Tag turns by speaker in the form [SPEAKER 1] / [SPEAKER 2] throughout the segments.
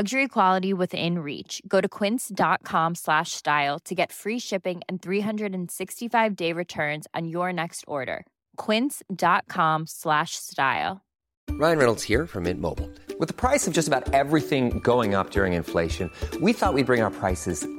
[SPEAKER 1] Luxury quality within reach. Go to quince.com slash style to get free shipping and 365 day returns on your next order. Quince.com slash style.
[SPEAKER 2] Ryan Reynolds here from Mint Mobile. With the price of just about everything going up during inflation, we thought we'd bring our prices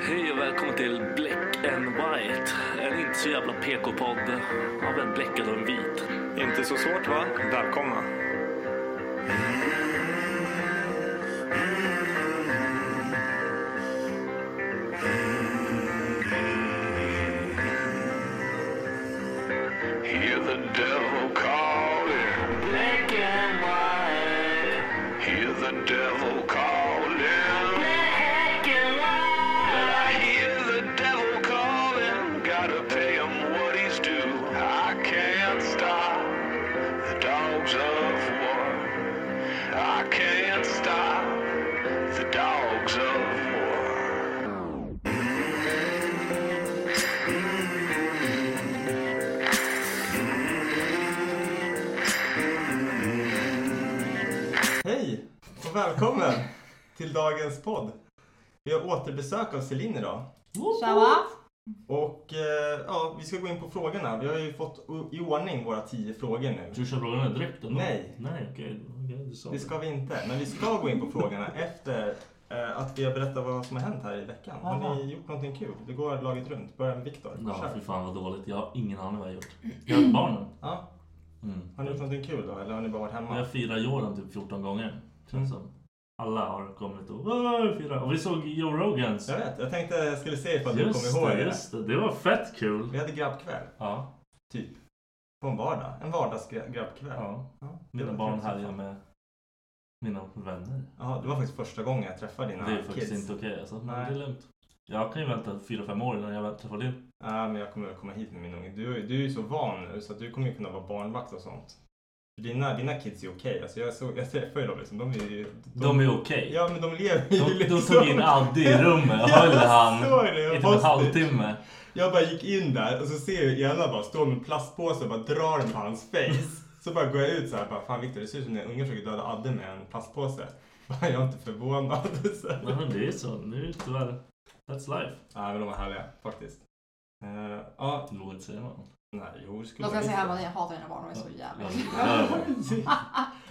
[SPEAKER 3] Hej och välkommen till Black and White. En inte så jävla PK-podd av en bläckad och en vit.
[SPEAKER 4] Inte så svårt va? Välkomna.
[SPEAKER 5] Hear the devil calling. Black and white. Hear the devil calling. Black and white. I hear the devil calling. Gotta pay him what he's due. I can't stop the dogs of war. I can't stop the dogs of war.
[SPEAKER 4] Hej och välkommen till dagens podd. Vi har återbesök av Celine idag. Och eh, ja, vi ska gå in på frågorna. Vi har ju fått o- i ordning våra tio frågor nu.
[SPEAKER 3] Du kör frågorna direkt ändå?
[SPEAKER 4] Nej.
[SPEAKER 3] Nej, okej. okej, du sa
[SPEAKER 4] Det ska vi inte, men vi ska gå in på frågorna efter eh, att vi har berättat vad som har hänt här i veckan. Har ni gjort någonting kul? Det går laget runt. Börja med Viktor.
[SPEAKER 3] Ja,
[SPEAKER 4] Kör.
[SPEAKER 3] fy fan vad dåligt. Jag har ingen aning vad jag har gjort. Jag har barnen.
[SPEAKER 4] Ja.
[SPEAKER 3] Mm.
[SPEAKER 4] Har ni gjort någonting kul då, eller har ni bara varit
[SPEAKER 3] Men
[SPEAKER 4] hemma?
[SPEAKER 3] jag firar Jordan typ 14 gånger.
[SPEAKER 4] Mm.
[SPEAKER 3] Känns som. Alla har kommit och "Åh, fira. Och vi såg Joe Rogans.
[SPEAKER 4] Jag vet, jag tänkte jag skulle se ifall du
[SPEAKER 3] Just
[SPEAKER 4] kommer ihåg
[SPEAKER 3] det,
[SPEAKER 4] det.
[SPEAKER 3] just det. Det var fett kul.
[SPEAKER 4] Vi hade grabbkväll,
[SPEAKER 3] Ja.
[SPEAKER 4] typ. På en vardag. En vardagsgrabbkväll.
[SPEAKER 3] ja.
[SPEAKER 4] Ja, det
[SPEAKER 3] Mina
[SPEAKER 4] var
[SPEAKER 3] barn
[SPEAKER 4] kul.
[SPEAKER 3] härjar med mina vänner.
[SPEAKER 4] Ja, det var faktiskt första gången jag träffade dina
[SPEAKER 3] Det är faktiskt
[SPEAKER 4] kids.
[SPEAKER 3] inte okej alltså. Men
[SPEAKER 4] Nej.
[SPEAKER 3] det är lugnt. Jag kan ju vänta 4-5 år innan jag träffar din.
[SPEAKER 4] Ja, men jag kommer komma hit med min unge. Du, är- du är ju så van nu så att du kommer ju kunna vara barnvakt och sånt. För dina, dina kids är okej. Alltså jag, såg, jag träffar ju dem liksom. De är ju...
[SPEAKER 3] De är okej.
[SPEAKER 4] Ja, men de lever ju
[SPEAKER 3] De, de
[SPEAKER 4] liksom.
[SPEAKER 3] tog in Adde i rummet och höll han
[SPEAKER 4] såg det, jag
[SPEAKER 3] i typ en
[SPEAKER 4] måste-
[SPEAKER 3] halvtimme.
[SPEAKER 4] Jag bara gick in där och så ser jag ena bara stå med en plastpåse och bara drar den på hans face. Så bara går jag ut så här bara, fan Viktor det ser ut som när ungar försöker döda Adde med en plastpåse. Bara, Jag är inte förvånad. Så här.
[SPEAKER 3] Nej men det är så, nu är det tyvärr. That's life.
[SPEAKER 4] Nej, men de var härliga faktiskt. Eh, ja,
[SPEAKER 3] Låt säger man.
[SPEAKER 4] nej, jo, det skulle
[SPEAKER 6] Jag ska säga
[SPEAKER 4] vara lite.
[SPEAKER 6] här vad jag hatar mina barn, de är så jävla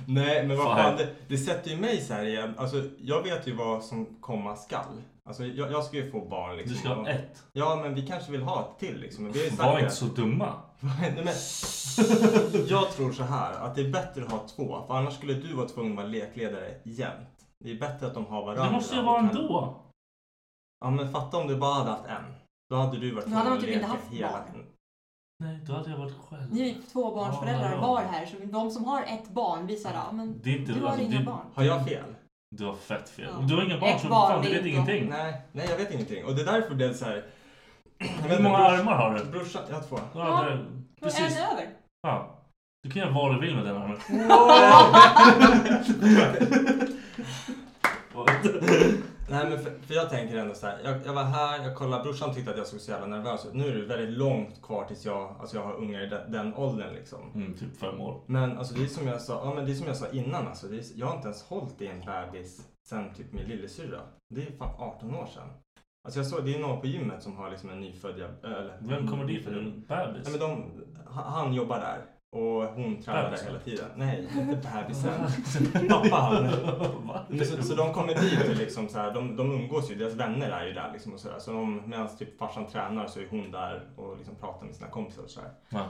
[SPEAKER 4] Nej, men vad
[SPEAKER 3] Fan.
[SPEAKER 4] fan, det, det sätter ju mig så här igen. Alltså, jag vet ju vad som komma skall. Alltså, jag, jag ska ju få barn liksom.
[SPEAKER 3] Du ska ha
[SPEAKER 4] Och-
[SPEAKER 3] ett.
[SPEAKER 4] Ja, men vi kanske vill ha ett till liksom. Men vi har ju sagt
[SPEAKER 3] Var
[SPEAKER 4] det.
[SPEAKER 3] inte så dumma.
[SPEAKER 4] Nej, men, jag tror så här, att det är bättre att ha två. För annars skulle du vara tvungen att vara lekledare jämt. Det är bättre att de har varandra.
[SPEAKER 3] Det måste ju
[SPEAKER 4] och
[SPEAKER 3] vara
[SPEAKER 4] kan-
[SPEAKER 3] ändå.
[SPEAKER 4] Ja, men fatta om du bara hade haft en. Då hade du varit
[SPEAKER 6] Då hade
[SPEAKER 4] tvungen
[SPEAKER 6] de
[SPEAKER 4] att
[SPEAKER 6] typ inte
[SPEAKER 4] leka
[SPEAKER 6] haft
[SPEAKER 4] hela
[SPEAKER 6] barn.
[SPEAKER 4] tiden.
[SPEAKER 3] Nej, då hade jag varit själv.
[SPEAKER 6] Ni är ju
[SPEAKER 3] Ja,
[SPEAKER 6] tvåbarnsföräldrar
[SPEAKER 3] ja.
[SPEAKER 6] var här, så de som har ett barn visar ja men
[SPEAKER 3] Det är inte-
[SPEAKER 6] du har
[SPEAKER 3] alltså,
[SPEAKER 6] inga
[SPEAKER 3] det-
[SPEAKER 6] barn.
[SPEAKER 4] Har jag fel?
[SPEAKER 3] Du har fett fel.
[SPEAKER 6] Ja.
[SPEAKER 3] Och Du har inga barn
[SPEAKER 6] Ett
[SPEAKER 3] så
[SPEAKER 6] barn,
[SPEAKER 3] fan, du
[SPEAKER 6] det är
[SPEAKER 3] vet
[SPEAKER 6] inte-
[SPEAKER 3] ingenting.
[SPEAKER 4] Nej, nej jag vet ingenting. Och det är därför det är så här.
[SPEAKER 7] Men
[SPEAKER 4] Hur många
[SPEAKER 7] brors-
[SPEAKER 4] armar har du?
[SPEAKER 7] Brorsan, jag har två.
[SPEAKER 4] Ja, det, precis.
[SPEAKER 5] En över.
[SPEAKER 4] Ja. Du kan göra vad du vill med den armen.
[SPEAKER 7] Nej men för, för jag tänker ändå så här. Jag, jag var här, jag kollade, brorsan tyckte att jag såg så jävla nervös ut. Nu är det väldigt långt kvar tills jag, alltså jag har ungar i den, den åldern liksom.
[SPEAKER 4] Mm, typ fem år.
[SPEAKER 7] Men alltså det är som jag sa, ja, men det är som jag sa innan alltså. Det är, jag har inte ens hållit i en bebis sen typ min lillasyrra. Det är fan 18 år sedan. Alltså jag såg, det är någon på gymmet som har liksom en nyfödd jäv- eller,
[SPEAKER 4] Vem kommer dit för
[SPEAKER 7] nyfödd-
[SPEAKER 4] en bebis?
[SPEAKER 7] Nej, men de, ha- han jobbar där och hon tränar där
[SPEAKER 4] Bebisen.
[SPEAKER 7] hela tiden. Nej, inte bebisen. Pappan.
[SPEAKER 4] Va?
[SPEAKER 7] Men Så, så de kommer dit och liksom så här, de, de umgås ju, deras vänner är ju där liksom och så där. Så de, medan typ farsan tränar så är hon där och liksom pratar med sina kompisar och så här.
[SPEAKER 4] Ja.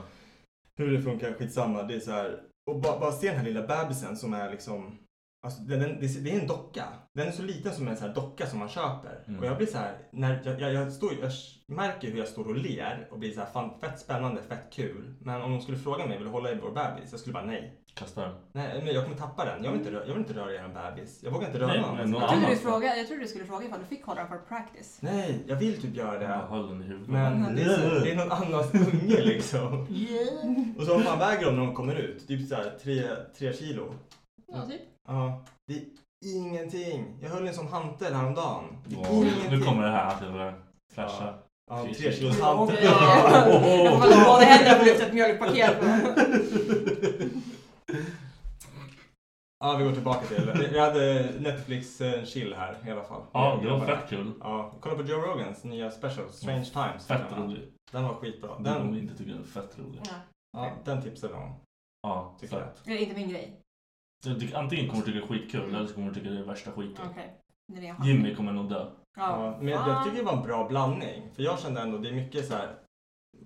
[SPEAKER 7] Hur det funkar, skitsamma. Det är så här, och ba, bara se den här lilla bebisen som är liksom, alltså den, den, det, är- det är en docka. Den är så liten som en så här docka som man köper.
[SPEAKER 4] Mm.
[SPEAKER 7] Och jag blir så här, när jag, jag, jag, står, jag märker hur jag står och ler och blir så här, fan fett spännande, fett kul. Men om de skulle fråga mig, vill du hålla i vår bebis? Jag skulle bara nej.
[SPEAKER 4] Kasta den.
[SPEAKER 7] Nej, men jag kommer tappa den. Jag vill inte, rö- jag vill inte röra er en bebis. Jag vågar inte
[SPEAKER 4] Nej,
[SPEAKER 7] röra honom.
[SPEAKER 4] men någon
[SPEAKER 7] Jag
[SPEAKER 5] Jag
[SPEAKER 7] tycker
[SPEAKER 5] trodde,
[SPEAKER 4] annan.
[SPEAKER 5] du fråga, jag trodde du skulle fråga ifall du fick hålla den för practice.
[SPEAKER 7] Nej, jag vill typ göra
[SPEAKER 4] Bara
[SPEAKER 7] det.
[SPEAKER 4] höll den i huvudet.
[SPEAKER 7] Men det är, så- det är någon annans unge liksom. Och så vad fan väger de när de kommer ut? Typ såhär 3 kilo.
[SPEAKER 5] Ja, typ.
[SPEAKER 7] Ja, det är ingenting. Jag höll en sån hantel häromdagen. Det är
[SPEAKER 4] Wow.
[SPEAKER 7] ingenting.
[SPEAKER 4] Nu kommer det här att jag börjar flasha.
[SPEAKER 7] Ja,
[SPEAKER 4] Tre
[SPEAKER 7] 3
[SPEAKER 4] kilo.
[SPEAKER 7] kilos
[SPEAKER 5] Okej.
[SPEAKER 7] hantel.
[SPEAKER 5] Jag får väl båda händerna på lyfta ett mjölkpaket.
[SPEAKER 7] Ja, vi går tillbaka till det. Vi hade Netflix eh, chill här i alla fall.
[SPEAKER 4] Ja, det var
[SPEAKER 7] Grabbarna.
[SPEAKER 4] fett kul.
[SPEAKER 7] Ja, kolla på Joe Rogans nya special, Strange Times.
[SPEAKER 4] Fett rolig.
[SPEAKER 7] Den var skitbra.
[SPEAKER 4] Den kommer
[SPEAKER 7] Den,
[SPEAKER 4] inte tycka den är fett rolig.
[SPEAKER 5] Ja.
[SPEAKER 7] ja, den tipsade jag om.
[SPEAKER 4] Ja,
[SPEAKER 7] Tycker jag.
[SPEAKER 4] fett.
[SPEAKER 5] Det är inte min grej.
[SPEAKER 4] Jag tycker- Antingen kommer du tycka det är skitkul eller så kommer du tycka det är värsta skiten.
[SPEAKER 5] Okej. Det är det jag har.
[SPEAKER 4] Jimmy kommer nog dö.
[SPEAKER 5] Ja.
[SPEAKER 7] Ja, men jag, jag tycker det var en bra blandning. För jag kände ändå, det är mycket så här.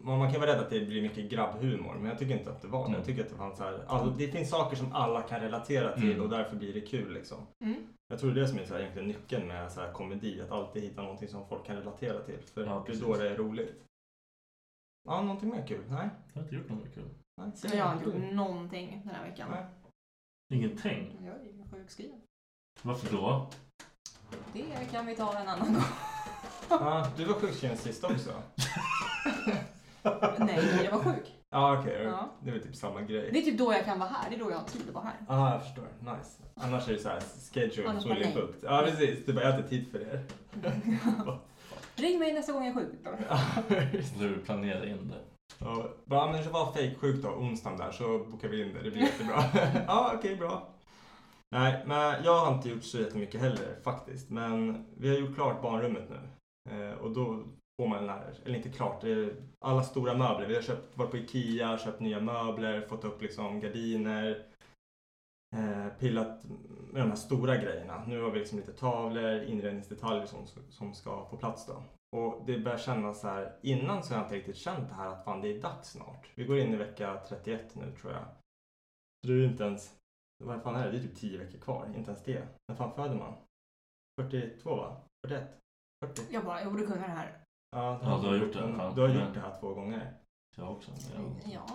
[SPEAKER 7] Man man kan vara rädd att det blir mycket grabbhumor, men jag tycker inte att det var det.
[SPEAKER 4] Mm.
[SPEAKER 7] Jag tycker att det fanns så här, alltså, det finns saker som alla kan relatera till
[SPEAKER 4] Mm.
[SPEAKER 7] och därför blir det kul liksom.
[SPEAKER 5] Mm.
[SPEAKER 7] Jag tror det är det som är så här, egentligen nyckeln med så här, komedi, att alltid hitta någonting som folk kan relatera till. För
[SPEAKER 4] Ja,
[SPEAKER 7] det är
[SPEAKER 4] precis.
[SPEAKER 7] då det är roligt. Ja, någonting mer kul? Nej.
[SPEAKER 4] Jag har inte gjort något kul.
[SPEAKER 7] Nej,
[SPEAKER 5] Så jag har inte gjort någonting den här veckan.
[SPEAKER 7] Nej.
[SPEAKER 4] Ingenting.
[SPEAKER 5] Jag är sjukskriven.
[SPEAKER 4] Varför då?
[SPEAKER 5] Det kan vi ta en annan gång.
[SPEAKER 7] Ja, du var sjukskriven sist också.
[SPEAKER 5] Nej, jag var sjuk.
[SPEAKER 7] Ja, okej.
[SPEAKER 5] Ja.
[SPEAKER 7] Det är väl typ samma grej.
[SPEAKER 5] Det är typ då jag kan vara här. Det är då jag har tid att vara här.
[SPEAKER 7] Ja, ah, jag förstår. Nice. Annars är det så här, schedule,
[SPEAKER 5] Annars
[SPEAKER 7] fully
[SPEAKER 5] bara nej.
[SPEAKER 7] booked. Ja, precis. Du bara, jag har inte tid för er.
[SPEAKER 5] Ring mig nästa gång jag är sjuk.
[SPEAKER 4] Du planerar in det.
[SPEAKER 7] Ja, bara, "Ah, men det var fejksjuk då, onsdagen där, så bokar vi in det. Det blir jättebra. Ja, okej, bra. Nej, men jag har inte gjort så jättemycket heller faktiskt. Men vi har gjort klart barnrummet nu. Eh, och då får man en lärare. Eller inte klart, det är alla stora möbler. Vi har köpt, varit på Ikea, köpt nya möbler, fått upp liksom gardiner. Eh, pillat med de här stora grejerna. Nu har vi liksom lite tavlor, inredningsdetaljer som, som ska på plats då. Och det börjar kännas så här, innan så har jag inte riktigt känt det här att fan det är dags snart. Vi går in i vecka 31 nu tror jag. Så det är ju inte ens, vad fan är det? Det är typ 10 veckor kvar, inte ens det. När fan föder man? 42 va? 41? 40?
[SPEAKER 5] Jag bara, jag borde kunna det här.
[SPEAKER 7] Ja,
[SPEAKER 4] Ja, du har gjort det,
[SPEAKER 7] Mm,
[SPEAKER 4] fan.
[SPEAKER 7] Du har
[SPEAKER 4] Mm.
[SPEAKER 7] gjort det här två gånger.
[SPEAKER 4] Jag också. Jag...
[SPEAKER 5] Ja.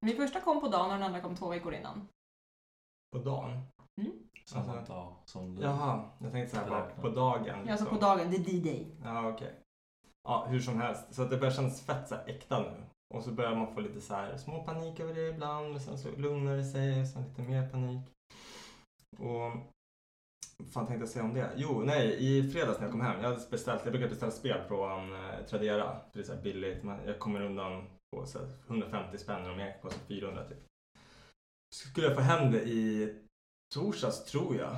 [SPEAKER 5] Min första kom på dagen och den andra kom två veckor innan.
[SPEAKER 7] På dagen?
[SPEAKER 4] Samma dag som du.
[SPEAKER 7] Jaha, jag tänkte så här, bara
[SPEAKER 4] Beräkna.
[SPEAKER 7] på dagen.
[SPEAKER 5] Jag alltså
[SPEAKER 7] liksom.
[SPEAKER 5] på dagen, det är D-day.
[SPEAKER 7] Ja, okej. Ja, hur som helst. Så att det börjar kännas fett så här, äkta nu. Och så börjar man få lite så här små panik över det ibland. Och sen så lugnar det sig och sen lite mer panik. Och vad fan tänkte jag säga om det? Jo, nej, i fredags när jag kom hem. Jag hade beställt, jag brukar beställa spel från eh, Tradera. För det är så här billigt. Man, jag kommer undan på så här 150 spänn och de egentligen kostar 400 typ. Skulle jag få hem det i torsdags tror jag.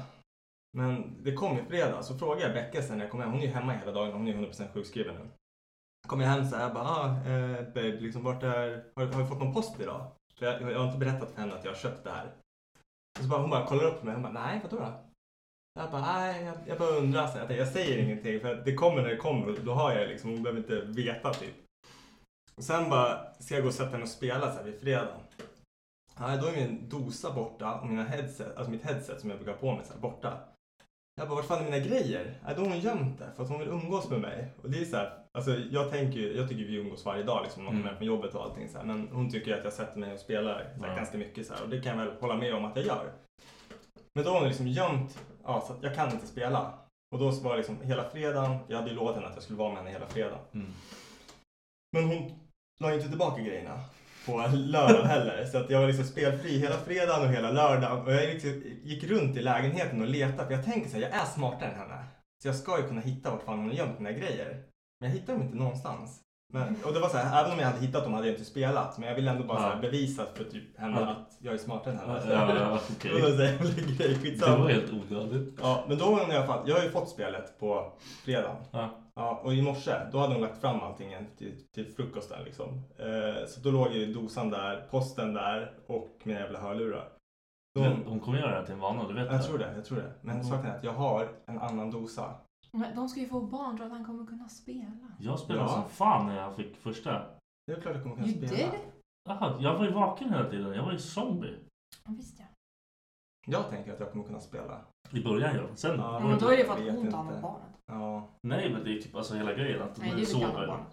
[SPEAKER 7] Men det kom i fredag så frågade jag Becka sen när jag kom hem. Hon är ju hemma hela dagen. Hon är 100% sjukskriven nu. Kom jag hem så här, jag bara, ah, eh, babe, liksom vart är, har, har vi fått någon post idag? För jag, jag har inte berättat för henne att jag har köpt det här. Och så bara, hon bara kollar upp på mig. Hon bara, nej, vadå då? Jag bara, nej, jag, jag bara undrar. Så jag, tänkte, jag säger ingenting för att det kommer när det kommer. och Då har jag det liksom, hon behöver inte veta typ. Och sen bara, ska jag gå och sätta mig och spela så här vid fredagen. Nej, då är min dosa borta och mina headset, alltså mitt headset som jag brukar ha på mig så här, borta. Jag bara, vart fan är mina grejer? Nej, då har hon gömt det för att hon vill umgås med mig. Och det är så här, alltså jag tänker ju- jag tycker vi umgås varje dag liksom, när man kommer
[SPEAKER 4] Mm.
[SPEAKER 7] hem från jobbet och allting så här. Men hon tycker ju att jag sätter mig och spelar så här,
[SPEAKER 4] Ja.
[SPEAKER 7] ganska mycket så här. Och det kan jag väl hålla med om att jag gör. Men då har hon liksom gömt, ja så att jag kan inte spela. Och då så var det liksom hela fredagen, jag hade ju lovat henne att jag skulle vara med henne hela fredagen.
[SPEAKER 4] Mm.
[SPEAKER 7] Men hon la ju inte tillbaka grejerna på lördagen heller. Så att jag var liksom spelfri hela fredagen och hela lördagen. Och jag liksom gick runt i lägenheten och letade. För jag tänker så här, jag är smartare än henne. Så jag ska ju kunna hitta vart fan hon har gömt mina grejer. Men jag hittar dem inte någonstans. Men, och det var så här, även om jag hade hittat dem hade jag inte spelat. Men jag ville ändå bara så här, bevisa för typ henne
[SPEAKER 4] Ja.
[SPEAKER 7] att jag är smartare än henne.
[SPEAKER 4] Ja, ja, ja, okej.
[SPEAKER 7] Och då så här, jag ville grej, skitsamma.
[SPEAKER 4] Det var helt onödigt.
[SPEAKER 7] Ja, men då var hon i alla fall, jag har ju fått spelet på fredagen.
[SPEAKER 4] Ja.
[SPEAKER 7] och i morse, då hade hon lagt fram allting till, till frukosten liksom. Eh, så då låg ju dosan där, posten där och mina jävla hörlurar. Så
[SPEAKER 4] Men Mm. hon kommer göra det här till en vana, du vet
[SPEAKER 7] jag tror det, jag tror det. Men saken är att jag har en annan dosa.
[SPEAKER 5] Men de ska ju få barn så att han kommer kunna spela.
[SPEAKER 4] Jag spelade
[SPEAKER 7] Ja.
[SPEAKER 4] som fan när jag fick första.
[SPEAKER 7] Det är klart jag kommer kunna
[SPEAKER 5] You did?
[SPEAKER 7] spela.
[SPEAKER 4] Aha, jag var ju vaken hela tiden, jag var ju zombie.
[SPEAKER 5] Ja, visst ja.
[SPEAKER 7] Jag tänker att jag kommer kunna spela.
[SPEAKER 4] I början ja, sen...
[SPEAKER 7] Ja,
[SPEAKER 5] Men då är det för att
[SPEAKER 7] vet
[SPEAKER 5] hon tar hand om
[SPEAKER 7] inte.
[SPEAKER 5] barnet.
[SPEAKER 7] Ja.
[SPEAKER 4] Nej men det är typ alltså hela grejen att
[SPEAKER 5] Nej,
[SPEAKER 4] man
[SPEAKER 5] du kan ha
[SPEAKER 4] sover.
[SPEAKER 5] barn.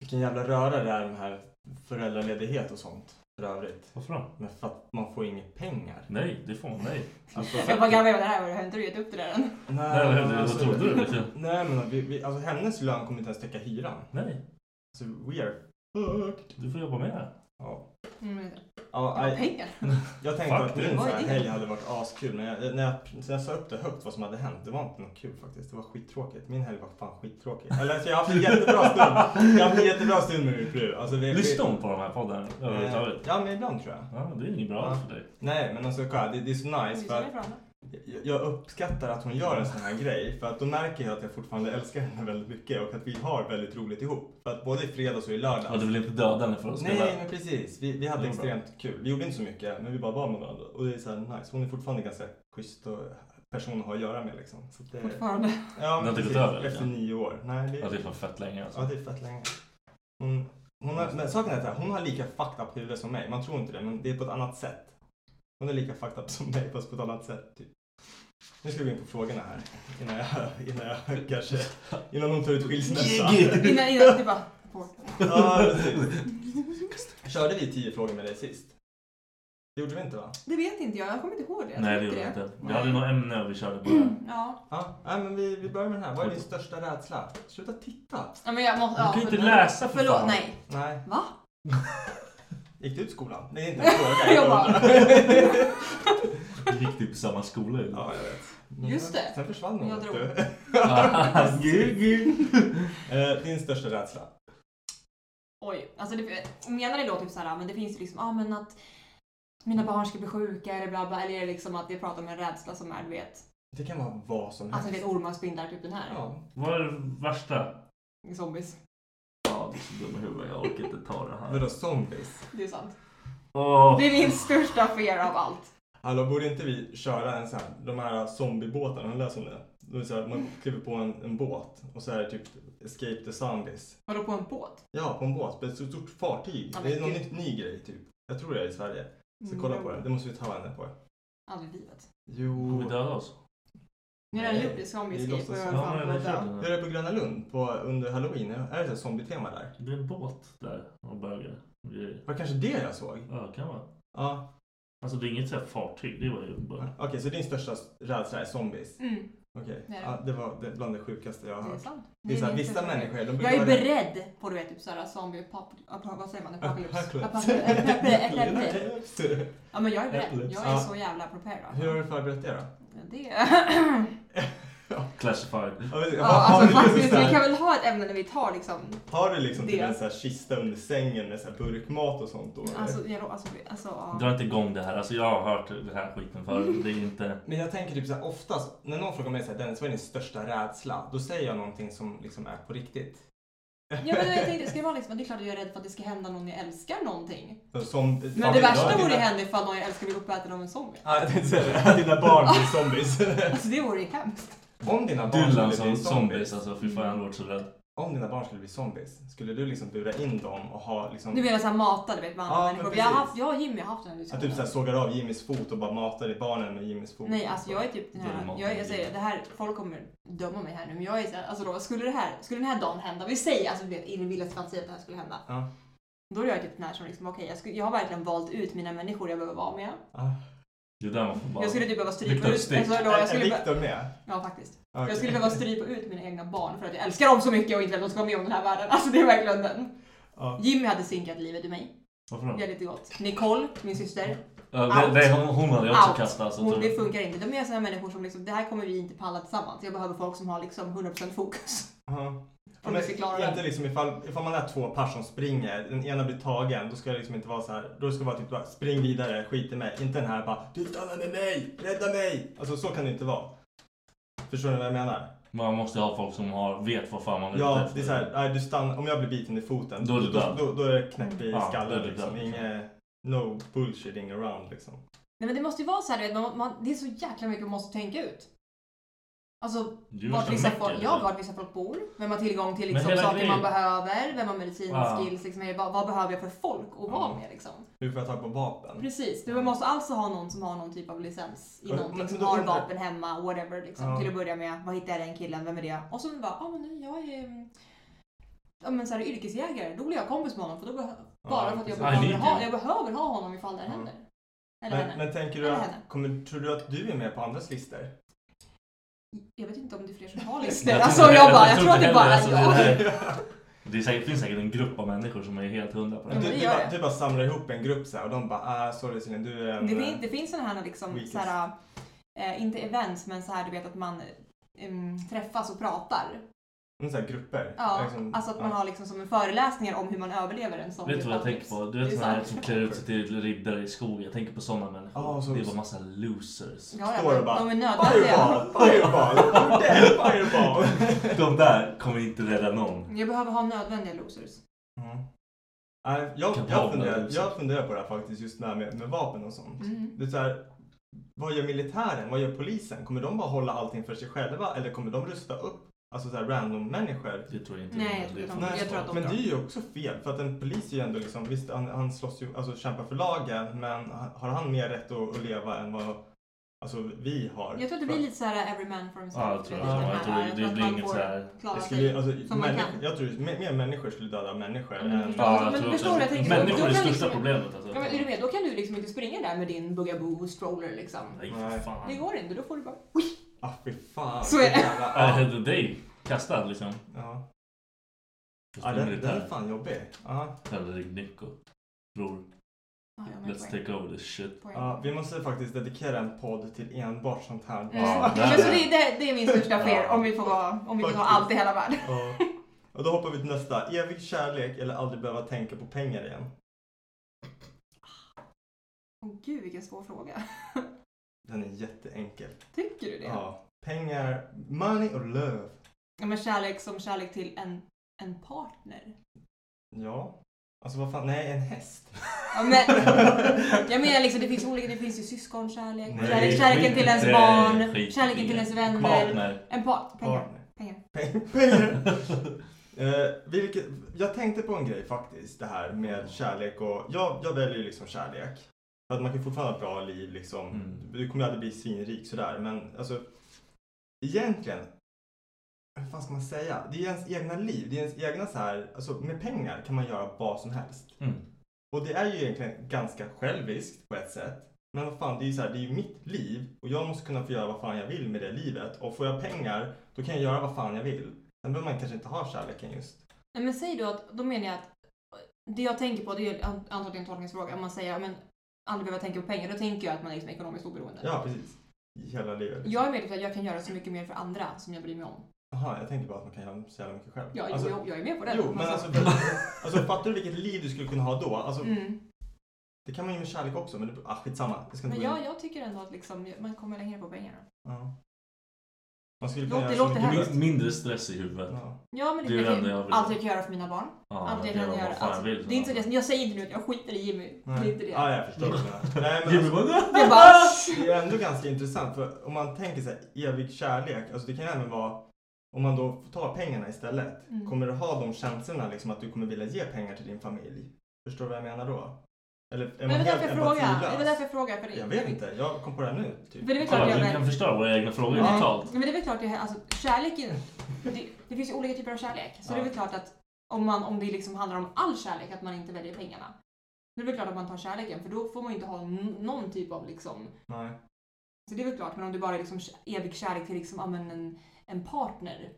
[SPEAKER 7] Vilken jävla röra det är med här föräldraledighet och sånt. För övrigt.
[SPEAKER 4] Varför då?
[SPEAKER 7] Men för att man får inga pengar.
[SPEAKER 4] Nej, det får man nej.
[SPEAKER 7] Alltså,
[SPEAKER 5] Jag bara, grabbar, det här har du inte gett upp det där än.
[SPEAKER 4] Nej, men vad trodde du, liksom?
[SPEAKER 7] Nej men vi, vi, alltså, hennes lön kommer inte ens täcka hyran.
[SPEAKER 4] Nej,
[SPEAKER 7] Så we are fucked.
[SPEAKER 4] du får jobba med det.
[SPEAKER 7] Ja.
[SPEAKER 5] Mm.
[SPEAKER 7] Ja,
[SPEAKER 5] Det var
[SPEAKER 7] nej,
[SPEAKER 5] pengar.
[SPEAKER 7] jag tänkte att
[SPEAKER 4] Fuck, det
[SPEAKER 7] min så
[SPEAKER 5] var
[SPEAKER 7] här
[SPEAKER 5] det.
[SPEAKER 7] helg hade varit askul men jag, när, jag, när jag sa upp det högt vad som hade hänt det var inte något kul faktiskt. Det var skittråkigt. Min helg var fan skittråkig. Eller alltså, jag har haft en jättebra stund. Jag har haft en jättebra stund med min fru. Alltså, vi,
[SPEAKER 4] Lyssnar hon på de här poddarna
[SPEAKER 7] vi, eh,
[SPEAKER 4] överhuvudtaget?
[SPEAKER 7] Ja men ibland tror jag.
[SPEAKER 4] Ja, det är inget bra
[SPEAKER 7] Ja.
[SPEAKER 4] för dig.
[SPEAKER 7] Nej men alltså kolla, det, det är så
[SPEAKER 5] Vi
[SPEAKER 7] nice för
[SPEAKER 5] spelar
[SPEAKER 7] att
[SPEAKER 5] för alla.
[SPEAKER 7] Jag- Jag uppskattar att hon gör en sån här grej för att då märker jag att jag fortfarande älskar henne väldigt mycket och att vi har väldigt roligt ihop. För att både i fredags och i
[SPEAKER 4] Ja,
[SPEAKER 7] lördags.
[SPEAKER 4] du vill inte döda henne för att spela?
[SPEAKER 7] Nej men precis, vi, vi hade
[SPEAKER 4] Det var bra.
[SPEAKER 7] extremt kul. Vi gjorde inte så mycket men vi bara var med varandra och det är så här nice. Hon är fortfarande ganska schysst och person att ha att göra med liksom. Så att det,
[SPEAKER 5] Fortfarande.
[SPEAKER 7] ja,
[SPEAKER 4] har
[SPEAKER 7] men
[SPEAKER 4] inte gått
[SPEAKER 7] precis,
[SPEAKER 4] över,
[SPEAKER 7] Efter
[SPEAKER 4] liksom?
[SPEAKER 7] nio år. Nej, det,
[SPEAKER 4] Ja, det är fan fett länge alltså.
[SPEAKER 7] ja, det är fett länge. Hon, hon har, men saken är att hon har lika fucked up huvud som mig. Man tror inte det men det är på ett annat sätt. Hon är lika fucked up som mig fast på ett annat sätt. Typ. Nu ska vi gå in på frågorna här. Innan jag, innan jag kanske... Innan hon tar ut skilsmässa.
[SPEAKER 5] Innan, innan, du bara... Bort.
[SPEAKER 7] Ja, precis. Körde vi tio frågor med dig sist? Det gjorde vi inte va?
[SPEAKER 5] Det vet inte jag, jag kommer inte ihåg det. Jag
[SPEAKER 4] Nej,
[SPEAKER 5] tror
[SPEAKER 4] det gjorde jag inte. Vi hade några ämne vi körde på. det.
[SPEAKER 5] Ja.
[SPEAKER 7] Ja, nej, men vi, vi börjar med den här. Vad är din största rädsla? Sluta titta!
[SPEAKER 5] ja, men jag måste...
[SPEAKER 4] Du
[SPEAKER 5] Ja,
[SPEAKER 4] kan ju inte
[SPEAKER 5] förlåt.
[SPEAKER 4] läsa för
[SPEAKER 5] Förlåt,
[SPEAKER 4] fan.
[SPEAKER 5] nej.
[SPEAKER 7] Nej.
[SPEAKER 5] Va?
[SPEAKER 7] Gick du ut skolan? Det är inte en fråga.
[SPEAKER 5] Jag bara-
[SPEAKER 4] Vi gick typ på samma skola ju.
[SPEAKER 7] Ja, jag vet.
[SPEAKER 5] Just det.
[SPEAKER 7] Sen försvann hon.
[SPEAKER 5] Jag
[SPEAKER 7] vet
[SPEAKER 5] drog.
[SPEAKER 7] du. Eh, Din största rädsla?
[SPEAKER 5] Oj, alltså det, menar ni då typ såhär, men det finns ju liksom, ah, men att mina barn ska bli sjuka eller bla bla, eller är det liksom att jag pratar om en rädsla som är, du vet,
[SPEAKER 7] Det kan vara vad som
[SPEAKER 5] alltså
[SPEAKER 7] helst.
[SPEAKER 5] du vet ormar, spindlar, typ den här.
[SPEAKER 7] Ja.
[SPEAKER 4] Vad är det värsta?
[SPEAKER 5] Zombies.
[SPEAKER 4] Ja, du är så dum i huvudet. Jag orkar inte ta det här.
[SPEAKER 7] Vadå zombies?
[SPEAKER 5] Det är sant.
[SPEAKER 4] Åh,
[SPEAKER 5] Det är min största fear av allt.
[SPEAKER 7] Hallå, borde inte vi köra en sån här, de här zombiebåtarna, har ni läst om det? det är så här, man kliver på en, en båt och så är det typ Escape the Zombies.
[SPEAKER 5] Vadå på en båt?
[SPEAKER 7] Ja, på en båt, på ett så stort fartyg.
[SPEAKER 5] Ja, men
[SPEAKER 7] det är någon
[SPEAKER 5] gud.
[SPEAKER 7] ny, ny grej typ. Jag tror det är i Sverige. Så
[SPEAKER 5] Mm,
[SPEAKER 7] kolla
[SPEAKER 5] jag-
[SPEAKER 7] på det, det måste vi ta henne på.
[SPEAKER 5] Aldrig i livet.
[SPEAKER 4] Har
[SPEAKER 7] Jo.
[SPEAKER 4] vi dödat oss?
[SPEAKER 5] Ni har redan
[SPEAKER 7] Nej,
[SPEAKER 5] gjort det,
[SPEAKER 7] vi
[SPEAKER 5] zombie escape
[SPEAKER 7] låtsas-
[SPEAKER 5] och jag
[SPEAKER 4] Ja, men
[SPEAKER 5] fan
[SPEAKER 4] jag har
[SPEAKER 5] på
[SPEAKER 4] kört
[SPEAKER 5] dö.
[SPEAKER 4] den
[SPEAKER 7] Hur är
[SPEAKER 4] här.
[SPEAKER 7] det på Gröna Lund på, under halloween? Är det ett zombietema där?
[SPEAKER 4] Det är en båt där och bögar. Det-
[SPEAKER 7] Det var kanske det jag såg.
[SPEAKER 4] Ja, kan vara.
[SPEAKER 7] Ja.
[SPEAKER 4] Alltså det är inget så här fartyg. Det var ju bara...
[SPEAKER 7] Okej, så din största rädsla är zombies?
[SPEAKER 5] Mm,
[SPEAKER 7] Okej.
[SPEAKER 5] Det är det.
[SPEAKER 7] Ja, det var det- bland det sjukaste jag har
[SPEAKER 5] det är
[SPEAKER 7] hört.
[SPEAKER 5] sant.
[SPEAKER 7] Det är så här,
[SPEAKER 5] min
[SPEAKER 7] vissa
[SPEAKER 5] största fear.
[SPEAKER 7] människor, de brukar
[SPEAKER 5] Jag
[SPEAKER 7] vara-
[SPEAKER 5] är beredd på du vet typ såhär zombie pop, vad säger man? Apocalypse. Apocalypse. Ja men jag är beredd. Jag är
[SPEAKER 7] Ja.
[SPEAKER 5] så jävla prepared. alltså.
[SPEAKER 7] Hur har du förberett det då?
[SPEAKER 5] Det
[SPEAKER 4] Classified.
[SPEAKER 7] Ja, men-
[SPEAKER 5] Ja,
[SPEAKER 7] har
[SPEAKER 5] alltså
[SPEAKER 7] du liksom
[SPEAKER 5] faktiskt,
[SPEAKER 7] så här-
[SPEAKER 5] vi kan väl ha ett ämne när vi tar liksom...
[SPEAKER 7] Har du liksom typ
[SPEAKER 5] Det.
[SPEAKER 7] en sån här kista under sängen med så här burkmat och sånt då? eller?
[SPEAKER 5] Alltså, jag, alltså, vi- alltså, ja.
[SPEAKER 4] Dra inte igång det här. Alltså jag har hört den här skiten förut. Det är inte...
[SPEAKER 7] Men jag tänker typ så här, oftast när någon frågar mig så här, Dennis vad är din största rädsla? Då säger jag någonting som liksom är på riktigt.
[SPEAKER 5] ja men jag tänkte, ska det vara liksom, det är klart att jag är rädd för att det ska hända någon jag älskar någonting.
[SPEAKER 7] Som,
[SPEAKER 5] Men det värsta vore ju hända ifall någon jag älskar blir uppäten av en zombie.
[SPEAKER 7] Ja, jag tänkte säga det. Att Dina barn blir zombies.
[SPEAKER 5] Alltså det vore ju hemskt.
[SPEAKER 7] Om dina barn skulle
[SPEAKER 4] Dylan som
[SPEAKER 7] bli zombies.
[SPEAKER 4] zombies. Alltså fy fan jag
[SPEAKER 7] Mm.
[SPEAKER 4] hade varit så rädd.
[SPEAKER 7] Om dina barn skulle bli zombies, skulle du liksom bura in dem och ha liksom...
[SPEAKER 5] Du menar såhär mata, du vet med andra
[SPEAKER 7] Ja, men
[SPEAKER 5] människor. Vi har
[SPEAKER 7] precis.
[SPEAKER 5] haft, jag och Jimmy har haft den
[SPEAKER 7] Att
[SPEAKER 5] här
[SPEAKER 7] du så här
[SPEAKER 5] diskussionen.
[SPEAKER 7] sågar av Jimmys fot och bara matar i barnen med Jimmys fot.
[SPEAKER 5] Nej alltså jag är typ den
[SPEAKER 4] Då är det
[SPEAKER 5] här,
[SPEAKER 4] maten
[SPEAKER 5] jag, jag
[SPEAKER 4] med
[SPEAKER 5] säger
[SPEAKER 4] Jimmy.
[SPEAKER 5] det här, folk kommer döma mig här nu men jag är såhär, alltså då skulle det här, skulle den här dagen hända, vi säger alltså du vet, i min vildaste fantasi att det här skulle hända.
[SPEAKER 7] Ja.
[SPEAKER 5] Då är jag typ den här som liksom, okej jag, skulle- jag har verkligen valt ut mina människor jag behöver vara med.
[SPEAKER 7] Ah.
[SPEAKER 4] Det är där man får bara...
[SPEAKER 5] Jag skulle typ behöva strypa
[SPEAKER 4] Victor
[SPEAKER 5] ut...
[SPEAKER 4] Stick.
[SPEAKER 5] Alltså, då, jag skulle
[SPEAKER 7] Victor med?
[SPEAKER 5] Ja, faktiskt.
[SPEAKER 7] Okej.
[SPEAKER 5] Jag skulle behöva strypa ut mina egna barn för att jag älskar dem så mycket och inte att de ska vara med om den här världen. Alltså det är verkligen den.
[SPEAKER 7] Ja.
[SPEAKER 5] Jimmy hade sinkat livet ur mig.
[SPEAKER 4] Varför då?
[SPEAKER 5] Det är lite gott. Nicole, min syster.
[SPEAKER 4] Ja, det-
[SPEAKER 5] out.
[SPEAKER 4] det- hon- hon hade jag också
[SPEAKER 5] Out.
[SPEAKER 4] kastat, så
[SPEAKER 5] hon,
[SPEAKER 4] tror jag.
[SPEAKER 5] det funkar inte. De är sådana människor som liksom, det här kommer vi inte palla tillsammans. Jag behöver folk som har liksom 100% fokus.
[SPEAKER 7] Ja. Ja,
[SPEAKER 5] Om
[SPEAKER 7] men
[SPEAKER 5] vi ska klara
[SPEAKER 7] inte
[SPEAKER 5] det.
[SPEAKER 7] liksom ifall, ifall man är två par som springer, den ena blir tagen, då ska det liksom inte vara så här. Då ska det vara typ bara, spring vidare, skit i mig. Inte den här bara, du stannar med mig, rädda mig. Alltså så kan det inte vara. Förstår ni vad jag menar?
[SPEAKER 4] Man måste ha folk som har, vet vad fan man är ute
[SPEAKER 7] Ja,
[SPEAKER 4] efter.
[SPEAKER 7] det är så här, nej, du stannar, om jag blir biten i foten,
[SPEAKER 4] Då är du
[SPEAKER 7] då,
[SPEAKER 4] död.
[SPEAKER 7] då, då är det knäpp i
[SPEAKER 4] Ja, då är
[SPEAKER 7] skallen
[SPEAKER 4] du
[SPEAKER 7] liksom.
[SPEAKER 4] död.
[SPEAKER 7] Inget, no bullshitting around liksom.
[SPEAKER 5] Nej men det måste ju vara så här, du vet, man, man, det är så jäkla mycket man måste tänka ut. Alltså
[SPEAKER 4] Det är
[SPEAKER 5] vart
[SPEAKER 4] värsta
[SPEAKER 5] vissa,
[SPEAKER 4] mäcket,
[SPEAKER 5] folk,
[SPEAKER 4] eller?
[SPEAKER 5] ja, vart vissa folk bor, vem har tillgång till
[SPEAKER 4] liksom. Men
[SPEAKER 5] liksom,
[SPEAKER 4] hela
[SPEAKER 5] saker man
[SPEAKER 4] grejen- Ah.
[SPEAKER 5] behöver, vem har medicinskills,
[SPEAKER 4] Ja.
[SPEAKER 5] skills, liksom, är det bara- vad behöver jag för folk att vara
[SPEAKER 7] Ja.
[SPEAKER 5] med liksom.
[SPEAKER 7] Hur får jag tag på vapen?
[SPEAKER 5] Precis, du måste alltså ha någon som har någon typ av licens i
[SPEAKER 7] Men-
[SPEAKER 5] någonting,
[SPEAKER 7] men
[SPEAKER 5] som
[SPEAKER 7] då
[SPEAKER 5] har
[SPEAKER 7] undrar-
[SPEAKER 5] vapen hemma, whatever liksom.
[SPEAKER 7] Ja.
[SPEAKER 5] Till att börja med, vad hittar jag den killen, vem är det? Och så bara, ja men nej, jag är mm, ja, men så här, yrkesjägare, då blir jag kompis med honom för då behö-
[SPEAKER 7] Ja,
[SPEAKER 5] bara för att jag
[SPEAKER 7] precis.
[SPEAKER 5] behöver,
[SPEAKER 4] Ah,
[SPEAKER 5] ha,
[SPEAKER 4] lite.
[SPEAKER 5] jag behöver ha honom ifall det
[SPEAKER 7] Ja.
[SPEAKER 5] händer. Eller henne.
[SPEAKER 7] Men, men tänker du
[SPEAKER 5] Eller
[SPEAKER 7] att,
[SPEAKER 5] henne.
[SPEAKER 7] kommer, tror du att du är med på andras listor?
[SPEAKER 5] Jag vet inte om det är fler som har
[SPEAKER 4] Jag
[SPEAKER 5] listor.
[SPEAKER 4] tror
[SPEAKER 5] Alltså
[SPEAKER 4] inte-
[SPEAKER 5] jag bara, jag
[SPEAKER 4] tror
[SPEAKER 5] tror att det
[SPEAKER 4] inte
[SPEAKER 5] är bara
[SPEAKER 4] heller, alltså,
[SPEAKER 5] jag.
[SPEAKER 4] det, här, det är säkert, finns säkert en grupp av människor som är helt hundra på det.
[SPEAKER 5] Ja,
[SPEAKER 7] Du,
[SPEAKER 5] men
[SPEAKER 4] här.
[SPEAKER 5] det
[SPEAKER 7] du,
[SPEAKER 5] gör
[SPEAKER 7] bara,
[SPEAKER 5] jag.
[SPEAKER 7] du bara samlar ihop en grupp så här och de bara, ah, sorry Celine, du är en... eh,
[SPEAKER 5] Det, fin, det finns sådana här liksom,
[SPEAKER 7] Weekends.
[SPEAKER 5] så här, eh, inte events, men så här du vet att man mm, träffas och pratar.
[SPEAKER 7] Mm, så här grupper.
[SPEAKER 5] Ja,
[SPEAKER 7] Liksom,
[SPEAKER 5] alltså att man
[SPEAKER 7] ja.
[SPEAKER 5] har liksom som en föreläsningar om hur man överlever en sån typ
[SPEAKER 4] Vet du vad jag
[SPEAKER 5] utmattning.
[SPEAKER 4] tänker på? Du
[SPEAKER 5] Det
[SPEAKER 4] vet
[SPEAKER 5] är
[SPEAKER 4] såna här
[SPEAKER 5] så
[SPEAKER 4] som
[SPEAKER 5] här-
[SPEAKER 4] klär ut sig till riddare i skogen. Jag tänker på såna människor.
[SPEAKER 7] Ja, så-
[SPEAKER 4] det är bara massa losers.
[SPEAKER 5] Ja, ja,
[SPEAKER 7] Står och
[SPEAKER 5] men
[SPEAKER 7] bara,
[SPEAKER 5] de
[SPEAKER 7] Fireball,
[SPEAKER 5] är nödvändiga.
[SPEAKER 7] fireball, bordell, fireball.
[SPEAKER 4] De där kommer inte rädda någon.
[SPEAKER 5] Jag behöver ha nödvändiga losers.
[SPEAKER 7] Mm. Nej, Jag,
[SPEAKER 4] Kan
[SPEAKER 7] jag,
[SPEAKER 4] vara
[SPEAKER 7] funderar,
[SPEAKER 4] med-
[SPEAKER 7] jag funderar på det här faktiskt, just det här med, med vapen och sånt.
[SPEAKER 5] Mm.
[SPEAKER 7] Det är så här, vad gör militären? Vad gör polisen? Kommer de bara hålla allting för sig själva eller kommer de rusta upp alltså så här, random människor?
[SPEAKER 4] Det tror jag inte.
[SPEAKER 5] Nej, jag tror inte de-
[SPEAKER 4] det.
[SPEAKER 5] jag tror att de-
[SPEAKER 7] men det är ju också fel för att en polis är ju ändå liksom, visst han, han slåss ju, alltså kämpar för lagen men har han mer rätt att, att leva än vad alltså, vi har?
[SPEAKER 5] Jag tror att det blir lite så här every man for himself.
[SPEAKER 4] Ja, jag tror
[SPEAKER 5] du
[SPEAKER 7] det. Ja,
[SPEAKER 4] jag
[SPEAKER 5] vet, den
[SPEAKER 4] tror
[SPEAKER 5] här,
[SPEAKER 4] det- det
[SPEAKER 5] att man
[SPEAKER 4] blir inget
[SPEAKER 5] får
[SPEAKER 4] så här-
[SPEAKER 5] klara
[SPEAKER 7] Det skulle,
[SPEAKER 5] sig
[SPEAKER 7] alltså,
[SPEAKER 5] som man
[SPEAKER 7] människor,
[SPEAKER 5] kan.
[SPEAKER 7] jag tror mer, mer människor skulle döda människor
[SPEAKER 5] Ja, men
[SPEAKER 7] än...
[SPEAKER 5] förstår-
[SPEAKER 4] Ja,
[SPEAKER 5] Men
[SPEAKER 4] jag tror
[SPEAKER 5] förstår
[SPEAKER 4] också
[SPEAKER 5] du, jag tänker-
[SPEAKER 4] Människor är
[SPEAKER 5] då
[SPEAKER 4] det
[SPEAKER 5] kan
[SPEAKER 4] största
[SPEAKER 5] liksom-
[SPEAKER 4] problemet. Alltså.
[SPEAKER 5] Ja, men är du med? Då kan du liksom inte springa där med din bugaboo stroller liksom.
[SPEAKER 4] Nej, för fan.
[SPEAKER 5] Det går inte, då får du bara...
[SPEAKER 7] Ah fy fan.
[SPEAKER 5] Så är det.
[SPEAKER 7] Jävla-
[SPEAKER 4] I had a day. Kastad liksom.
[SPEAKER 7] Ja.
[SPEAKER 4] Fast
[SPEAKER 7] Ja,
[SPEAKER 4] det är
[SPEAKER 7] den, den är
[SPEAKER 4] militär.
[SPEAKER 7] fan jobbig. Ja.
[SPEAKER 4] Eller Rick Nico. Bror,
[SPEAKER 5] Ah, jag har min
[SPEAKER 4] let's
[SPEAKER 5] poäng.
[SPEAKER 4] take over this shit.
[SPEAKER 5] Poäng.
[SPEAKER 7] Ja, vi måste faktiskt dedikera en podd till enbart sånt här.
[SPEAKER 5] Mm.
[SPEAKER 4] Ja,
[SPEAKER 5] Men
[SPEAKER 4] där-
[SPEAKER 5] så det, det, det är min största fel
[SPEAKER 4] Ja.
[SPEAKER 5] om vi får vara, om vi får vara
[SPEAKER 7] Faktiskt.
[SPEAKER 5] allt i hela världen.
[SPEAKER 7] Ja. Och då hoppar vi till nästa. Evig kärlek eller aldrig behöva tänka på pengar igen.
[SPEAKER 5] Åh gud vilken svår fråga.
[SPEAKER 7] Den är jätteenkel.
[SPEAKER 5] Tycker du det?
[SPEAKER 7] Ja. Pengar, money or love.
[SPEAKER 5] Ja, men kärlek som kärlek till en, en partner.
[SPEAKER 7] Ja. Alltså vad fan, nej en häst.
[SPEAKER 5] Ja, men, jag menar liksom, det finns olika, det finns ju syskonkärlek,
[SPEAKER 7] Nej,
[SPEAKER 5] kärlek, kärleken till ens
[SPEAKER 4] skit i-
[SPEAKER 5] barn,
[SPEAKER 4] skit i-
[SPEAKER 5] kärleken till ens vänner.
[SPEAKER 4] Partner.
[SPEAKER 5] En par, pengar.
[SPEAKER 7] Partner.
[SPEAKER 5] pengar.
[SPEAKER 7] Peng- Pengar. Eh, vilket, jag tänkte på en grej faktiskt, det här med kärlek och jag, jag väljer ju liksom kärlek. För att man kan fortfarande ha ett bra liv liksom.
[SPEAKER 4] Mm.
[SPEAKER 7] Du kommer ju aldrig bli svinrik sådär men alltså egentligen, hur fan ska man säga? Det är ens egna liv, det är ens egna så här, alltså med pengar kan man göra vad som helst.
[SPEAKER 4] Mm.
[SPEAKER 7] Och det är ju egentligen ganska själviskt på ett sätt. Men vad fan, det är ju så här, det är ju mitt liv och jag måste kunna få göra vad fan jag vill med det livet. Och får jag pengar, då kan jag göra vad fan jag vill. Sen behöver man kanske inte ha kärleken just.
[SPEAKER 5] Nej, men säg då att, då menar jag att det jag tänker på, det är ju an- antagligen en tolkningsfråga, om man säger men aldrig behöva tänka på pengar, då tänker jag att man är liksom ekonomiskt oberoende.
[SPEAKER 7] Ja, precis. I hela livet.
[SPEAKER 5] Jag är medveten om att jag kan göra så mycket mer för andra som jag bryr mig om.
[SPEAKER 7] Jaha, jag tänker bara att man kan göra så jävla mycket själv.
[SPEAKER 5] Ja, jo,
[SPEAKER 7] alltså,
[SPEAKER 5] jo, jag är med på det. Mm.
[SPEAKER 7] Jo, men alltså, för, alltså fattar du vilket liv du skulle kunna ha då? Alltså,
[SPEAKER 5] mm.
[SPEAKER 7] Det kan man ju med kärlek också, men det, ah, skitsamma. Jag ska inte
[SPEAKER 5] Men
[SPEAKER 7] gå in.
[SPEAKER 5] jag, jag tycker ändå att liksom, man kommer längre på pengarna.
[SPEAKER 7] Ja. Man skulle
[SPEAKER 5] Låt-
[SPEAKER 7] kunna
[SPEAKER 5] det
[SPEAKER 7] göra så
[SPEAKER 5] låter
[SPEAKER 7] mycket
[SPEAKER 5] hemskt.
[SPEAKER 4] Min- Mindre stress i huvudet.
[SPEAKER 7] Ja.
[SPEAKER 5] Ja, men det,
[SPEAKER 4] Det är
[SPEAKER 5] är
[SPEAKER 4] det enda jag vill.
[SPEAKER 5] allt jag kan göra för mina barn.
[SPEAKER 4] Ja,
[SPEAKER 5] allt jag kan göra.
[SPEAKER 4] vad fan
[SPEAKER 5] Allt.
[SPEAKER 4] jag vill.
[SPEAKER 5] det är inte så att jag, jag säger inte nu att jag skiter i Jimmy. Det är inte det.
[SPEAKER 7] Ja, jag förstår. vad du menar. Nej, men
[SPEAKER 4] Jimmy
[SPEAKER 7] alltså,
[SPEAKER 4] bara,
[SPEAKER 5] Det är bara...
[SPEAKER 7] det är ändå ganska intressant, för om man tänker sig evig kärlek, alltså det kan ju även vara om man då får ta pengarna istället,
[SPEAKER 5] Mm.
[SPEAKER 7] kommer du ha de känslorna liksom att du kommer vilja ge pengar till din familj? Förstår du vad jag menar då? Eller är man
[SPEAKER 5] Men det var
[SPEAKER 7] helt
[SPEAKER 5] därför jag frågade. Det var
[SPEAKER 7] empatilös?
[SPEAKER 5] därför jag frågade. För det.
[SPEAKER 7] Jag vet inte, jag kom på det här nu. Typ.
[SPEAKER 5] För det är väl klart
[SPEAKER 4] Kolla,
[SPEAKER 5] jag
[SPEAKER 4] vi
[SPEAKER 5] väl.
[SPEAKER 4] kan förstöra våra egna frågor
[SPEAKER 7] Ja.
[SPEAKER 4] totalt.
[SPEAKER 5] Men det är väl klart, det, här- alltså, kärlek är, det, det finns ju olika typer av kärlek. Så
[SPEAKER 7] Ja.
[SPEAKER 5] det är väl klart att om, man, om det liksom handlar om all kärlek, att man inte väljer pengarna. Då är det väl klart att man tar kärleken för då får man ju inte ha n- någon typ av liksom...
[SPEAKER 7] Nej.
[SPEAKER 5] Så det är väl klart, men om du bara är liksom evig kärlek till liksom, ja, men en, en partner,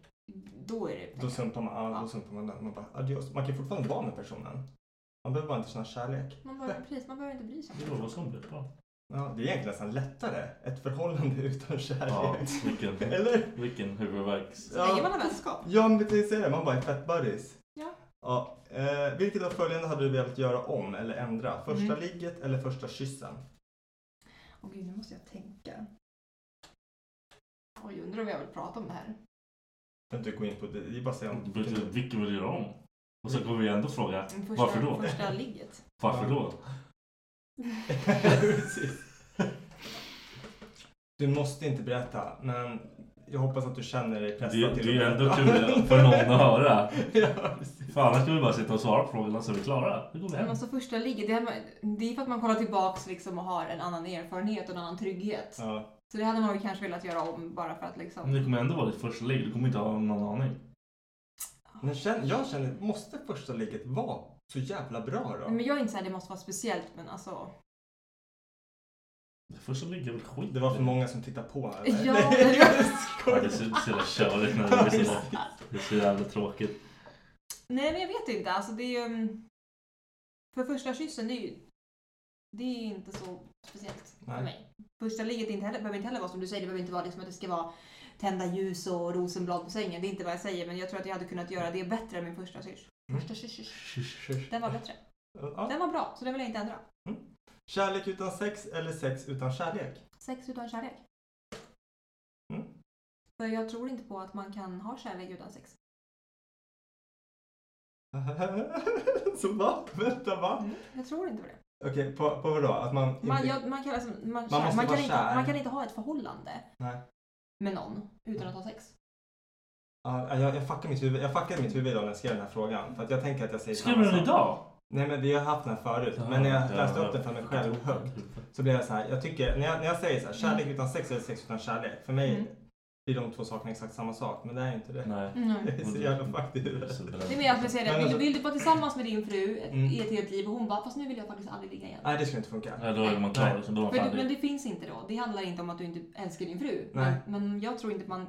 [SPEAKER 5] då är det...
[SPEAKER 7] Då struntar man all, då struntar man den. Man bara adios. Man kan fortfarande vara med personen. Man behöver bara inte känna kärlek.
[SPEAKER 5] Man behöver, precis, man behöver inte bry sig.
[SPEAKER 4] Det var som blev bra.
[SPEAKER 7] Ja, det är egentligen nästan lättare. Ett förhållande utan
[SPEAKER 4] Ja,
[SPEAKER 7] kärlek.
[SPEAKER 4] vilken,
[SPEAKER 7] Eller?
[SPEAKER 4] vilken huvudvärks...
[SPEAKER 5] Så länge man har vänskap.
[SPEAKER 7] Ja, men precis säger det. Man bara är fett buddies.
[SPEAKER 5] Ja.
[SPEAKER 7] Ja, eh, vilket av följande hade du velat göra om eller ändra? Första
[SPEAKER 5] Mm.
[SPEAKER 7] ligget eller första kyssen?
[SPEAKER 5] Åh gud, nu måste jag tänka. Oj, undrar om jag vill prata om det här.
[SPEAKER 7] Jag kan inte gå in på det. Det är bara att säga
[SPEAKER 4] Du
[SPEAKER 7] om...
[SPEAKER 4] behöver inte- Vilken vill du göra om? Och sen kommer vi ändå fråga
[SPEAKER 5] Men Mm, Första,
[SPEAKER 4] varför då?
[SPEAKER 5] Första ligget.
[SPEAKER 4] Varför då?
[SPEAKER 7] Precis. Du måste inte berätta, men jag hoppas att du känner dig pressad
[SPEAKER 4] Det, det är
[SPEAKER 7] till
[SPEAKER 4] ju
[SPEAKER 7] att
[SPEAKER 4] ändå
[SPEAKER 7] berätta.
[SPEAKER 4] kul för någon att höra.
[SPEAKER 7] ja, precis.
[SPEAKER 4] För annars kan vi bara sitta och svara på frågorna så är vi klara. Nu går vi
[SPEAKER 5] Men
[SPEAKER 4] hem.
[SPEAKER 5] alltså första ligget, det, här- det är för att man kollar tillbaks liksom och har en annan erfarenhet och en annan trygghet.
[SPEAKER 7] Ja.
[SPEAKER 5] Så det hade man ju kanske velat göra om bara för att liksom...
[SPEAKER 4] Men det kommer ändå vara ditt första ligg. Du kommer inte ha någon aning.
[SPEAKER 7] Men känn, jag känner, måste första ligget vara så jävla bra då?
[SPEAKER 5] Nej, Men jag är inte såhär, det måste vara speciellt men alltså...
[SPEAKER 4] Det första ligget är väl skit.
[SPEAKER 7] Det var för många som tittade på eller?
[SPEAKER 5] Ja,
[SPEAKER 7] Nej, jag
[SPEAKER 4] Ja,
[SPEAKER 7] skojar.
[SPEAKER 4] det är så så jävla körigt när det blir så. Det är så jävla tråkigt.
[SPEAKER 5] Nej men jag vet inte, alltså det är ju... mm, För första kyssen, det är ju... Det är inte så speciellt
[SPEAKER 7] Nej.
[SPEAKER 5] för mig. Första ligget är inte heller, behöver inte heller vara som du säger, det behöver inte vara liksom att det ska vara tända ljus och rosenblad på sängen. Det är inte vad jag säger men jag tror att jag hade kunnat göra det bättre än min första kyss. Första kyss, kyss. Den var bättre.
[SPEAKER 7] Mm. Ja.
[SPEAKER 5] Den var bra, så den vill jag inte ändra.
[SPEAKER 7] Kärlek utan sex eller sex utan kärlek?
[SPEAKER 5] Sex utan kärlek.
[SPEAKER 7] Mm.
[SPEAKER 5] För jag tror inte på att man kan ha kärlek utan sex.
[SPEAKER 7] så va? Vänta va?
[SPEAKER 5] Mm. Jag tror inte på det.
[SPEAKER 7] Okej, på, på vadå? Att man...
[SPEAKER 5] Man,
[SPEAKER 7] inte-
[SPEAKER 5] jag, man, kan, alltså, man,
[SPEAKER 7] Mm. måste
[SPEAKER 5] man,
[SPEAKER 7] vara
[SPEAKER 5] kan inte,
[SPEAKER 7] kär.
[SPEAKER 5] man kan inte ha ett förhållande
[SPEAKER 7] Nej.
[SPEAKER 5] med någon utan att ha sex.
[SPEAKER 7] Ja, jag, jag, fuckade mitt huvud, jag fuckade mitt huvud idag när jag skrev den här frågan. För att jag tänker att jag säger
[SPEAKER 4] Skriver du den idag?
[SPEAKER 7] Nej men vi har haft den här förut. men när jag läste upp den för mig själv högt så blev jag så här. Jag tycker, när jag, när jag säger så här, kärlek
[SPEAKER 5] Mm.
[SPEAKER 7] utan sex eller sex utan kärlek. För mig blir de två sakerna exakt samma sak. Men det är inte det.
[SPEAKER 4] Nej.
[SPEAKER 7] Det är så jävla fucked i huvudet.
[SPEAKER 5] Mm. Det är mer att jag säger det,
[SPEAKER 7] Men
[SPEAKER 5] vill,
[SPEAKER 7] alltså-
[SPEAKER 5] du- vill du vara tillsammans med din fru ett-
[SPEAKER 7] Mm.
[SPEAKER 5] i ett helt liv och hon bara fast nu vill jag faktiskt aldrig ligga igen.
[SPEAKER 7] Nej det skulle inte funka.
[SPEAKER 4] Nej, då är man klar. Liksom. Då är man
[SPEAKER 5] Men, men
[SPEAKER 4] färdig.
[SPEAKER 5] det finns inte då. Det handlar inte om att du inte älskar din fru.
[SPEAKER 7] Nej.
[SPEAKER 5] Men, men jag tror inte att man,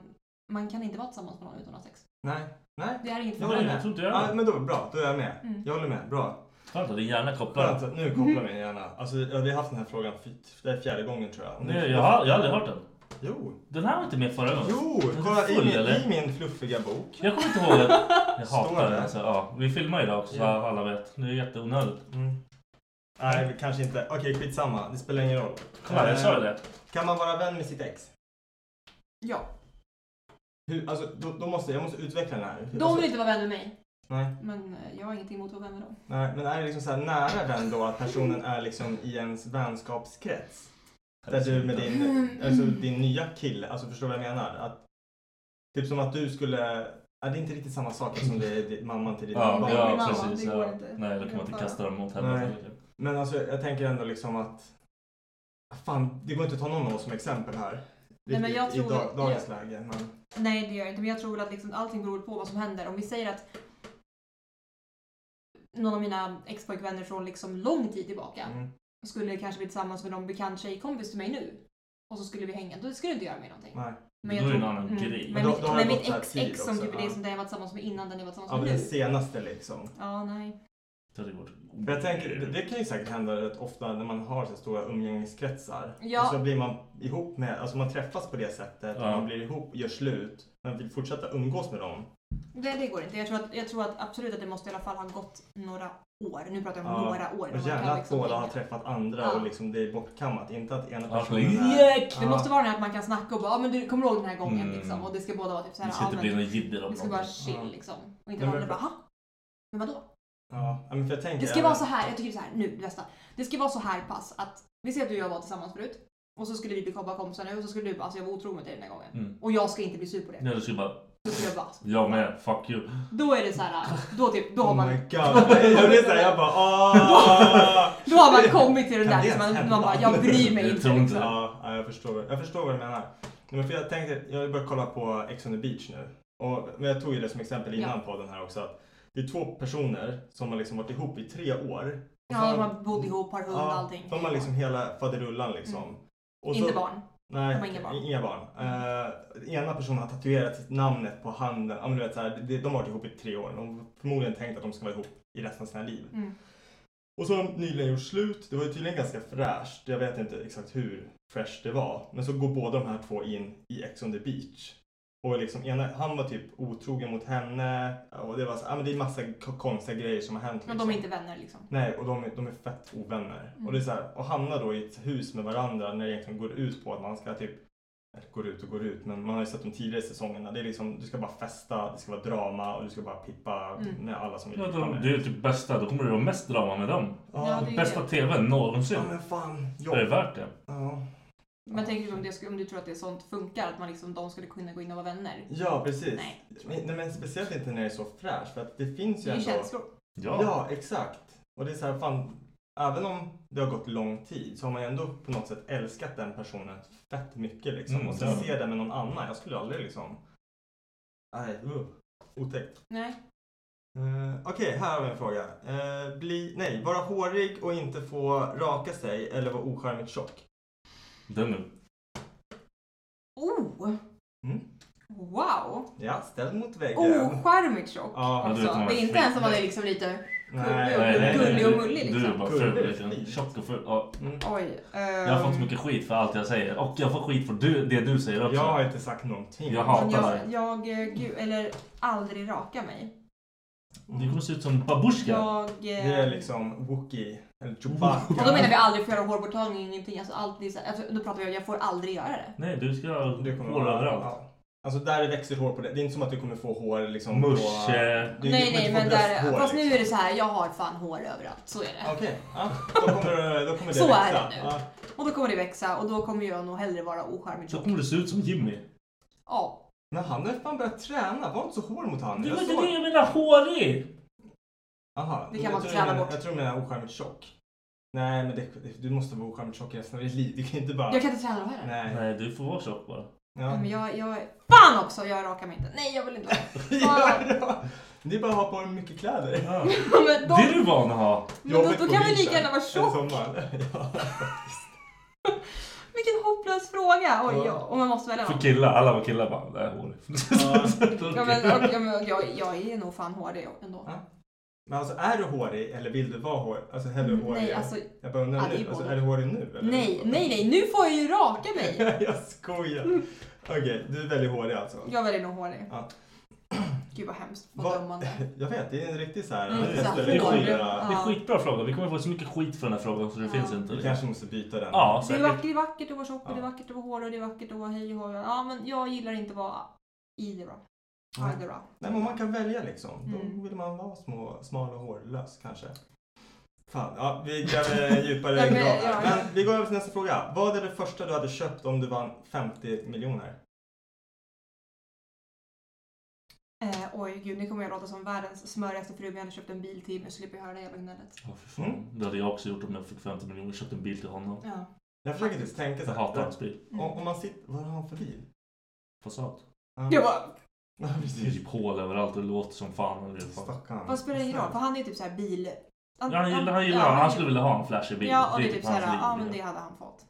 [SPEAKER 5] man kan inte vara tillsammans med någon utan att ha sex.
[SPEAKER 7] Nej. Nej.
[SPEAKER 5] Det är inget
[SPEAKER 7] Jag håller
[SPEAKER 4] Nej,
[SPEAKER 5] förhållande.
[SPEAKER 7] med.
[SPEAKER 4] jag tror inte jag
[SPEAKER 7] ja,
[SPEAKER 4] med.
[SPEAKER 7] men då, bra, då är jag med.
[SPEAKER 5] Mm.
[SPEAKER 7] Jag håller med. Bra.
[SPEAKER 4] Skönt att din hjärna kopplar.
[SPEAKER 7] Skönt, att- nu kopplar min hjärna. Alltså, ja, vi har haft den här frågan för, typ, det är fjärde gången tror jag. Och nu-
[SPEAKER 4] Nej, jag, har, jag har aldrig hört den.
[SPEAKER 7] Jo!
[SPEAKER 4] Den här var inte med förra gången.
[SPEAKER 7] Jo!
[SPEAKER 4] Den är
[SPEAKER 7] Kolla i
[SPEAKER 4] full,
[SPEAKER 7] min,
[SPEAKER 4] eller?
[SPEAKER 7] i min fluffiga bok.
[SPEAKER 4] Jag kommer inte ihåg det. Jag
[SPEAKER 7] Står
[SPEAKER 4] hatar
[SPEAKER 7] det?
[SPEAKER 4] det. Alltså, ja. Vi filmar idag också så
[SPEAKER 7] Ja.
[SPEAKER 4] alla vet. Det är jätteonödigt.
[SPEAKER 7] Nej, vi kanske inte. Okej, skitsamma. Det spelar ingen roll.
[SPEAKER 4] Kolla, här, jag
[SPEAKER 7] Eh,
[SPEAKER 4] sa ju det.
[SPEAKER 7] Kan man vara vän med sitt ex?
[SPEAKER 5] Ja.
[SPEAKER 7] Hur, alltså, då, då måste, jag måste utveckla den här. Alltså,
[SPEAKER 5] De vill inte vara vän med mig.
[SPEAKER 7] Nej.
[SPEAKER 5] Men eh, jag har ingenting emot att vara vän med dem.
[SPEAKER 7] Nej, men är det liksom så här nära vän då att personen är liksom i ens vänskapskrets? Där du med din, alltså, din nya kille, alltså förstår du vad jag menar? Att, typ som att du skulle, ja, det är inte riktigt samma sak som det är din- mamman till ditt
[SPEAKER 4] Ja,
[SPEAKER 7] barn. liksom.
[SPEAKER 5] det är min
[SPEAKER 4] ja
[SPEAKER 5] mamma,
[SPEAKER 4] precis.
[SPEAKER 5] det går
[SPEAKER 4] Ja.
[SPEAKER 5] inte.
[SPEAKER 4] Nej, då kan man inte kasta dem mot henne.
[SPEAKER 7] Nej. Men alltså jag tänker ändå liksom att, fan det går inte att ta någon av oss som exempel här.
[SPEAKER 5] Nej, men jag
[SPEAKER 7] I
[SPEAKER 5] tror-
[SPEAKER 7] dag, dagens läge. Men,
[SPEAKER 5] Nej, det gör jag inte. Men jag tror väl att liksom allting beror på vad som händer. Om vi säger att någon av mina ex-pojkvänner från liksom lång tid tillbaka
[SPEAKER 7] mm,
[SPEAKER 5] skulle kanske bli tillsammans med någon bekant tjejkompis till mig nu och så skulle vi hänga, då skulle det inte göra mig någonting.
[SPEAKER 7] nej.
[SPEAKER 4] Men då är det en annan grej.
[SPEAKER 5] Mm. Men,
[SPEAKER 7] Men då-
[SPEAKER 5] mitt,
[SPEAKER 7] då har
[SPEAKER 5] men
[SPEAKER 7] det gått
[SPEAKER 5] mitt
[SPEAKER 7] så här
[SPEAKER 5] ex,
[SPEAKER 7] tid
[SPEAKER 5] ex som
[SPEAKER 7] också,
[SPEAKER 5] typ är
[SPEAKER 7] ja.
[SPEAKER 5] det som jag var tillsammans med innan den jag var tillsammans
[SPEAKER 7] Ja, men
[SPEAKER 5] med
[SPEAKER 7] den
[SPEAKER 5] nu.
[SPEAKER 7] senaste liksom.
[SPEAKER 5] Ja, nej.
[SPEAKER 4] Så det går.
[SPEAKER 7] För jag tänker, det, det kan ju säkert hända rätt ofta när man har så stora umgängeskretsar.
[SPEAKER 5] Ja.
[SPEAKER 7] Och så blir man ihop med, alltså man träffas på det sättet,
[SPEAKER 4] Ja.
[SPEAKER 7] man blir ihop, gör slut, men vill fortsätta umgås med dem.
[SPEAKER 5] Nej, det går inte. Jag tror, att, jag tror att absolut att det måste i alla fall ha gått några år. Nu pratar jag om
[SPEAKER 7] Ja.
[SPEAKER 5] några
[SPEAKER 7] Och
[SPEAKER 5] år. när man
[SPEAKER 7] gärna
[SPEAKER 5] kan
[SPEAKER 7] att
[SPEAKER 5] liksom
[SPEAKER 7] båda har
[SPEAKER 5] hänga.
[SPEAKER 7] träffat andra
[SPEAKER 5] Ja.
[SPEAKER 7] och liksom det är bortkammat. Inte att ena
[SPEAKER 4] Ja,
[SPEAKER 7] personen
[SPEAKER 4] för-
[SPEAKER 5] Jack! Det
[SPEAKER 7] Ja.
[SPEAKER 5] måste vara den här att man kan snacka och bara, ja men du kommer du ihåg den här gången
[SPEAKER 4] Mm.
[SPEAKER 5] liksom. Och det ska båda vara typ såhär,
[SPEAKER 4] Det ska inte
[SPEAKER 5] men-
[SPEAKER 4] bli något jidder om
[SPEAKER 5] Vi ska vara
[SPEAKER 4] någonting.
[SPEAKER 5] chill
[SPEAKER 7] Ja.
[SPEAKER 5] liksom. Och inte
[SPEAKER 7] Nej,
[SPEAKER 5] vara
[SPEAKER 7] men-
[SPEAKER 5] bara ha? Men vadå?
[SPEAKER 7] Ja, men för jag tänker...
[SPEAKER 5] Det ska vara så här, jag tycker så här, nu det bästa. Det ska vara så här pass att vi ser att du och jag var tillsammans förut. Och så skulle vi bli kompa- kompisar nu och så skulle du bara, alltså jag var otrogen mot dig den här gången.
[SPEAKER 4] Mm.
[SPEAKER 5] Och jag ska inte bli sur på det.
[SPEAKER 4] Ja, du ska bara,
[SPEAKER 5] Då skulle jag bara, alltså,
[SPEAKER 4] jag med, fuck you.
[SPEAKER 5] då är det så här, då typ, då har
[SPEAKER 7] Oh
[SPEAKER 5] man,
[SPEAKER 7] my god. Jag blir såhär, jag bara ah.
[SPEAKER 5] då har man kommit till den
[SPEAKER 7] Kan
[SPEAKER 5] där
[SPEAKER 7] det
[SPEAKER 5] som man,
[SPEAKER 7] ens
[SPEAKER 5] man bara, jag bryr mig
[SPEAKER 4] Jag
[SPEAKER 5] inte
[SPEAKER 4] tror inte
[SPEAKER 5] liksom.
[SPEAKER 4] det.
[SPEAKER 7] Ja, ja, jag förstår, jag förstår vad du menar. Nej, Men för jag tänkte, jag har ju börjat kolla på Ex on the beach nu. Och, men jag tog ju det som exempel innan podden här också. Att Det är två personer som har liksom varit ihop i tre år. Och
[SPEAKER 5] Ja,
[SPEAKER 7] sen-
[SPEAKER 5] de har bott ihop, har hund och allting.
[SPEAKER 7] De har liksom hela faderullan liksom.
[SPEAKER 5] Mm.
[SPEAKER 7] Och
[SPEAKER 5] Inte barn.
[SPEAKER 7] Nej,
[SPEAKER 5] De har inga barn.
[SPEAKER 7] Inga barn. Eh, ena personen har tatuerat namnet på handen. Ja, men du vet, så här, det- de har varit ihop i tre år. De har förmodligen tänkt att de ska vara ihop i resten av sina liv.
[SPEAKER 5] Mm.
[SPEAKER 7] Och så har de nyligen gjort slut. Det var ju tydligen ganska fräscht. Jag vet inte exakt hur fresh det var. Men så går båda de här två in i Ex on the beach. Och liksom, ena, han var typ otrogen mot henne. Och det var så, ja, men det är massa k- konstiga grejer som har hänt.
[SPEAKER 5] Men de är inte vänner liksom.
[SPEAKER 7] Nej, och de, är- de är fett ovänner.
[SPEAKER 5] Mm.
[SPEAKER 7] Och det är så här, och hamnar då i ett hus med varandra när det egentligen går ut på att man ska typ, eller går ut och går ut, men man har ju sett de tidigare säsongerna. Det är liksom, du ska bara festa, det ska vara drama och du ska bara pippa
[SPEAKER 5] Mm.
[SPEAKER 7] med alla som vill
[SPEAKER 4] Ja,
[SPEAKER 7] pippa
[SPEAKER 4] de,
[SPEAKER 7] med.
[SPEAKER 4] det är ju typ bästa, då kommer det vara mest drama med dem.
[SPEAKER 5] Ja, det är
[SPEAKER 4] Bästa
[SPEAKER 5] det.
[SPEAKER 4] TVn någonsin.
[SPEAKER 7] Ja men fan,
[SPEAKER 4] Är det värt det?
[SPEAKER 7] Ja.
[SPEAKER 5] Men tänk om, det, skulle- om du tror att det är sånt funkar, att man liksom, de skulle kunna gå in och vara vänner.
[SPEAKER 7] Ja, precis.
[SPEAKER 5] Nej.
[SPEAKER 7] Men, nej, men speciellt inte när det är så fräscht för att det finns ju
[SPEAKER 5] Det är
[SPEAKER 7] ändå...
[SPEAKER 5] känslor.
[SPEAKER 4] Ja.
[SPEAKER 7] ja, exakt. Och det är så här, fan, även om det har gått lång tid så har man ju ändå på något sätt älskat den personen fett mycket liksom.
[SPEAKER 4] Mm,
[SPEAKER 7] och sen
[SPEAKER 4] ja.
[SPEAKER 7] se det med någon annan. Jag skulle aldrig liksom... Nej, uh, otäckt.
[SPEAKER 5] Nej.
[SPEAKER 7] Eh, Okej, här har vi en fråga. Eh, bli, nej, vara hårig och inte få raka sig eller vara ocharmigt tjock.
[SPEAKER 4] Den nu.
[SPEAKER 5] Oh!
[SPEAKER 7] Mm.
[SPEAKER 5] Wow!
[SPEAKER 7] Ja, ställd mot väggen.
[SPEAKER 5] Ocharmigt tjock
[SPEAKER 7] Ja,
[SPEAKER 4] du vet,
[SPEAKER 5] också.
[SPEAKER 4] man-
[SPEAKER 5] Det är inte ens om man är liksom lite
[SPEAKER 7] Nej,
[SPEAKER 5] gullig och- gullig och mullig
[SPEAKER 4] Du är
[SPEAKER 5] liksom.
[SPEAKER 4] bara
[SPEAKER 7] Kurvig,
[SPEAKER 4] ful. liten.
[SPEAKER 7] fin.
[SPEAKER 4] Tjock och ful. Ja.
[SPEAKER 7] Mm.
[SPEAKER 5] Oj. ehm,
[SPEAKER 4] Jag har fått mycket skit för allt jag säger. Och jag får skit för du, det du säger också.
[SPEAKER 7] Jag har inte sagt någonting.
[SPEAKER 4] Jag hatar dig.
[SPEAKER 7] alltså.
[SPEAKER 5] Jag, jag, eh, gud, eller aldrig raka mig.
[SPEAKER 4] Du kommer se ut som babusjka.
[SPEAKER 5] Jag... eh,
[SPEAKER 7] Det är liksom Wookie eller Chewbacca.
[SPEAKER 5] Och då menar vi aldrig får göra hårborttagning, ingenting. Alltså alltid, så- alltså, då pratar vi om jag får aldrig göra det.
[SPEAKER 4] Nej, du ska ha
[SPEAKER 7] Det kommer
[SPEAKER 4] hår
[SPEAKER 7] vara-
[SPEAKER 4] överallt.
[SPEAKER 7] ja. Alltså där det växer hår på det. Det är inte som att du kommer få hår liksom på...
[SPEAKER 4] Musche.
[SPEAKER 7] Du,
[SPEAKER 5] nej,
[SPEAKER 7] du kommer
[SPEAKER 5] nej,
[SPEAKER 7] inte få
[SPEAKER 5] men där,
[SPEAKER 7] brösthår,
[SPEAKER 5] fast nu
[SPEAKER 7] liksom.
[SPEAKER 5] är det så här, jag har fan hår överallt. Så är det.
[SPEAKER 7] Okej, ja. då, kommer, då kommer det
[SPEAKER 5] Så
[SPEAKER 7] växa.
[SPEAKER 5] är det nu.
[SPEAKER 7] Ja.
[SPEAKER 5] Och då kommer det växa och då kommer jag nog hellre vara ocharmig
[SPEAKER 4] Så
[SPEAKER 5] tjock.
[SPEAKER 4] kommer du se ut som Jimmy.
[SPEAKER 5] Ja.
[SPEAKER 7] Men han har fan börjat träna. Var inte så hård mot han.
[SPEAKER 4] Det
[SPEAKER 7] Jag
[SPEAKER 4] var inte
[SPEAKER 7] såg-
[SPEAKER 4] det jag menar. Hårig!
[SPEAKER 7] Aha,
[SPEAKER 5] Det kan
[SPEAKER 7] jag
[SPEAKER 5] man
[SPEAKER 7] tror
[SPEAKER 5] träna
[SPEAKER 7] jag menar-
[SPEAKER 5] bort.
[SPEAKER 7] Jag tror du menar ocharmigt tjock. Nej, men det, det, du måste vara ocharmigt tjock resten av ditt liv. Du kan inte bara...
[SPEAKER 5] Jag kan inte träna det här.
[SPEAKER 7] Nej.
[SPEAKER 4] Nej, du får vara tjock bara.
[SPEAKER 5] Nej,
[SPEAKER 7] Ja.
[SPEAKER 5] Men jag, jag... Fan också! Jag rakar mig inte. Nej, jag vill inte vara
[SPEAKER 7] Ja, ja. Det är bara att ha på dig mycket kläder.
[SPEAKER 4] Ja.
[SPEAKER 5] men
[SPEAKER 4] Det är
[SPEAKER 5] de,
[SPEAKER 4] du van att ha.
[SPEAKER 5] men då,
[SPEAKER 7] Jobbet
[SPEAKER 5] då
[SPEAKER 7] på
[SPEAKER 5] kan vi lika
[SPEAKER 7] vintern
[SPEAKER 5] gärna vara
[SPEAKER 7] eller
[SPEAKER 5] tjock.
[SPEAKER 7] sommaren. Ja.
[SPEAKER 5] Vilken hopplös fråga! Oj,
[SPEAKER 7] Ja.
[SPEAKER 5] ja. Om man måste välja
[SPEAKER 4] För
[SPEAKER 5] någon.
[SPEAKER 4] killar, alla var killar bara, det här är hårig.
[SPEAKER 5] Ja, men, och, ja, men, jag, jag är nog fan hårig ändå.
[SPEAKER 7] Ja. Men alltså är du hårig eller vill du vara hårig? Alltså hellre hårig.
[SPEAKER 5] Nej, alltså,
[SPEAKER 7] Jag bara undrar
[SPEAKER 5] Ja, det är
[SPEAKER 7] nu.
[SPEAKER 5] ju
[SPEAKER 7] Alltså,
[SPEAKER 5] både-
[SPEAKER 7] är du hårig nu eller?
[SPEAKER 5] nej, nej, nej, nu får jag ju raka mig!
[SPEAKER 7] jag skojar. Okej, du är väldigt hårig alltså.
[SPEAKER 5] Jag väljer nog hårig.
[SPEAKER 7] Ja.
[SPEAKER 5] Gud vad hemskt.
[SPEAKER 7] Va-
[SPEAKER 5] Vad dömande.
[SPEAKER 7] Jag vet, det är en riktig så här.
[SPEAKER 5] Mm,
[SPEAKER 7] jag
[SPEAKER 5] så här,
[SPEAKER 7] ställer
[SPEAKER 4] det är
[SPEAKER 7] frågor.
[SPEAKER 4] skit.
[SPEAKER 5] Ja.
[SPEAKER 4] Det är skitbra fråga. Vi kommer få så mycket skit för den här frågan så det
[SPEAKER 5] Ja.
[SPEAKER 4] finns inte.
[SPEAKER 7] Vi kanske måste byta den.
[SPEAKER 4] Ja,
[SPEAKER 5] Det är
[SPEAKER 4] säkert.
[SPEAKER 5] vackert, det är vackert att vara tjock och det är
[SPEAKER 7] Ja.
[SPEAKER 5] vackert att vara hårig och det är vackert att vara hej och hoj. Ja, men jag gillar inte att vara i det bra.
[SPEAKER 7] Nej.
[SPEAKER 5] Either bra.
[SPEAKER 7] Nej, men man kan välja liksom.
[SPEAKER 5] Mm.
[SPEAKER 7] Då vill man vara små, smal och hårlös kanske. Fan, ja, vi gräver djupare
[SPEAKER 5] Ja,
[SPEAKER 7] i
[SPEAKER 5] men-
[SPEAKER 7] graven.
[SPEAKER 5] ja, ja.
[SPEAKER 7] Men vi går över till nästa fråga. Vad är det första du hade köpt om du vann 50 miljoner?
[SPEAKER 5] Eh, oj, gud, nu kommer jag låta som världens smörigaste fru, men jag hade köpt en bil till mig så slipper jag höra det jävla gnället.
[SPEAKER 4] Ja, för fan.
[SPEAKER 7] Mm.
[SPEAKER 4] Det hade jag också gjort om jag fick 50 miljoner och köpt en bil till honom.
[SPEAKER 5] Ja.
[SPEAKER 7] Jag försöker typ tänka så
[SPEAKER 4] Jag
[SPEAKER 7] här.
[SPEAKER 4] hatar hans bil.
[SPEAKER 5] Mm.
[SPEAKER 7] Om, om man sitter... Vad har han för bil?
[SPEAKER 4] Fasad.
[SPEAKER 7] Ja.
[SPEAKER 5] Jag bara,
[SPEAKER 7] Ja,
[SPEAKER 4] Det är
[SPEAKER 7] precis.
[SPEAKER 4] typ hål överallt och det låter som fan. Eller hur fan.
[SPEAKER 7] Stackarn.
[SPEAKER 5] Vad spelar det ingen roll? För han är typ såhär bil...
[SPEAKER 4] Ja, han gillar, han, gillar,
[SPEAKER 5] ja,
[SPEAKER 4] han skulle vilja ha en flashig bil.
[SPEAKER 5] Ja, och det är typ såhär,
[SPEAKER 4] hans
[SPEAKER 5] ja
[SPEAKER 4] liv.
[SPEAKER 5] men det hade han fått.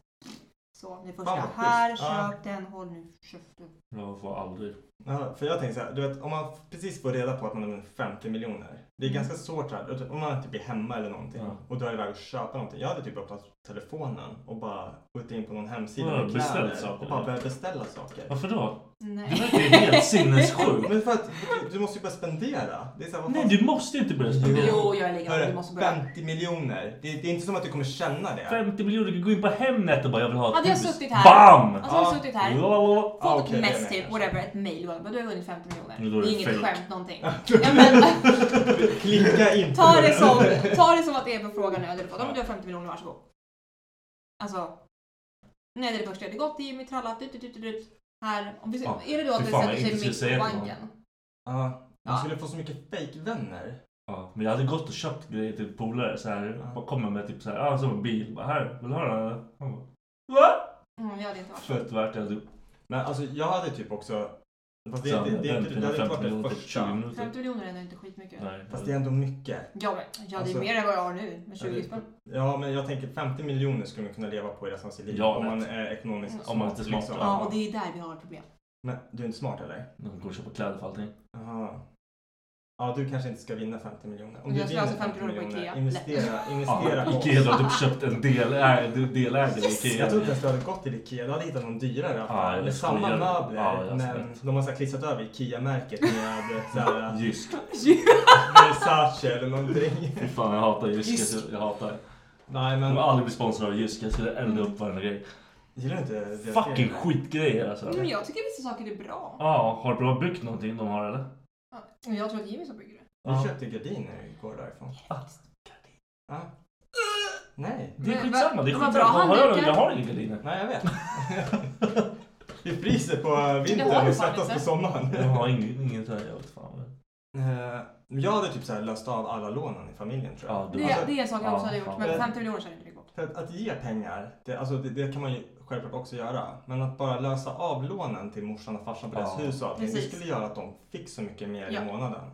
[SPEAKER 5] Så, det första.
[SPEAKER 7] Fan, vad schysst.
[SPEAKER 5] här,
[SPEAKER 7] Ja.
[SPEAKER 5] köp den, håll nu käften.
[SPEAKER 4] Jag får aldrig.
[SPEAKER 7] Ja, för jag tänker så här, du vet om man precis får reda på att man har vunnit 50 miljoner. Det är ganska svårt så här, om man typ är hemma eller någonting
[SPEAKER 4] Mm. Ja.
[SPEAKER 7] och drar iväg och köper någonting. Jag hade typ öppnat telefonen och bara gått in på någon hemsida
[SPEAKER 4] Ja,
[SPEAKER 7] med
[SPEAKER 4] beställt
[SPEAKER 7] kläder
[SPEAKER 4] saker.
[SPEAKER 7] och bara börjat beställa saker.
[SPEAKER 4] Varför då? Du
[SPEAKER 5] Nej.
[SPEAKER 4] verkar ju helt sinnessjuk.
[SPEAKER 7] Men för att du, du måste ju börja spendera. Det är så här, vad
[SPEAKER 4] Nej,
[SPEAKER 7] fan-
[SPEAKER 4] du måste inte börja spendera.
[SPEAKER 5] Jo, jag är likadan. Du
[SPEAKER 7] Hörru,
[SPEAKER 5] måste börja.
[SPEAKER 7] 50 miljoner. Det, det är inte som att du kommer känna det.
[SPEAKER 4] 50 miljoner, du går in på Hemnet och bara jag vill ha ett
[SPEAKER 5] Hade jag
[SPEAKER 4] hus.
[SPEAKER 5] suttit här.
[SPEAKER 4] BAM!
[SPEAKER 5] Alltså har
[SPEAKER 7] Ja.
[SPEAKER 5] du suttit här.
[SPEAKER 4] Lalalala.
[SPEAKER 7] Ja,
[SPEAKER 5] Fått
[SPEAKER 7] okej,
[SPEAKER 5] ett
[SPEAKER 7] det är
[SPEAKER 5] mess
[SPEAKER 7] med
[SPEAKER 5] typ,
[SPEAKER 7] kanske.
[SPEAKER 5] whatever, ett mail. bara, Du har vunnit 50 miljoner.
[SPEAKER 4] Men Ah, då är
[SPEAKER 5] Det är
[SPEAKER 4] det
[SPEAKER 5] inget
[SPEAKER 4] fake.
[SPEAKER 5] skämt någonting. ja, men,
[SPEAKER 7] Klicka inte.
[SPEAKER 5] ta, det som, ta det som att det är på frågan nu. Eller fått. Om du har 50 miljoner, varsågod. Alltså. Nej, det är det första. Det är gott till Jimmy, trallat, dut, dut, dut, dut. Här. Om vi,
[SPEAKER 4] Ja,
[SPEAKER 5] är det då att
[SPEAKER 4] fy
[SPEAKER 5] vi
[SPEAKER 4] fan, jag
[SPEAKER 5] sätter
[SPEAKER 4] inte
[SPEAKER 5] sig mitt
[SPEAKER 4] skulle
[SPEAKER 5] på
[SPEAKER 4] säga det till någon.
[SPEAKER 5] banken?
[SPEAKER 7] Ja, man
[SPEAKER 5] Ja.
[SPEAKER 7] skulle få så mycket fake-vänner.
[SPEAKER 4] Ja, men jag hade gått och köpt grejer till polare så här. Bara kommer med typ så här, ja, som en bil. Bara här, vill du ha den? här?" Han bara, Va?
[SPEAKER 5] Mm, jag hade inte varit så.
[SPEAKER 4] Fett värt det. Du.
[SPEAKER 7] Men alltså jag hade typ också Fast det, är inte- det, är inte- det hade inte varit det
[SPEAKER 4] typ
[SPEAKER 7] första.
[SPEAKER 5] 50 miljoner är ändå inte skitmycket.
[SPEAKER 7] Fast det är ändå mycket.
[SPEAKER 5] Ja, men, ja, det är
[SPEAKER 7] Alltså-
[SPEAKER 5] mer än vad jag har nu
[SPEAKER 7] Ja,
[SPEAKER 5] med 20
[SPEAKER 7] det-
[SPEAKER 5] spänn.
[SPEAKER 7] Ja, men jag tänker 50 miljoner skulle man kunna leva på i resten av sitt liv.
[SPEAKER 4] Ja,
[SPEAKER 7] om man
[SPEAKER 4] lätt.
[SPEAKER 7] är ekonomiskt
[SPEAKER 5] Mm.
[SPEAKER 7] smart.
[SPEAKER 4] Om man inte är smart,
[SPEAKER 7] liksom.
[SPEAKER 4] ja.
[SPEAKER 5] Ja, och det är där vi har ett problem.
[SPEAKER 7] Men du är inte smart eller?
[SPEAKER 4] De går och köper kläder för allting.
[SPEAKER 7] Jaha. Ja, du kanske inte ska vinna 50 miljoner.
[SPEAKER 5] Men
[SPEAKER 7] du
[SPEAKER 5] jag ska
[SPEAKER 7] vinner
[SPEAKER 5] alltså 50 miljoner på Ikea.
[SPEAKER 7] investera,
[SPEAKER 5] Lätt.
[SPEAKER 7] investera på oss.
[SPEAKER 4] Ikea har typ köpt en del, äh, delägare i
[SPEAKER 7] Yes!
[SPEAKER 4] Ikea.
[SPEAKER 7] Jag trodde inte ens du hade gått till Ikea. Du hade hittat någon dyrare affär
[SPEAKER 4] jag
[SPEAKER 7] med samma
[SPEAKER 4] skojar.
[SPEAKER 7] möbler.
[SPEAKER 4] Ja, jag
[SPEAKER 7] men de har så här klistrat över Ikea-märket med såhär...
[SPEAKER 4] Jysk.
[SPEAKER 7] Versace eller någonting.
[SPEAKER 4] Fy fan jag hatar Jysk.
[SPEAKER 7] Jysk.
[SPEAKER 4] Jag- Jag hatar.
[SPEAKER 7] Nej
[SPEAKER 4] Jag
[SPEAKER 7] men...
[SPEAKER 4] kommer aldrig bli sponsrad av Jysk. Jag skulle elda upp varenda grej.
[SPEAKER 7] Gillar du inte det?
[SPEAKER 4] Fucking skitgrejer alltså.
[SPEAKER 5] Men jag tycker vissa saker är bra.
[SPEAKER 4] Ja, har de byggt någonting de har eller?
[SPEAKER 5] Ja, men Jag tror att Jimmy som bygger det.
[SPEAKER 7] Vi köpte gardiner igår därifrån.
[SPEAKER 4] Ah.
[SPEAKER 7] Ja. Nej.
[SPEAKER 4] Det är
[SPEAKER 5] Men
[SPEAKER 4] skitsamma.
[SPEAKER 5] vad-
[SPEAKER 4] Det är
[SPEAKER 5] vad
[SPEAKER 4] skitsamma.
[SPEAKER 5] bra
[SPEAKER 4] Vad har jag,
[SPEAKER 5] handdukar.
[SPEAKER 4] jag har inga gardiner.
[SPEAKER 7] Nej, jag vet. Vi fryser på
[SPEAKER 5] Det har
[SPEAKER 7] vintern
[SPEAKER 5] du
[SPEAKER 7] och
[SPEAKER 5] fan
[SPEAKER 7] svettas
[SPEAKER 5] inte.
[SPEAKER 7] på sommaren.
[SPEAKER 4] Jag har ingen, ingen tröja. Jag vet fan.
[SPEAKER 7] Eh, Jag hade typ så här löst av alla lånen i familjen tror jag.
[SPEAKER 4] Ja,
[SPEAKER 5] Det,
[SPEAKER 4] Alltså,
[SPEAKER 5] det är en sak jag
[SPEAKER 4] ja,
[SPEAKER 5] också hade gjort,
[SPEAKER 4] fan.
[SPEAKER 5] men 50 miljoner känner jag inte gott.
[SPEAKER 7] För att, att ge pengar, det, alltså det, det kan man ju självklart också göra. Men att bara lösa av lånen till morsan och farsan på deras
[SPEAKER 4] Ja.
[SPEAKER 7] hus och allting, det
[SPEAKER 5] Precis.
[SPEAKER 7] skulle göra att de fick så mycket mer
[SPEAKER 5] Ja.
[SPEAKER 7] i månaden.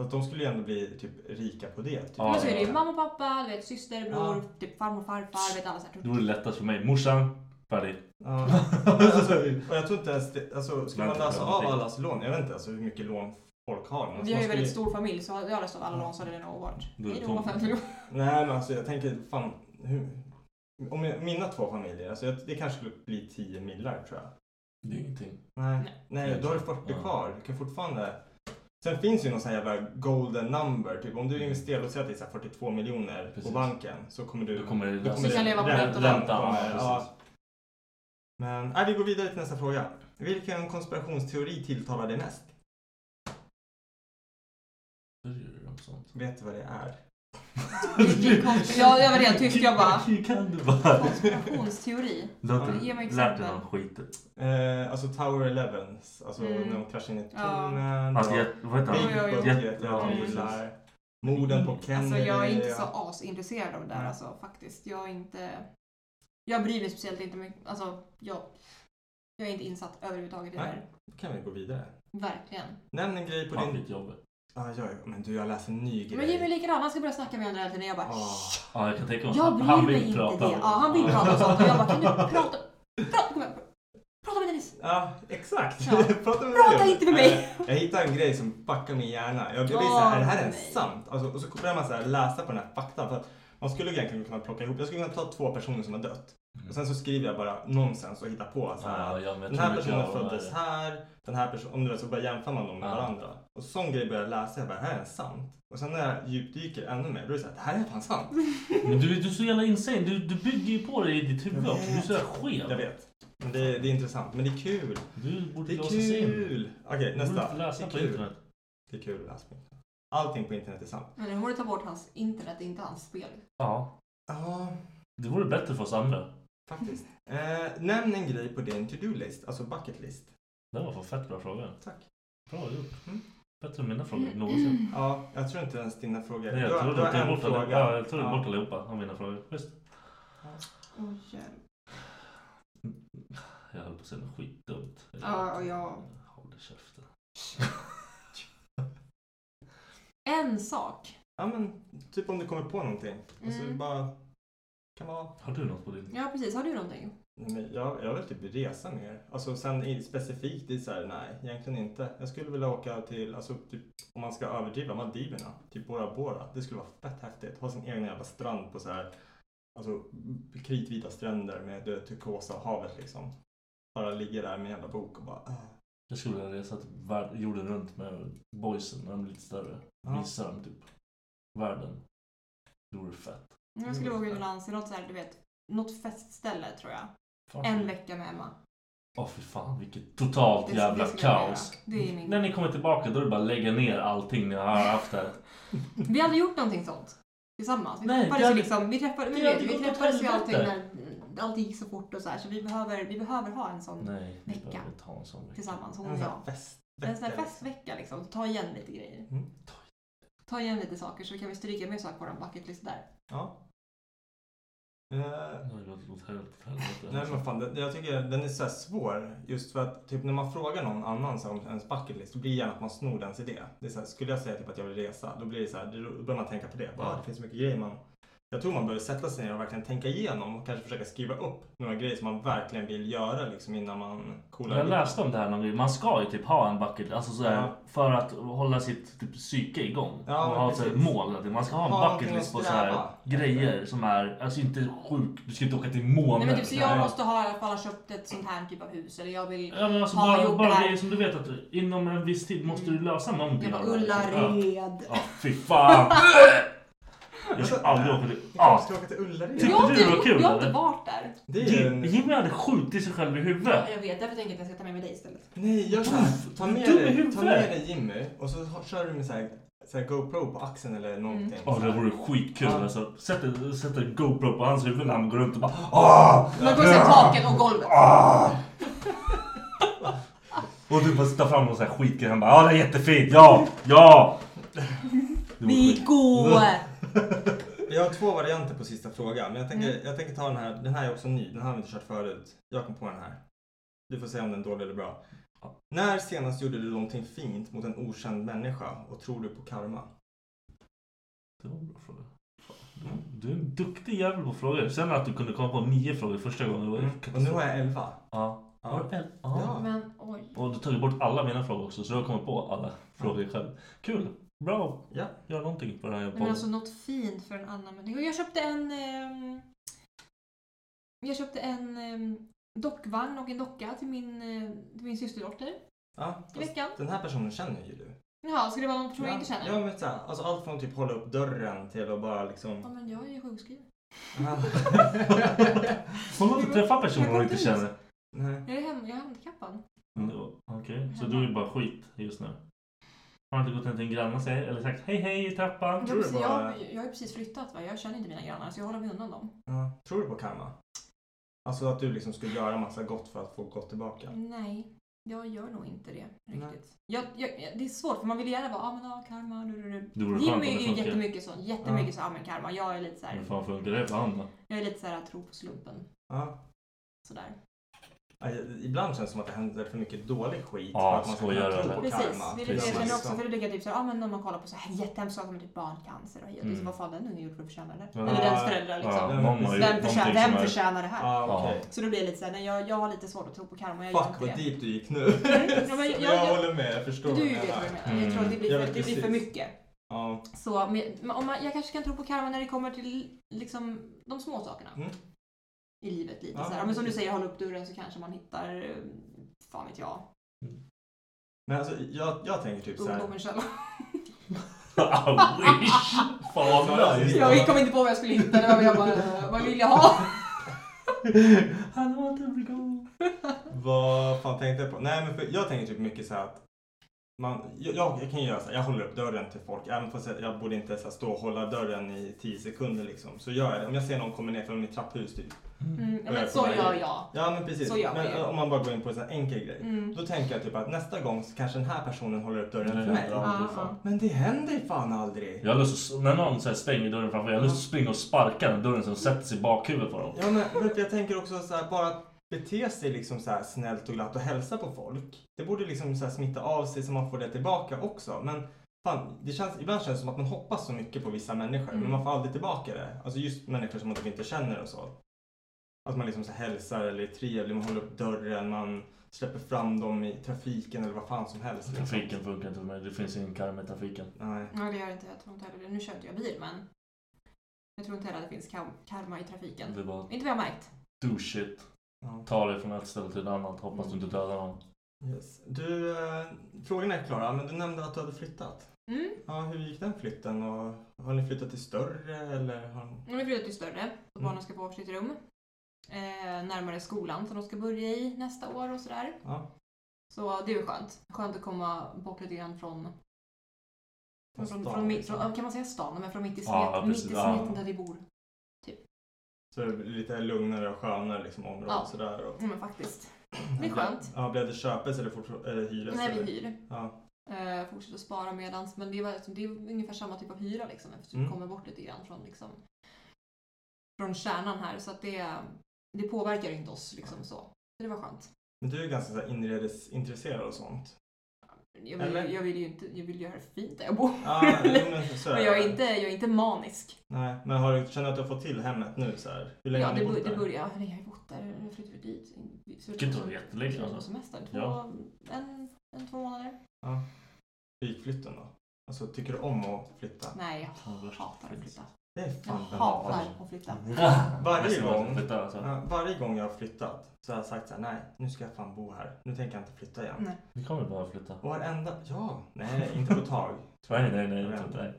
[SPEAKER 7] Så att de skulle ju ändå bli typ rika på det. Typ.
[SPEAKER 4] Ja,
[SPEAKER 5] men så är det ju
[SPEAKER 4] ja.
[SPEAKER 5] mamma, pappa, du vet, syster, bror,
[SPEAKER 7] Ja.
[SPEAKER 5] typ farmor, farfar, vet alla så här.
[SPEAKER 4] Det vore lättast för mig. Morsan, färdig.
[SPEAKER 7] Ja. alltså, och jag tror inte ens det, alltså, skulle man
[SPEAKER 4] Vänta,
[SPEAKER 7] lösa
[SPEAKER 4] vänta.
[SPEAKER 7] av allas lån, jag vet inte alltså hur mycket lån folk har. men man
[SPEAKER 5] Vi har ju en
[SPEAKER 7] skulle-
[SPEAKER 5] väldigt stor familj så jag har löst av alla lån så hade det nog varit
[SPEAKER 4] Då är det
[SPEAKER 5] hej då
[SPEAKER 4] tomt.
[SPEAKER 5] 50 miljoner.
[SPEAKER 7] Nej men alltså jag tänker fan, hur, om jag, mina två familjer, alltså, jag, det kanske skulle bli 10 millar tror jag.
[SPEAKER 4] Det är ingenting.
[SPEAKER 7] Nej,
[SPEAKER 5] Nej.
[SPEAKER 7] nej då har du 40
[SPEAKER 4] Ja.
[SPEAKER 7] kvar. Du kan fortfarande... Sen finns ju någon sån här jävla golden number. Typ om du investerar, låt säga att det är så här 42 miljoner på
[SPEAKER 4] Mm. Precis.
[SPEAKER 7] banken så kommer du...
[SPEAKER 4] Då kommer det-
[SPEAKER 7] då
[SPEAKER 4] Så kan
[SPEAKER 5] leva på
[SPEAKER 7] rä-
[SPEAKER 5] räntan.
[SPEAKER 7] räntan
[SPEAKER 4] Ja,
[SPEAKER 7] kommer, ja.
[SPEAKER 4] precis.
[SPEAKER 7] Men nej, vi går vidare till nästa fråga. Vilken konspirationsteori tilltalar dig mest?
[SPEAKER 4] Börjar du om sånt?
[SPEAKER 7] Vet du vad det är?
[SPEAKER 5] Ja, jag var redan tyst, jag bara-
[SPEAKER 4] Kan du bara?
[SPEAKER 5] Konspirationsteori.
[SPEAKER 4] Du har inte
[SPEAKER 5] Ge mig
[SPEAKER 4] lärt dig
[SPEAKER 5] exempel.
[SPEAKER 4] någon skit.
[SPEAKER 7] Eh, alltså Tower 11, alltså
[SPEAKER 5] Mm.
[SPEAKER 7] när de kraschar in i
[SPEAKER 5] Ja.
[SPEAKER 7] tunneln.
[SPEAKER 4] Alltså,
[SPEAKER 7] och
[SPEAKER 4] jag, vad heter
[SPEAKER 5] Oj, oj,
[SPEAKER 4] han?
[SPEAKER 5] oj.
[SPEAKER 7] Big Budget,
[SPEAKER 4] Jet-
[SPEAKER 7] ja,
[SPEAKER 4] Ja,
[SPEAKER 5] Mm.
[SPEAKER 4] precis.
[SPEAKER 7] bilar. Morden på
[SPEAKER 5] Alltså
[SPEAKER 7] Kennedy.
[SPEAKER 5] jag är inte så
[SPEAKER 7] ja.
[SPEAKER 5] asintresserad av det där
[SPEAKER 7] Nej.
[SPEAKER 5] alltså faktiskt. Jag är inte... Jag bryr mig speciellt inte mycket. Alltså jag... Jag är inte insatt överhuvudtaget i det
[SPEAKER 7] Nej,
[SPEAKER 5] där.
[SPEAKER 7] då kan vi gå vidare.
[SPEAKER 5] Verkligen.
[SPEAKER 7] Nämn en grej på
[SPEAKER 4] Fan
[SPEAKER 7] din
[SPEAKER 4] vilket jobb.
[SPEAKER 7] Ja, ja, ja, men du jag läser en ny grej.
[SPEAKER 5] Men Jimmy är likadan, han ska börja snacka med andra hela tiden. Jag bara...
[SPEAKER 7] Ah.
[SPEAKER 4] Ja, jag kan tänka mig.
[SPEAKER 5] Jag
[SPEAKER 4] Han,
[SPEAKER 5] bryr
[SPEAKER 4] han
[SPEAKER 5] mig
[SPEAKER 4] vill
[SPEAKER 5] inte
[SPEAKER 4] prata.
[SPEAKER 5] det. Ja, han vill prata om sånt. Och jag bara, kan du prata? Prata, kom igen. prata med Dennis.
[SPEAKER 7] Ja, exakt.
[SPEAKER 5] Ja.
[SPEAKER 7] Prata, med
[SPEAKER 5] Prata
[SPEAKER 7] mig.
[SPEAKER 5] inte med mig.
[SPEAKER 7] Eh, Jag hittade en grej som fuckade min hjärna. Jag blev
[SPEAKER 5] Åh,
[SPEAKER 7] så här, är det här
[SPEAKER 5] nej.
[SPEAKER 7] ens sant? Alltså, och så började man så här läsa på den här faktan. För att man skulle egentligen kunna plocka ihop, jag skulle kunna ta två personer som har dött. Och sen så skriver jag bara nonsens och hittar på så här.
[SPEAKER 4] Ja, ja, men jag
[SPEAKER 7] den
[SPEAKER 4] tror
[SPEAKER 7] här
[SPEAKER 4] jag
[SPEAKER 7] personen
[SPEAKER 4] klarar
[SPEAKER 7] föddes
[SPEAKER 4] det.
[SPEAKER 7] här, den här personen, om du vet så bara jämför man dem med
[SPEAKER 4] Ja.
[SPEAKER 7] varandra. Och sån grej började jag läsa, jag bara, det här är ens sant. Och sen när jag djupdyker ännu mer, då är det så här, det här är fan sant.
[SPEAKER 4] Men du, du är så jävla insane. Du, du bygger ju på det i ditt huvud
[SPEAKER 7] Jag
[SPEAKER 4] också. Du är
[SPEAKER 7] vet.
[SPEAKER 4] så jävla skev.
[SPEAKER 7] Jag vet. Men det, är- det är intressant, men det är kul.
[SPEAKER 4] Du borde
[SPEAKER 7] Det är
[SPEAKER 4] låsas in.
[SPEAKER 7] kul! Okej,
[SPEAKER 4] Du borde
[SPEAKER 7] nästa.
[SPEAKER 4] få läsa
[SPEAKER 7] det,
[SPEAKER 4] på
[SPEAKER 7] är kul.
[SPEAKER 4] internet.
[SPEAKER 7] det är kul att läsa på internet. Allting på internet är sant.
[SPEAKER 5] Men nu får du ta bort hans internet, inte hans spel.
[SPEAKER 4] Ja.
[SPEAKER 7] Ja,
[SPEAKER 4] Det vore bättre för oss andra.
[SPEAKER 7] faktiskt. Eh, nämn en grej på din to-do-list, alltså bucket list.
[SPEAKER 4] Det var fan fett bra fråga.
[SPEAKER 7] Tack.
[SPEAKER 4] Bra gjort.
[SPEAKER 7] Mm.
[SPEAKER 4] Bättre än mina
[SPEAKER 5] Mm.
[SPEAKER 4] frågor någonsin.
[SPEAKER 7] Ja, jag tror inte ens dina frågor...
[SPEAKER 4] Nej, jag
[SPEAKER 7] har-
[SPEAKER 4] tror
[SPEAKER 7] har
[SPEAKER 4] du tog bort allihopa. Ja, jag tror du
[SPEAKER 7] Ja.
[SPEAKER 4] bort allihopa av mina frågor. Visst.
[SPEAKER 5] Åh hjälp.
[SPEAKER 4] Jag höll på att säga något skitdumt.
[SPEAKER 5] Ja, och jag-
[SPEAKER 4] Håll käften.
[SPEAKER 5] En sak.
[SPEAKER 7] Ja, men typ om du kommer på någonting. Alltså,
[SPEAKER 5] Mm.
[SPEAKER 7] bara... Kan vara...
[SPEAKER 4] Har du något på din?
[SPEAKER 5] Ja precis, har du någonting?
[SPEAKER 7] Nej, men Jag, jag vill typ resa mer. Alltså sen i, specifikt i så här, nej, egentligen inte. Jag skulle vilja åka till, alltså typ, om man ska överdriva, Maldiverna. Typ Bora Bora. Det skulle vara fett häftigt. Ha sin egen jävla strand på så här, alltså kritvita stränder med det turkosa havet liksom. Bara ligga där med en jävla bok och bara, ah.
[SPEAKER 4] Jag skulle vilja resa typ värld- jorden runt med boysen när de blir lite större.
[SPEAKER 7] Ja.
[SPEAKER 4] Visa dem typ världen. Det vore fett.
[SPEAKER 5] Jag skulle åka utomlands till något så här, du vet, något festställe tror jag.
[SPEAKER 4] Fan.
[SPEAKER 7] Mm.
[SPEAKER 5] En vecka med Emma.
[SPEAKER 4] Åh fy fan vilket totalt
[SPEAKER 5] Det- det
[SPEAKER 4] jävla
[SPEAKER 5] skulle jag
[SPEAKER 4] kaos.
[SPEAKER 5] göra. Det är min-
[SPEAKER 4] När ni kommer tillbaka då är det bara att lägga ner allting ni har haft där.
[SPEAKER 5] Vi hade gjort någonting sånt. Tillsammans. Vi
[SPEAKER 4] Nej,
[SPEAKER 5] träffades
[SPEAKER 4] det
[SPEAKER 5] ju
[SPEAKER 4] hade-
[SPEAKER 5] liksom, vi träffade,
[SPEAKER 4] det
[SPEAKER 5] men du vet,
[SPEAKER 4] hade
[SPEAKER 5] vi
[SPEAKER 4] gått åt
[SPEAKER 5] träffades ju allting när
[SPEAKER 4] helvete.
[SPEAKER 5] allting gick så fort och så här. Så vi behöver, vi behöver ha en sån
[SPEAKER 4] Nej, Alltså, ni
[SPEAKER 5] vecka
[SPEAKER 4] behöver inte ha en sån vecka.
[SPEAKER 5] tillsammans, hon
[SPEAKER 7] en
[SPEAKER 5] och
[SPEAKER 7] sån här
[SPEAKER 5] jag.
[SPEAKER 7] fest.
[SPEAKER 5] En sån här festvecka liksom. Ta igen lite grejer.
[SPEAKER 7] Mm.
[SPEAKER 5] Ta igen lite saker så kan vi stryka med saker på vår bucketlist där.
[SPEAKER 7] Ja. Eh,
[SPEAKER 4] Det låter åt helvete. helvete.
[SPEAKER 7] Nej men fan, det- jag tycker den är så här svår. Just för att typ när man frågar någon annan så här, om ens bucket list, då blir det gärna att man snor dens idé. Det är så här, skulle jag säga typ att jag vill resa, då blir det så här, då börjar man tänka på det. Bara,
[SPEAKER 4] Ja.
[SPEAKER 7] Det finns så mycket grejer man... Jag tror man behöver sätta sig ner och verkligen tänka igenom och kanske försöka skriva upp några grejer som man verkligen vill göra liksom innan man coolar
[SPEAKER 4] Jag
[SPEAKER 7] ut.
[SPEAKER 4] läste om det här någon gång. Man ska ju typ ha en bucket alltså så här,
[SPEAKER 7] Ja.
[SPEAKER 4] för att hålla sitt typ, psyke igång.
[SPEAKER 7] Ja,
[SPEAKER 4] och
[SPEAKER 7] men
[SPEAKER 4] ha ett så här
[SPEAKER 7] precis.
[SPEAKER 4] mål. Att Man ska ha en
[SPEAKER 7] Ha
[SPEAKER 4] bucket
[SPEAKER 7] någonting
[SPEAKER 4] list
[SPEAKER 7] att
[SPEAKER 4] på så här,
[SPEAKER 7] sträva efter.
[SPEAKER 4] grejer som är alltså inte sjuk. Du ska inte åka till månen.
[SPEAKER 5] Nej men typ så jag
[SPEAKER 4] Nej.
[SPEAKER 5] måste ha i alla fall ha köpt ett sånt här typ av hus eller jag vill
[SPEAKER 4] Ja, men alltså,
[SPEAKER 5] ha
[SPEAKER 4] bara
[SPEAKER 5] gjort
[SPEAKER 4] bara
[SPEAKER 5] det här.
[SPEAKER 4] grejer som du vet att du- inom en viss tid måste du lösa någonting.
[SPEAKER 5] Jag bara
[SPEAKER 4] av det här, liksom. Ja.
[SPEAKER 5] Ullared.
[SPEAKER 4] Ja, fy fan. Jag ska aldrig åka till...
[SPEAKER 7] Jag
[SPEAKER 4] Ja. Typ-
[SPEAKER 7] ska åka till Ullared.
[SPEAKER 4] Tyckte
[SPEAKER 5] Jag har
[SPEAKER 4] du
[SPEAKER 5] inte,
[SPEAKER 4] det var
[SPEAKER 5] gjort-
[SPEAKER 4] kul,
[SPEAKER 5] jag har inte
[SPEAKER 4] eller?
[SPEAKER 5] varit där.
[SPEAKER 7] Det är ju en...
[SPEAKER 4] Jimmy hade skjutit sig själv i huvudet.
[SPEAKER 5] Jag vet, därför tänker jag att jag ska ta med mig dig istället.
[SPEAKER 7] Nej, gör såhär. Ta med,
[SPEAKER 4] Dum i
[SPEAKER 7] dig, ta
[SPEAKER 4] huvudet.
[SPEAKER 7] med dig Jimmy och så har- kör du med så här, så här GoPro på axeln
[SPEAKER 4] Mm.
[SPEAKER 7] eller någonting.
[SPEAKER 4] Ja, det vore skitkul
[SPEAKER 7] Ja.
[SPEAKER 4] alltså. Sätt en, sätt en GoPro på hans huvud när han går runt och bara ah!
[SPEAKER 5] Man går och ser taket och golvet.
[SPEAKER 4] Och du bara tar fram någon sån här skitgrej. Han bara ja ah, det är jättefint, ja, ja! Det vore skit.
[SPEAKER 5] Viggo!
[SPEAKER 7] Jag har två varianter på sista frågan. Men jag tänker,
[SPEAKER 5] Mm.
[SPEAKER 7] jag tänker ta den här. Den här är också ny. Den här har vi inte kört förut. Jag kom på den här. Du får säga om den är dålig eller bra. När senast gjorde du någonting fint mot en okänd människa och tror du på karma?
[SPEAKER 4] Det var en bra fråga. Du är en duktig jävel på frågor. Sen att du kunde komma på nio frågor första gången. Det var ju
[SPEAKER 7] Mm. Och nu
[SPEAKER 4] katastrof.
[SPEAKER 7] har jag elva.
[SPEAKER 4] Ja.
[SPEAKER 7] Ja.
[SPEAKER 4] Har du en? Ja.
[SPEAKER 5] Men oj.
[SPEAKER 4] Och du tog bort alla mina frågor också så jag kommer på alla frågor själv. Kul! Bra!
[SPEAKER 7] Ja.
[SPEAKER 4] Gör någonting på den här
[SPEAKER 5] Nej, men
[SPEAKER 4] podden.
[SPEAKER 5] alltså något fint för en annan människa. Jag köpte en... ehm, jag köpte en ehm, dockvagn och en docka till min, eh, till min systerdotter
[SPEAKER 7] ja.
[SPEAKER 5] i
[SPEAKER 7] fast
[SPEAKER 5] veckan.
[SPEAKER 7] Den här personen känner ju du.
[SPEAKER 5] Jaha, ska det vara någon person jag inte känner?
[SPEAKER 7] Ja, men så här, alltså allt från typ hålla upp dörren till att bara
[SPEAKER 5] Ja,
[SPEAKER 7] liksom...
[SPEAKER 5] men jag är ju sjukskriven.
[SPEAKER 4] Hon har inte träffat personer hon inte känner.
[SPEAKER 7] Nej.
[SPEAKER 5] Jag är, hem, jag är handikappad.
[SPEAKER 4] Mm, det var- Okej, så du är bara skit just nu? Har du inte gått hem till en granne och säger, eller sagt hej hej i trappan?
[SPEAKER 5] Jag,
[SPEAKER 7] tror det
[SPEAKER 5] precis, jag,
[SPEAKER 7] var-
[SPEAKER 5] har- jag har ju precis flyttat va? Jag känner inte mina grannar så jag håller mig undan dem.
[SPEAKER 7] Ja. Tror du på karma? Alltså att du liksom skulle göra massa gott för att få gott tillbaka?
[SPEAKER 5] Nej, jag gör nog inte det
[SPEAKER 7] Nej.
[SPEAKER 5] riktigt. Jag, jag, jag- det är svårt för man vill gärna bara ah, men, ah, karma. Du, du, du.
[SPEAKER 4] Det vore skönt om
[SPEAKER 5] Jimmy
[SPEAKER 4] det
[SPEAKER 5] är ju
[SPEAKER 4] funkar.
[SPEAKER 5] jättemycket sån. Jättemycket så ah, men karma. Jag är lite så här,
[SPEAKER 4] Hur fan funkar det för han då?
[SPEAKER 5] jag är lite så här tro på slumpen.
[SPEAKER 7] Ja.
[SPEAKER 5] Sådär.
[SPEAKER 7] Ja, Ibland känns det som att det händer för mycket dålig skit
[SPEAKER 4] Ja,
[SPEAKER 7] för att man ska
[SPEAKER 4] skojar
[SPEAKER 7] kunna tro
[SPEAKER 4] eller?
[SPEAKER 7] på
[SPEAKER 5] Precis,
[SPEAKER 7] karma.
[SPEAKER 5] det är det jag
[SPEAKER 4] Precis.
[SPEAKER 5] känner också. För det ligger typ såhär, ah, men när man kollar på så här jättehemska saker med typ barncancer och hej och det är så, vad fan den ungen gjorde för att förtjäna det.
[SPEAKER 4] Ja.
[SPEAKER 5] Eller dens föräldrar
[SPEAKER 4] Mm. Ja,
[SPEAKER 5] liksom.
[SPEAKER 4] någon har gjort
[SPEAKER 5] Vem,
[SPEAKER 4] någonting
[SPEAKER 5] förtjänar,
[SPEAKER 4] som
[SPEAKER 5] vem
[SPEAKER 4] är-
[SPEAKER 5] förtjänar det här?
[SPEAKER 7] Ja, okej.
[SPEAKER 5] Så då blir det lite såhär, nej jag, jag har lite svårt att tro på karma. Jag gör
[SPEAKER 7] Fuck
[SPEAKER 5] inte
[SPEAKER 7] vad
[SPEAKER 5] det. Mm,
[SPEAKER 7] deep du gick nu.
[SPEAKER 5] Ja, men jag- jag-
[SPEAKER 7] håller med, jag förstår
[SPEAKER 5] Du
[SPEAKER 7] du
[SPEAKER 5] vet vad jag
[SPEAKER 7] menar.
[SPEAKER 5] menar. Jag tror att det blir
[SPEAKER 7] Ja,
[SPEAKER 5] för,
[SPEAKER 7] men
[SPEAKER 5] det blir för
[SPEAKER 7] precis.
[SPEAKER 5] mycket.
[SPEAKER 7] Ja.
[SPEAKER 5] Så, men, men om man, jag kanske kan tro på karma när det kommer till liksom, de små sakerna
[SPEAKER 7] Mm.
[SPEAKER 5] i livet. Lite,
[SPEAKER 7] Ja,
[SPEAKER 5] så här. Men som du
[SPEAKER 7] precis.
[SPEAKER 5] säger, hålla upp dörren så kanske man hittar, eh, fan vet jag,
[SPEAKER 7] Men alltså, jag, jag tänker typ såhär.
[SPEAKER 5] ungdomens källa.
[SPEAKER 4] I wish! Fan alltså. vad nice!
[SPEAKER 5] Jag kom inte på vad jag skulle hitta. Det var jag bara, eh, vad vill jag ha?
[SPEAKER 4] I want every go!
[SPEAKER 7] Vad fan tänkte jag på? Nej men för, jag tänker typ mycket såhär att man, jag, jag, jag kan ju göra såhär, jag håller upp dörren till folk. Även fast jag, jag borde inte så här, stå och hålla dörren i 10 sekunder liksom. Så gör jag det. Om jag ser någon komma ner från mitt trapphus typ.
[SPEAKER 5] Mm, ja, men
[SPEAKER 7] Jag
[SPEAKER 5] så
[SPEAKER 7] är på
[SPEAKER 5] gör
[SPEAKER 7] väg.
[SPEAKER 5] jag.
[SPEAKER 7] Ja men precis.
[SPEAKER 5] Så gör man
[SPEAKER 7] men,
[SPEAKER 5] ju.
[SPEAKER 7] eh, om man bara går in på en sån här enkel grej.
[SPEAKER 5] Mm.
[SPEAKER 7] Då tänker jag typ att nästa gång så kanske den här personen håller upp dörren för mig.
[SPEAKER 4] Ja, det är fan.
[SPEAKER 5] Ja,
[SPEAKER 7] Men det händer fan aldrig.
[SPEAKER 4] Jag har lust att, när någon så här stänger dörren framför mig, jag har lust att springa och sparka den dörren så den sätter sig i bakhuvudet på dem.
[SPEAKER 7] Ja, men vet, du, jag tänker också så här, bara att bete sig liksom så här snällt och glatt och hälsa på folk. Det borde liksom så här smitta av sig så man får det tillbaka också. Men fan, det känns, ibland känns det som att man hoppas så mycket på vissa människor men man får aldrig tillbaka det. Alltså just människor som man typ inte känner och så. Att man liksom så här hälsar eller är trevlig, man håller upp dörren, man släpper fram dem i trafiken eller vad fan som helst. liksom.
[SPEAKER 4] Trafiken funkar inte för mig, det finns ingen karma i trafiken.
[SPEAKER 7] Nej.
[SPEAKER 5] Ja, det gör inte jag. Jag tror inte heller det. Nu kör inte jag bil, men jag tror inte heller att det finns kar- karma i trafiken.
[SPEAKER 4] Det är bara
[SPEAKER 5] Inte vad jag har märkt.
[SPEAKER 4] do shit.
[SPEAKER 7] Ja.
[SPEAKER 4] Ta dig från ett ställe till ett annat, hoppas du inte dödar någon.
[SPEAKER 7] Yes. Du, eh, frågorna är klara men du nämnde att du hade flyttat.
[SPEAKER 5] Mm.
[SPEAKER 7] Ja, hur gick den flytten? Och har ni flyttat till större eller? Har... ni-
[SPEAKER 5] Nu är flyttat till större, så
[SPEAKER 7] Mm.
[SPEAKER 5] barnen ska få varsitt rum. Eh, närmare skolan som de ska börja i nästa år och sådär.
[SPEAKER 7] Ja,
[SPEAKER 5] Så det är ju skönt. Skönt att komma bort lite grann från, från, från,
[SPEAKER 7] stan,
[SPEAKER 5] från, mitt-
[SPEAKER 7] liksom.
[SPEAKER 5] från kan man säga stan? Men från mitt i smeten,
[SPEAKER 4] Ja,
[SPEAKER 5] mitt i
[SPEAKER 4] precis. Ja.
[SPEAKER 5] smeten där vi bor.
[SPEAKER 7] Så det blir lite lugnare och skönare liksom område
[SPEAKER 5] Ja.
[SPEAKER 7] och sådär. Och...
[SPEAKER 5] Ja, men faktiskt. Det är skönt.
[SPEAKER 7] Ja, blev det köpes eller fort... eller hyres?
[SPEAKER 5] Nej, vi
[SPEAKER 7] eller?
[SPEAKER 5] hyr.
[SPEAKER 7] Ja.
[SPEAKER 5] Eh, fortsätter spara medans. Men det är, bara- det är ungefär samma typ av hyra liksom. Eftersom
[SPEAKER 7] Mm.
[SPEAKER 5] vi kommer bort lite grann från liksom, från kärnan här så att det, det påverkar inte oss liksom så. Så det var skönt.
[SPEAKER 7] Men du är ganska så här inredesintresserad och sånt.
[SPEAKER 5] Jag vill,
[SPEAKER 7] Eller?
[SPEAKER 5] jag vill ju inte, jag vill ju ha det fint där jag bor.
[SPEAKER 7] Ja, jo, men så är
[SPEAKER 5] jag, är
[SPEAKER 7] det.
[SPEAKER 5] inte, jag är inte manisk.
[SPEAKER 7] Nej, men har du, känner du att du har fått till hemmet nu så här? Hur länge
[SPEAKER 5] Ja,
[SPEAKER 7] har
[SPEAKER 5] det,
[SPEAKER 7] ni
[SPEAKER 5] bör-
[SPEAKER 7] bott
[SPEAKER 5] det
[SPEAKER 7] där?
[SPEAKER 5] börjar. Jag har ju bott där, jag flyttade dit. Så
[SPEAKER 4] Det kan inte vara jättelänge,
[SPEAKER 5] så-
[SPEAKER 4] alltså.
[SPEAKER 5] Semester, två,
[SPEAKER 4] Ja.
[SPEAKER 5] en, en, två månader.
[SPEAKER 7] Ja. Hur gick flytten då? Alltså, tycker du om att flytta?
[SPEAKER 5] Nej,
[SPEAKER 4] Ja,
[SPEAKER 5] jag
[SPEAKER 4] värst.
[SPEAKER 5] hatar att flytta.
[SPEAKER 7] Det är
[SPEAKER 5] Jag
[SPEAKER 7] fan
[SPEAKER 5] hatar att flytta.
[SPEAKER 7] Varje
[SPEAKER 4] Nästa gång
[SPEAKER 7] gång,
[SPEAKER 4] jag flyttar, alltså.
[SPEAKER 7] ja, varje gång jag har flyttat så har jag sagt så här, nej, nu ska jag fan bo här. Nu tänker jag inte flytta igen.
[SPEAKER 5] Nej.
[SPEAKER 4] Vi kommer bara flytta.
[SPEAKER 7] Och varenda, ja, nej, inte på ett tag.
[SPEAKER 4] Nej, nej, nej. Jag tror inte det.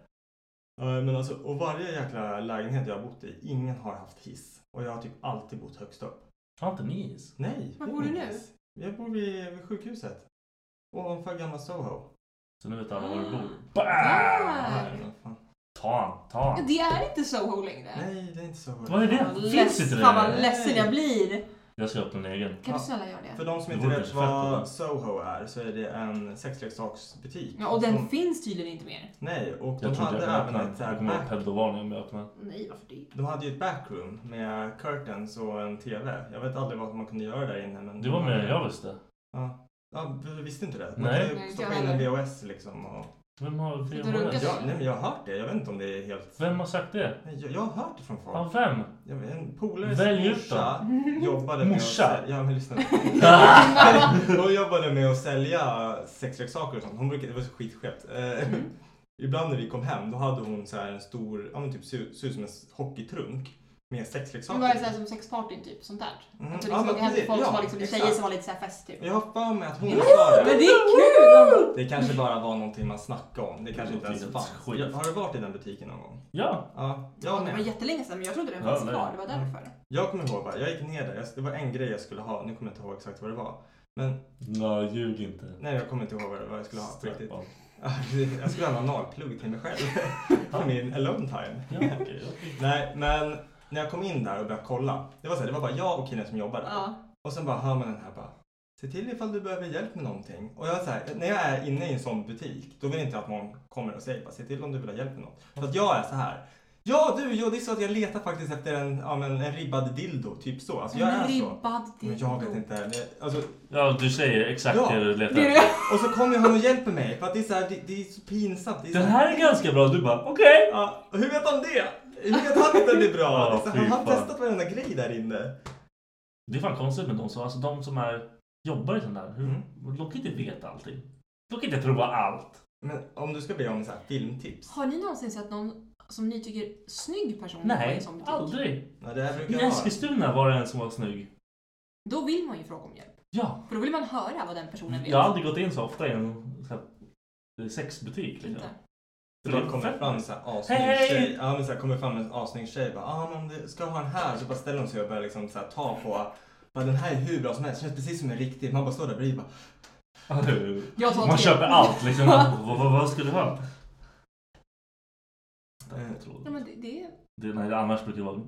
[SPEAKER 7] Ja, men alltså, och varje jäkla lägenhet jag har bott i, ingen har haft hiss. Och jag har typ alltid bott högst upp.
[SPEAKER 4] Har inte ni is?
[SPEAKER 7] Nej.
[SPEAKER 5] Var
[SPEAKER 7] det är
[SPEAKER 5] bor du
[SPEAKER 7] ingen
[SPEAKER 5] nu?
[SPEAKER 7] hiss. Jag bor vid, vid sjukhuset. Ovanför gamla Soho.
[SPEAKER 4] Så nu vet alla var du bor.
[SPEAKER 5] Ah.
[SPEAKER 4] Bam!
[SPEAKER 7] Nej, vad fan.
[SPEAKER 4] Ta han, ta
[SPEAKER 5] Ja,
[SPEAKER 4] han.
[SPEAKER 5] Det är inte Soho längre.
[SPEAKER 7] Nej, det är inte Soho.
[SPEAKER 4] Vad är det?
[SPEAKER 5] Fan,
[SPEAKER 4] Finns
[SPEAKER 5] less-
[SPEAKER 4] inte det
[SPEAKER 5] Fan vad
[SPEAKER 4] längre.
[SPEAKER 5] ledsen jag blir.
[SPEAKER 4] Jag ska öppna en egen.
[SPEAKER 5] Kan
[SPEAKER 7] Ja.
[SPEAKER 5] du snälla göra det?
[SPEAKER 7] För de som
[SPEAKER 4] Det
[SPEAKER 7] inte
[SPEAKER 4] vore
[SPEAKER 7] vet
[SPEAKER 4] kanske fett
[SPEAKER 7] vad
[SPEAKER 4] då.
[SPEAKER 7] Soho är så är det en sexleksaksbutik.
[SPEAKER 5] Ja, och den
[SPEAKER 7] som,
[SPEAKER 5] finns tydligen inte mer.
[SPEAKER 7] Nej, och de
[SPEAKER 4] Jag tror inte
[SPEAKER 7] hade
[SPEAKER 4] jag kan
[SPEAKER 7] även
[SPEAKER 4] öppna
[SPEAKER 7] ett eh, så
[SPEAKER 4] den. Jag
[SPEAKER 7] här
[SPEAKER 4] kommer ha
[SPEAKER 7] back,
[SPEAKER 4] pedovarning om jag öppnar den.
[SPEAKER 5] Nej, varför det?
[SPEAKER 7] De hade ju ett backroom med curtains och en TV. Jag vet aldrig vad man kunde göra där inne. Men
[SPEAKER 4] Det var mer än jag visste.
[SPEAKER 7] Ja. ja, du visste inte det? Man
[SPEAKER 4] Nej.
[SPEAKER 7] kunde
[SPEAKER 5] Nej,
[SPEAKER 7] ju
[SPEAKER 5] inte
[SPEAKER 7] stoppa
[SPEAKER 5] jag
[SPEAKER 7] in en
[SPEAKER 5] heller.
[SPEAKER 7] VHS liksom. Och...
[SPEAKER 4] Vem har
[SPEAKER 5] du
[SPEAKER 4] VHS?
[SPEAKER 5] runkat?
[SPEAKER 7] Ja, nej, men jag har hört det. Jag vet inte om det är helt...
[SPEAKER 4] Vem har sagt det?
[SPEAKER 7] Nej, jag, jag har hört det från folk.
[SPEAKER 4] Ja, vem?
[SPEAKER 7] Jag vet, en polares
[SPEAKER 4] Välj ut
[SPEAKER 7] morsa jobbade med
[SPEAKER 4] Morsa?
[SPEAKER 7] att sälja... Ja, men lyssna. Hon jobbade med att sälja sexleksaker och sånt. Hon brukade, det var så skitskevt.
[SPEAKER 5] Mm.
[SPEAKER 7] Eh, Ibland när vi kom hem då hade hon så här en stor, ja men typ ser ut ser ut som en hockeytrunk med
[SPEAKER 5] Men var det
[SPEAKER 7] sexleksaker.
[SPEAKER 5] såhär som sexpartyn typ? Sånt där?
[SPEAKER 7] Mm,
[SPEAKER 5] Att du
[SPEAKER 7] ja,
[SPEAKER 5] liksom
[SPEAKER 7] men
[SPEAKER 5] åker hem till
[SPEAKER 7] precis,
[SPEAKER 5] folk som
[SPEAKER 7] ja,
[SPEAKER 5] var liksom tjejer
[SPEAKER 7] exakt.
[SPEAKER 5] som var lite såhär fest typ.
[SPEAKER 7] Jag har för mig att hon sa
[SPEAKER 5] Men det
[SPEAKER 7] det.
[SPEAKER 5] är kul!
[SPEAKER 7] Det kanske bara var någonting man snackade om. Det kanske inte ens
[SPEAKER 4] Någonting
[SPEAKER 7] fanns.
[SPEAKER 4] skit.
[SPEAKER 7] Ja, Har du varit i den butiken någon gång?
[SPEAKER 4] Ja!
[SPEAKER 7] Ja,
[SPEAKER 5] Ja,
[SPEAKER 7] jag
[SPEAKER 5] det var
[SPEAKER 7] med.
[SPEAKER 5] jättelänge sedan men jag trodde den
[SPEAKER 4] Ja,
[SPEAKER 5] fanns
[SPEAKER 4] nej.
[SPEAKER 5] kvar. Det var därför.
[SPEAKER 7] Jag kommer ihåg bara, jag gick ner där. Jag- Det var en grej jag skulle ha. Nu kommer jag inte ihåg exakt vad det var. Men
[SPEAKER 4] Nej, ljug inte.
[SPEAKER 7] nej, jag kommer inte ihåg vad det var jag skulle ha på riktigt.
[SPEAKER 4] Ja,
[SPEAKER 7] Ja, Jag skulle ha en analplugg till mig själv. För min alone time.
[SPEAKER 4] okej. okej.
[SPEAKER 7] Nej, men när jag kom in där och började kolla. Det var, så här, det var bara jag och killen som jobbade.
[SPEAKER 5] Ja.
[SPEAKER 7] Och sen bara hör man den här bara. Se till ifall du behöver hjälp med någonting. Och jag är så här, när jag är inne i en sån butik, då vill jag inte att någon kommer och säger bara, se till om du vill ha hjälp med något. För att jag är så här. Ja du, jo, det är så att jag letar faktiskt efter en, ja, men en ribbad dildo, typ så. Alltså jag är
[SPEAKER 5] En
[SPEAKER 7] så.
[SPEAKER 5] ribbad
[SPEAKER 7] Men jag vet inte. det- Alltså,
[SPEAKER 4] Ja, du säger exakt
[SPEAKER 7] Ja.
[SPEAKER 4] det du letar
[SPEAKER 5] Det är
[SPEAKER 4] efter.
[SPEAKER 5] det.
[SPEAKER 7] och så kommer han och hjälper mig. För att det är så här, det, det är så pinsamt. Det är så
[SPEAKER 4] Den här är ganska bra. Du bara, okej!
[SPEAKER 7] Ja, och hur vet han det? Hur vet han att den är bra?
[SPEAKER 4] Ja,
[SPEAKER 7] Det är så-
[SPEAKER 4] fy
[SPEAKER 7] han har
[SPEAKER 4] fan.
[SPEAKER 7] testat varenda grej där inne.
[SPEAKER 4] Det är fan konstigt med de som, alltså de som är, jobbar i sån där. Hur,
[SPEAKER 7] Mm.
[SPEAKER 4] De kan inte veta allting. De kan inte prova allt.
[SPEAKER 7] Men om du ska be om så här filmtips?
[SPEAKER 5] Har ni någonsin sett någon som ni tycker snygg person
[SPEAKER 7] Mm.
[SPEAKER 5] i en
[SPEAKER 4] Nej,
[SPEAKER 5] sån butik?
[SPEAKER 4] aldrig.
[SPEAKER 7] Ja, det här brukar
[SPEAKER 4] I
[SPEAKER 7] jag ha.
[SPEAKER 4] Eskilstuna var det en som var snygg.
[SPEAKER 5] Då vill man ju fråga om hjälp.
[SPEAKER 4] Ja.
[SPEAKER 5] För då vill man höra vad den
[SPEAKER 7] Mm.
[SPEAKER 5] personen vet.
[SPEAKER 4] Jag har aldrig gått in så ofta i en så här, sexbutik. Liksom.
[SPEAKER 5] Inte.
[SPEAKER 7] Det bara kommer fram en så här assnygg
[SPEAKER 4] Hej, hej!
[SPEAKER 7] tjej. Ja, men så här kommer fram en assnygg tjej. Bara, ah, men om du ska ha den här så bara ställer hon sig och börjar liksom så här ta på. Bara, den här är hur bra som helst. Känns precis som en riktig. Man bara står där bredvid. Bara,
[SPEAKER 4] Ja, det-
[SPEAKER 5] Jag tar
[SPEAKER 4] Man
[SPEAKER 5] tre.
[SPEAKER 4] köper allt liksom. vad, vad, vad ska du ha? Jag tror
[SPEAKER 5] Ja, men det, det, är-
[SPEAKER 4] Det, nej, annars brukar det vara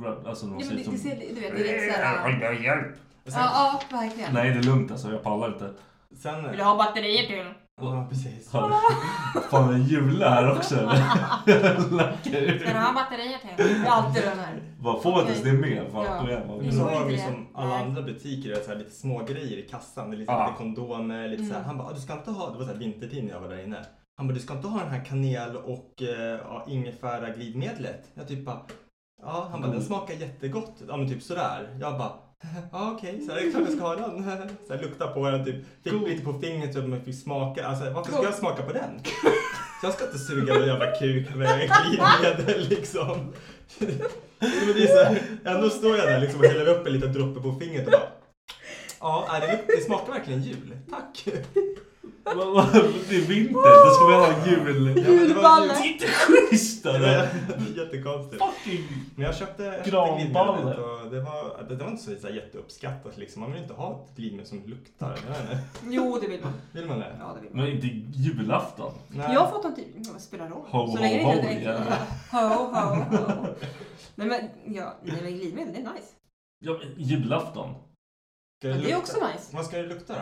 [SPEAKER 4] grab, alltså
[SPEAKER 5] ja,
[SPEAKER 4] någon
[SPEAKER 5] men det, det ser,
[SPEAKER 4] som...
[SPEAKER 5] du vet, det är rätt såhär...
[SPEAKER 4] Jag hjälp!
[SPEAKER 7] och sen,
[SPEAKER 5] Ja, ja, verkligen.
[SPEAKER 4] Nej, det är lugnt alltså. Jag pallar inte.
[SPEAKER 7] sen,
[SPEAKER 5] Vill du ha batterier till?
[SPEAKER 7] ja, precis.
[SPEAKER 4] Fan,
[SPEAKER 5] Ah.
[SPEAKER 4] Fan, det är jula här också eller? Lackar
[SPEAKER 5] Ska du
[SPEAKER 4] ur.
[SPEAKER 5] ha batterier till? Det är alltid den här.
[SPEAKER 4] Vad får man tills det är med?
[SPEAKER 5] Ja.
[SPEAKER 4] Fan, kom igen. vad-
[SPEAKER 7] Men så
[SPEAKER 5] Mm.
[SPEAKER 7] har vi
[SPEAKER 5] det.
[SPEAKER 7] som alla
[SPEAKER 5] Nej.
[SPEAKER 7] andra butiker, det är så här lite små grejer i kassan. Det är lite,
[SPEAKER 4] Ja.
[SPEAKER 7] lite kondomer, lite så här. Han bara, ah, du ska inte ha, det var så här vintertid när jag var där inne. Han bara, du ska inte ha den här kanel och eh, ja, ingefära glidmedlet. Jag typ bara, ja, han bara, den smakar jättegott. Ja men typ sådär. Jag bara, ja okej, så här, det är klart jag ska ha den. Så här, lukta på den, typ, fick lite på fingret så att man fick smaka. Alltså varför ska jag smaka på den? Jag ska inte suga någon jävla kuk med glidmedel liksom. Jo, Men det är så här, ändå står jag där liksom och häller upp en liten droppe på fingret och bara Ja, nej, det, luk- det smakar verkligen jul. Tack!
[SPEAKER 4] vad- vad- Det är vinter. Då ska vi ha jul.
[SPEAKER 7] Ja, men det var
[SPEAKER 4] Det
[SPEAKER 7] jul.
[SPEAKER 4] är inte schysst!
[SPEAKER 7] Det
[SPEAKER 4] alltså.
[SPEAKER 7] var jättekonstigt.
[SPEAKER 4] Fucking...
[SPEAKER 7] Men jag köpte, jag köpte
[SPEAKER 4] Granballe.
[SPEAKER 7] glidmedlet och det var, det var inte så, så här, jätteuppskattat liksom. Man vill inte ha ett glidmedel som luktar. Jag vet inte.
[SPEAKER 5] Jo, det vill man.
[SPEAKER 7] Vill man det?
[SPEAKER 5] Ja, det vill man.
[SPEAKER 4] Men inte julafton.
[SPEAKER 7] Nej.
[SPEAKER 5] Jag har fått en typ... Vad spelar roll?
[SPEAKER 4] Ho,
[SPEAKER 5] Så länge
[SPEAKER 4] ho,
[SPEAKER 5] det inte
[SPEAKER 4] ho,
[SPEAKER 5] är
[SPEAKER 4] jävlar.
[SPEAKER 5] Ho, ho, ho. Nej men, ja, nej, men glidmedel, det är nice.
[SPEAKER 4] Ja, men julafton.
[SPEAKER 7] Ska
[SPEAKER 5] Men det är
[SPEAKER 7] lukta?
[SPEAKER 5] också nice.
[SPEAKER 7] Vad ska det lukta då?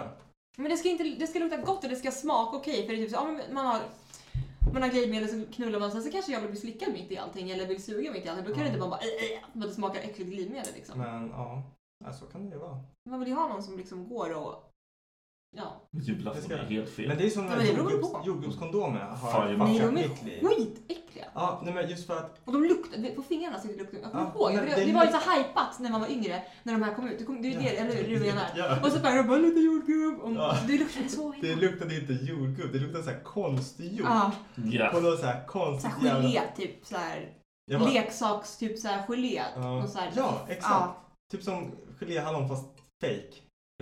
[SPEAKER 5] Men det ska, inte, det ska lukta gott och det ska smaka okej. för det är typ så, ja, men man har man har glidmedel så knullar man sen så kanske jag vill bli slickad mitt i allting eller vill suga mitt i allting. Då kan det inte bara vara äh, äh, men det smakar äckligt glidmedel liksom.
[SPEAKER 7] Men ja, ja, så kan det ju vara.
[SPEAKER 5] Man vill ju ha någon som liksom går och... Ja.
[SPEAKER 4] Julafton är helt fel.
[SPEAKER 7] Men det är som
[SPEAKER 5] Ja,
[SPEAKER 7] när
[SPEAKER 5] men det beror
[SPEAKER 7] jordgubbs,
[SPEAKER 5] på.
[SPEAKER 7] jordgubbskondomer har
[SPEAKER 4] Fan,
[SPEAKER 5] Nej,
[SPEAKER 7] fuckat
[SPEAKER 5] de är
[SPEAKER 7] mitt liv.
[SPEAKER 5] skitäckliga.
[SPEAKER 7] Ja, nej, men just för att
[SPEAKER 5] Och de luktar, på fingrarna sitter lukten. Jag kommer
[SPEAKER 7] Ja,
[SPEAKER 5] ihåg,
[SPEAKER 7] men
[SPEAKER 5] för
[SPEAKER 7] det
[SPEAKER 5] det,
[SPEAKER 7] är
[SPEAKER 5] det var ju
[SPEAKER 7] lite-
[SPEAKER 5] så hajpat när man var yngre, när de här kom ut. Det, kom, det är ju det,
[SPEAKER 7] Ja.
[SPEAKER 5] eller hur? Det är det jag menar.
[SPEAKER 7] Ja.
[SPEAKER 5] Och så bara, jag bara lite jordgubb. Och
[SPEAKER 7] Ja.
[SPEAKER 5] Det luktar så
[SPEAKER 7] det
[SPEAKER 5] illa.
[SPEAKER 7] luktade inte jordgubb, det luktade så här konstgjort.
[SPEAKER 5] Ja,
[SPEAKER 4] Ja.
[SPEAKER 7] På något så här
[SPEAKER 5] så
[SPEAKER 7] konstigt
[SPEAKER 5] här gelé, typ så här.
[SPEAKER 7] Jag bara-
[SPEAKER 5] Leksaks, typ så här gelé.
[SPEAKER 7] Ja,
[SPEAKER 5] och så här,
[SPEAKER 7] ja, exakt.
[SPEAKER 5] Ja.
[SPEAKER 7] Typ som geléhallon fast fake.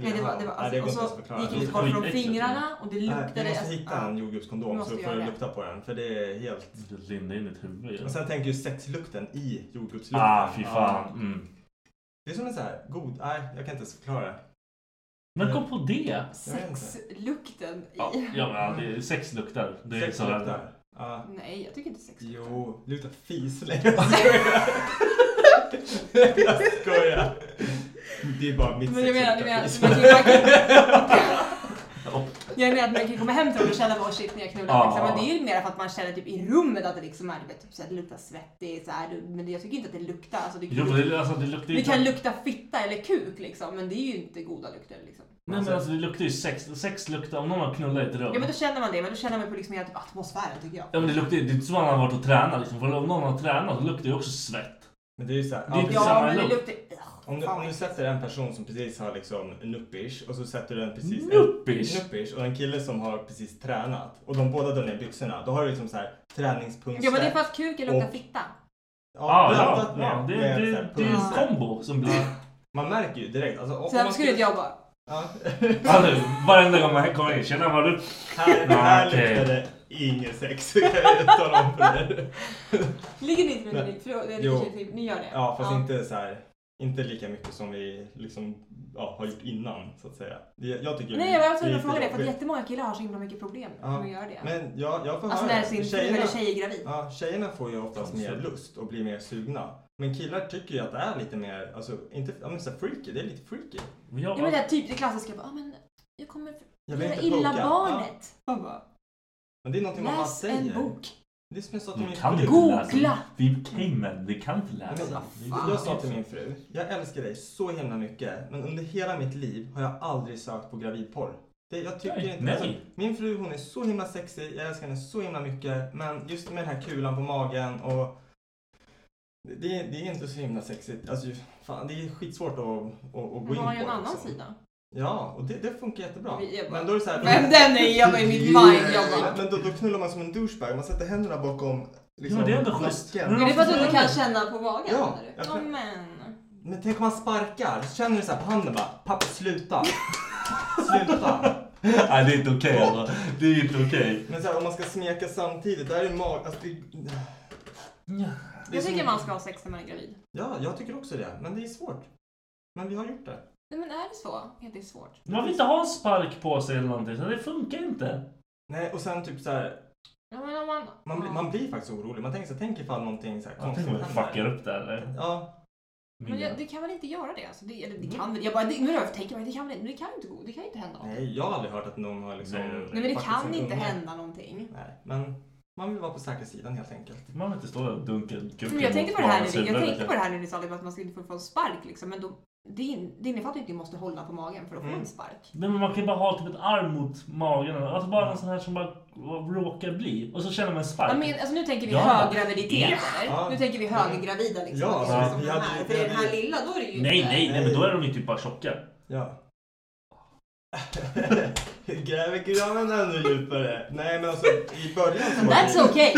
[SPEAKER 5] Nej, det var, det var,
[SPEAKER 7] Nej, det går
[SPEAKER 5] alltså, och
[SPEAKER 7] inte
[SPEAKER 5] så
[SPEAKER 7] ens att förklara.
[SPEAKER 5] gick det
[SPEAKER 7] Det typ.
[SPEAKER 5] inte bort från
[SPEAKER 4] skitäckligt.
[SPEAKER 5] fingrarna och det
[SPEAKER 7] Nej,
[SPEAKER 5] luktade...
[SPEAKER 7] du måste
[SPEAKER 5] alltså,
[SPEAKER 7] hitta
[SPEAKER 5] ja.
[SPEAKER 7] en
[SPEAKER 5] Du
[SPEAKER 7] jordgubbskondom
[SPEAKER 5] måste
[SPEAKER 7] så får
[SPEAKER 5] göra
[SPEAKER 7] du
[SPEAKER 5] det. Mm.
[SPEAKER 7] lukta på den. För det är helt...
[SPEAKER 4] Linda in i ditt huvud.
[SPEAKER 7] Och
[SPEAKER 4] Ja.
[SPEAKER 7] sen tänker ju sexlukten i jordgubbslukten.
[SPEAKER 4] Ah, fy
[SPEAKER 7] Ja.
[SPEAKER 4] fan. Mm.
[SPEAKER 7] Det är som en så här god... Nej, jag kan inte ens förklara.
[SPEAKER 4] Men kom på det!
[SPEAKER 7] Jag vet inte.
[SPEAKER 5] Sexlukten i...
[SPEAKER 4] Ja, ja, men, ja, det är sex luktar. Det är så här-
[SPEAKER 7] Sexluktar. Ja.
[SPEAKER 5] Nej, jag tycker inte sex
[SPEAKER 7] Jo, det luktar fis. Nej, jag skojar. Jag skojar. Det är bara mitt
[SPEAKER 5] Men jag menar, du
[SPEAKER 7] sexluktar
[SPEAKER 5] menar,
[SPEAKER 7] fis.
[SPEAKER 5] du menar, man kan-
[SPEAKER 4] Ja.
[SPEAKER 5] jag menar att man kan komma hem till dem och känna bara "Åh, shit när jag knullar.
[SPEAKER 4] Ja.
[SPEAKER 5] Liksom. Men det är ju mer för att man känner typ i rummet att det liksom är, du vet, typ, så här, det luktar svettigt. Så här, du- men jag tycker inte att det luktar. Alltså, det,
[SPEAKER 4] Jo, men det, alltså, det luktar ju
[SPEAKER 5] det
[SPEAKER 4] inte...
[SPEAKER 5] kan lukta fitta eller kuk liksom, men det är ju inte goda lukter liksom.
[SPEAKER 4] Nej, men alltså det luktar ju sex. Sex luktar om någon har knullat i ett rum.
[SPEAKER 5] Ja men då känner man det, men då känner man på liksom hela typ, atmosfären tycker jag.
[SPEAKER 4] Ja, men det luktar ju... Det är inte som om man har varit och tränat liksom. För om någon har tränat så luktar det ju också svett.
[SPEAKER 7] Men det är ju så här,
[SPEAKER 4] Det är inte
[SPEAKER 7] ja,
[SPEAKER 4] samma
[SPEAKER 5] Ja men det
[SPEAKER 4] lukt.
[SPEAKER 5] luktar...
[SPEAKER 7] Om du, om du sätter en person som precis har liksom nuppish och så sätter du en precis...
[SPEAKER 4] Nuppish?
[SPEAKER 7] En, nuppish och en kille som har precis tränat och de båda drar ner byxorna. Då har du liksom så här träningspunktsvett.
[SPEAKER 5] Ja men det är för att kuken luktar
[SPEAKER 7] Och-
[SPEAKER 5] fitta.
[SPEAKER 4] Ah,
[SPEAKER 7] Ja,
[SPEAKER 4] ja,
[SPEAKER 7] blandat med,
[SPEAKER 4] ja. Det, det,
[SPEAKER 7] med
[SPEAKER 4] det,
[SPEAKER 7] så här
[SPEAKER 4] är en
[SPEAKER 7] punkt.
[SPEAKER 4] kombo som blir...
[SPEAKER 7] Man märker ju direkt. Alltså, om, om
[SPEAKER 5] Sen
[SPEAKER 7] man
[SPEAKER 5] skulle inte jag bara...
[SPEAKER 7] Ja.
[SPEAKER 4] Ja, nu, Alltså, varenda gång man kommer in. Tjena, vad har du...
[SPEAKER 7] här här
[SPEAKER 4] Okej.
[SPEAKER 7] luktar det ingen sex. kan jag tala om för er.
[SPEAKER 5] Ligger ni inte med
[SPEAKER 7] Nej.
[SPEAKER 5] din fru? Eller
[SPEAKER 7] Jo.
[SPEAKER 5] kanske inte- Ni gör det?
[SPEAKER 7] Ja, fast inte så här... Inte lika mycket som vi liksom, ja, har gjort innan, så att säga. Det- Jag tycker
[SPEAKER 5] Nej jag var tvungen att
[SPEAKER 7] lite
[SPEAKER 5] fråga det, för att
[SPEAKER 7] jobbigt.
[SPEAKER 5] jättemånga killar har så himla mycket problem
[SPEAKER 7] Ja.
[SPEAKER 5] med att göra det.
[SPEAKER 7] Men jag, jag får
[SPEAKER 5] Alltså
[SPEAKER 7] höra
[SPEAKER 5] när sin fru eller tjej är gravid.
[SPEAKER 7] Ja, tjejerna får ju oftast mer lust och blir mer sugna. Men killar tycker ju att det är lite mer, alltså inte, ja men så här freaky, det är lite freaky.
[SPEAKER 4] Men jag-
[SPEAKER 5] Ja men det här typ det klassiska, bara, ah, men jag kommer
[SPEAKER 7] Jag
[SPEAKER 5] göra
[SPEAKER 7] inte
[SPEAKER 5] illa
[SPEAKER 7] poka.
[SPEAKER 5] barnet. Man bara,
[SPEAKER 7] Men det är någonting man bara
[SPEAKER 5] Läs en
[SPEAKER 7] säger.
[SPEAKER 5] bok.
[SPEAKER 7] Det är som jag sa till
[SPEAKER 4] Vi
[SPEAKER 7] min
[SPEAKER 4] kan
[SPEAKER 7] fru.
[SPEAKER 4] inte
[SPEAKER 5] Googla.
[SPEAKER 4] läsa. Vi kan, men vi kan inte
[SPEAKER 7] Nej,
[SPEAKER 4] läsa.
[SPEAKER 7] men jag- Jag sa till min fru, jag älskar dig så himla mycket men under hela mitt liv har jag aldrig sökt på gravidporr. Det, jag tycker
[SPEAKER 4] Nej,
[SPEAKER 7] inte alltså,
[SPEAKER 4] nej.
[SPEAKER 7] min fru hon är så himla sexig, jag älskar henne så himla mycket men just med den här kulan på magen och det, det är inte så himla sexigt. Alltså, ju- fan, det är skitsvårt att, att, att gå
[SPEAKER 5] Man
[SPEAKER 7] in på.
[SPEAKER 5] har ju en annan
[SPEAKER 7] liksom.
[SPEAKER 5] sida.
[SPEAKER 7] Ja, och det, det funkar jättebra.
[SPEAKER 5] Vi- jag bara-
[SPEAKER 7] men då är det så här,
[SPEAKER 5] Men den är jag bara i mitt mind. Jag bara.
[SPEAKER 7] Men- Men då, då knullar man som en douchebag, man sätter händerna bakom liksom,
[SPEAKER 4] men det är ändå schysst.
[SPEAKER 7] nacken.
[SPEAKER 4] Men
[SPEAKER 5] Är det för att du inte kan känna på magen?
[SPEAKER 7] Ja,
[SPEAKER 5] menar du?
[SPEAKER 7] jag
[SPEAKER 5] ja
[SPEAKER 7] tror-
[SPEAKER 5] men.
[SPEAKER 7] Men tänk om man sparkar, så känner du så här på handen bara, papp sluta. sluta.
[SPEAKER 4] Nej, det är inte okej alltså. Det är inte okej.
[SPEAKER 7] Men så här, om man ska smeka samtidigt, där är mag... Alltså, det... det är
[SPEAKER 5] Jag
[SPEAKER 7] som-
[SPEAKER 5] tycker man ska ha sex när man är gravid.
[SPEAKER 7] Ja, jag tycker också det, men det är svårt. Men vi har gjort det.
[SPEAKER 5] Nej men är det så? Ja, det är svårt.
[SPEAKER 4] Man vill inte ha en spark på sig eller någonting, så det funkar inte.
[SPEAKER 7] Nej, och sen typ så här,
[SPEAKER 5] Ja, men om man,
[SPEAKER 7] man, blir-
[SPEAKER 5] ja.
[SPEAKER 7] man blir faktiskt orolig. Man tänker så här, tänk ifall någonting så här
[SPEAKER 4] Jag
[SPEAKER 7] konstigt
[SPEAKER 4] tänker om jag fuckar upp det här, eller?
[SPEAKER 7] Ja,
[SPEAKER 5] men jag, det kan väl inte göra det? Alltså, det eller det kan väl... Jag bara, det, nu jag tänker jag, det kan väl inte, det kan ju inte gå, det kan ju inte hända något.
[SPEAKER 7] Mm. nej, jag har aldrig hört att någon har liksom...
[SPEAKER 4] Nej, nej, nej.
[SPEAKER 5] Nej men det
[SPEAKER 7] fuckat
[SPEAKER 5] kan
[SPEAKER 7] sin
[SPEAKER 5] inte
[SPEAKER 7] unge.
[SPEAKER 5] hända någonting.
[SPEAKER 7] Nej, men man vill vara på säkra sidan helt enkelt.
[SPEAKER 4] Man vill inte stå där och dunka kuken
[SPEAKER 5] Men jag tänkte på det
[SPEAKER 4] mot
[SPEAKER 5] här
[SPEAKER 4] barnens
[SPEAKER 5] nu, jag
[SPEAKER 4] huvud,
[SPEAKER 5] tänkte på
[SPEAKER 4] liksom.
[SPEAKER 5] det här nu när du sa det, att man skulle inte få en spark liksom. Men då, det, in, det innefattar ju inte att du måste hålla på magen för att få
[SPEAKER 7] Mm.
[SPEAKER 5] en spark.
[SPEAKER 4] Nej, men man kan ju bara ha typ ett arm mot magen. eller- Alltså bara en sån här som bara råkar bli. Och så känner man en spark.
[SPEAKER 5] Ja, men, alltså, nu tänker vi
[SPEAKER 4] Ja.
[SPEAKER 5] höggraviditet
[SPEAKER 4] Ja.
[SPEAKER 5] eller?
[SPEAKER 7] Ja.
[SPEAKER 5] Nu tänker vi höggravida liksom.
[SPEAKER 7] Ja,
[SPEAKER 5] Det är
[SPEAKER 7] ja.
[SPEAKER 5] som
[SPEAKER 7] Vi
[SPEAKER 5] den
[SPEAKER 7] hade-
[SPEAKER 5] här.
[SPEAKER 7] vi
[SPEAKER 5] För den här
[SPEAKER 7] hade-
[SPEAKER 5] lilla då är det ju
[SPEAKER 4] Nej,
[SPEAKER 5] inte-
[SPEAKER 4] nej, nej, men då är de ju typ bara tjocka.
[SPEAKER 7] Ja. Gräver graven ännu djupare? Nej men alltså i början så var
[SPEAKER 5] That's
[SPEAKER 7] det,
[SPEAKER 5] okay!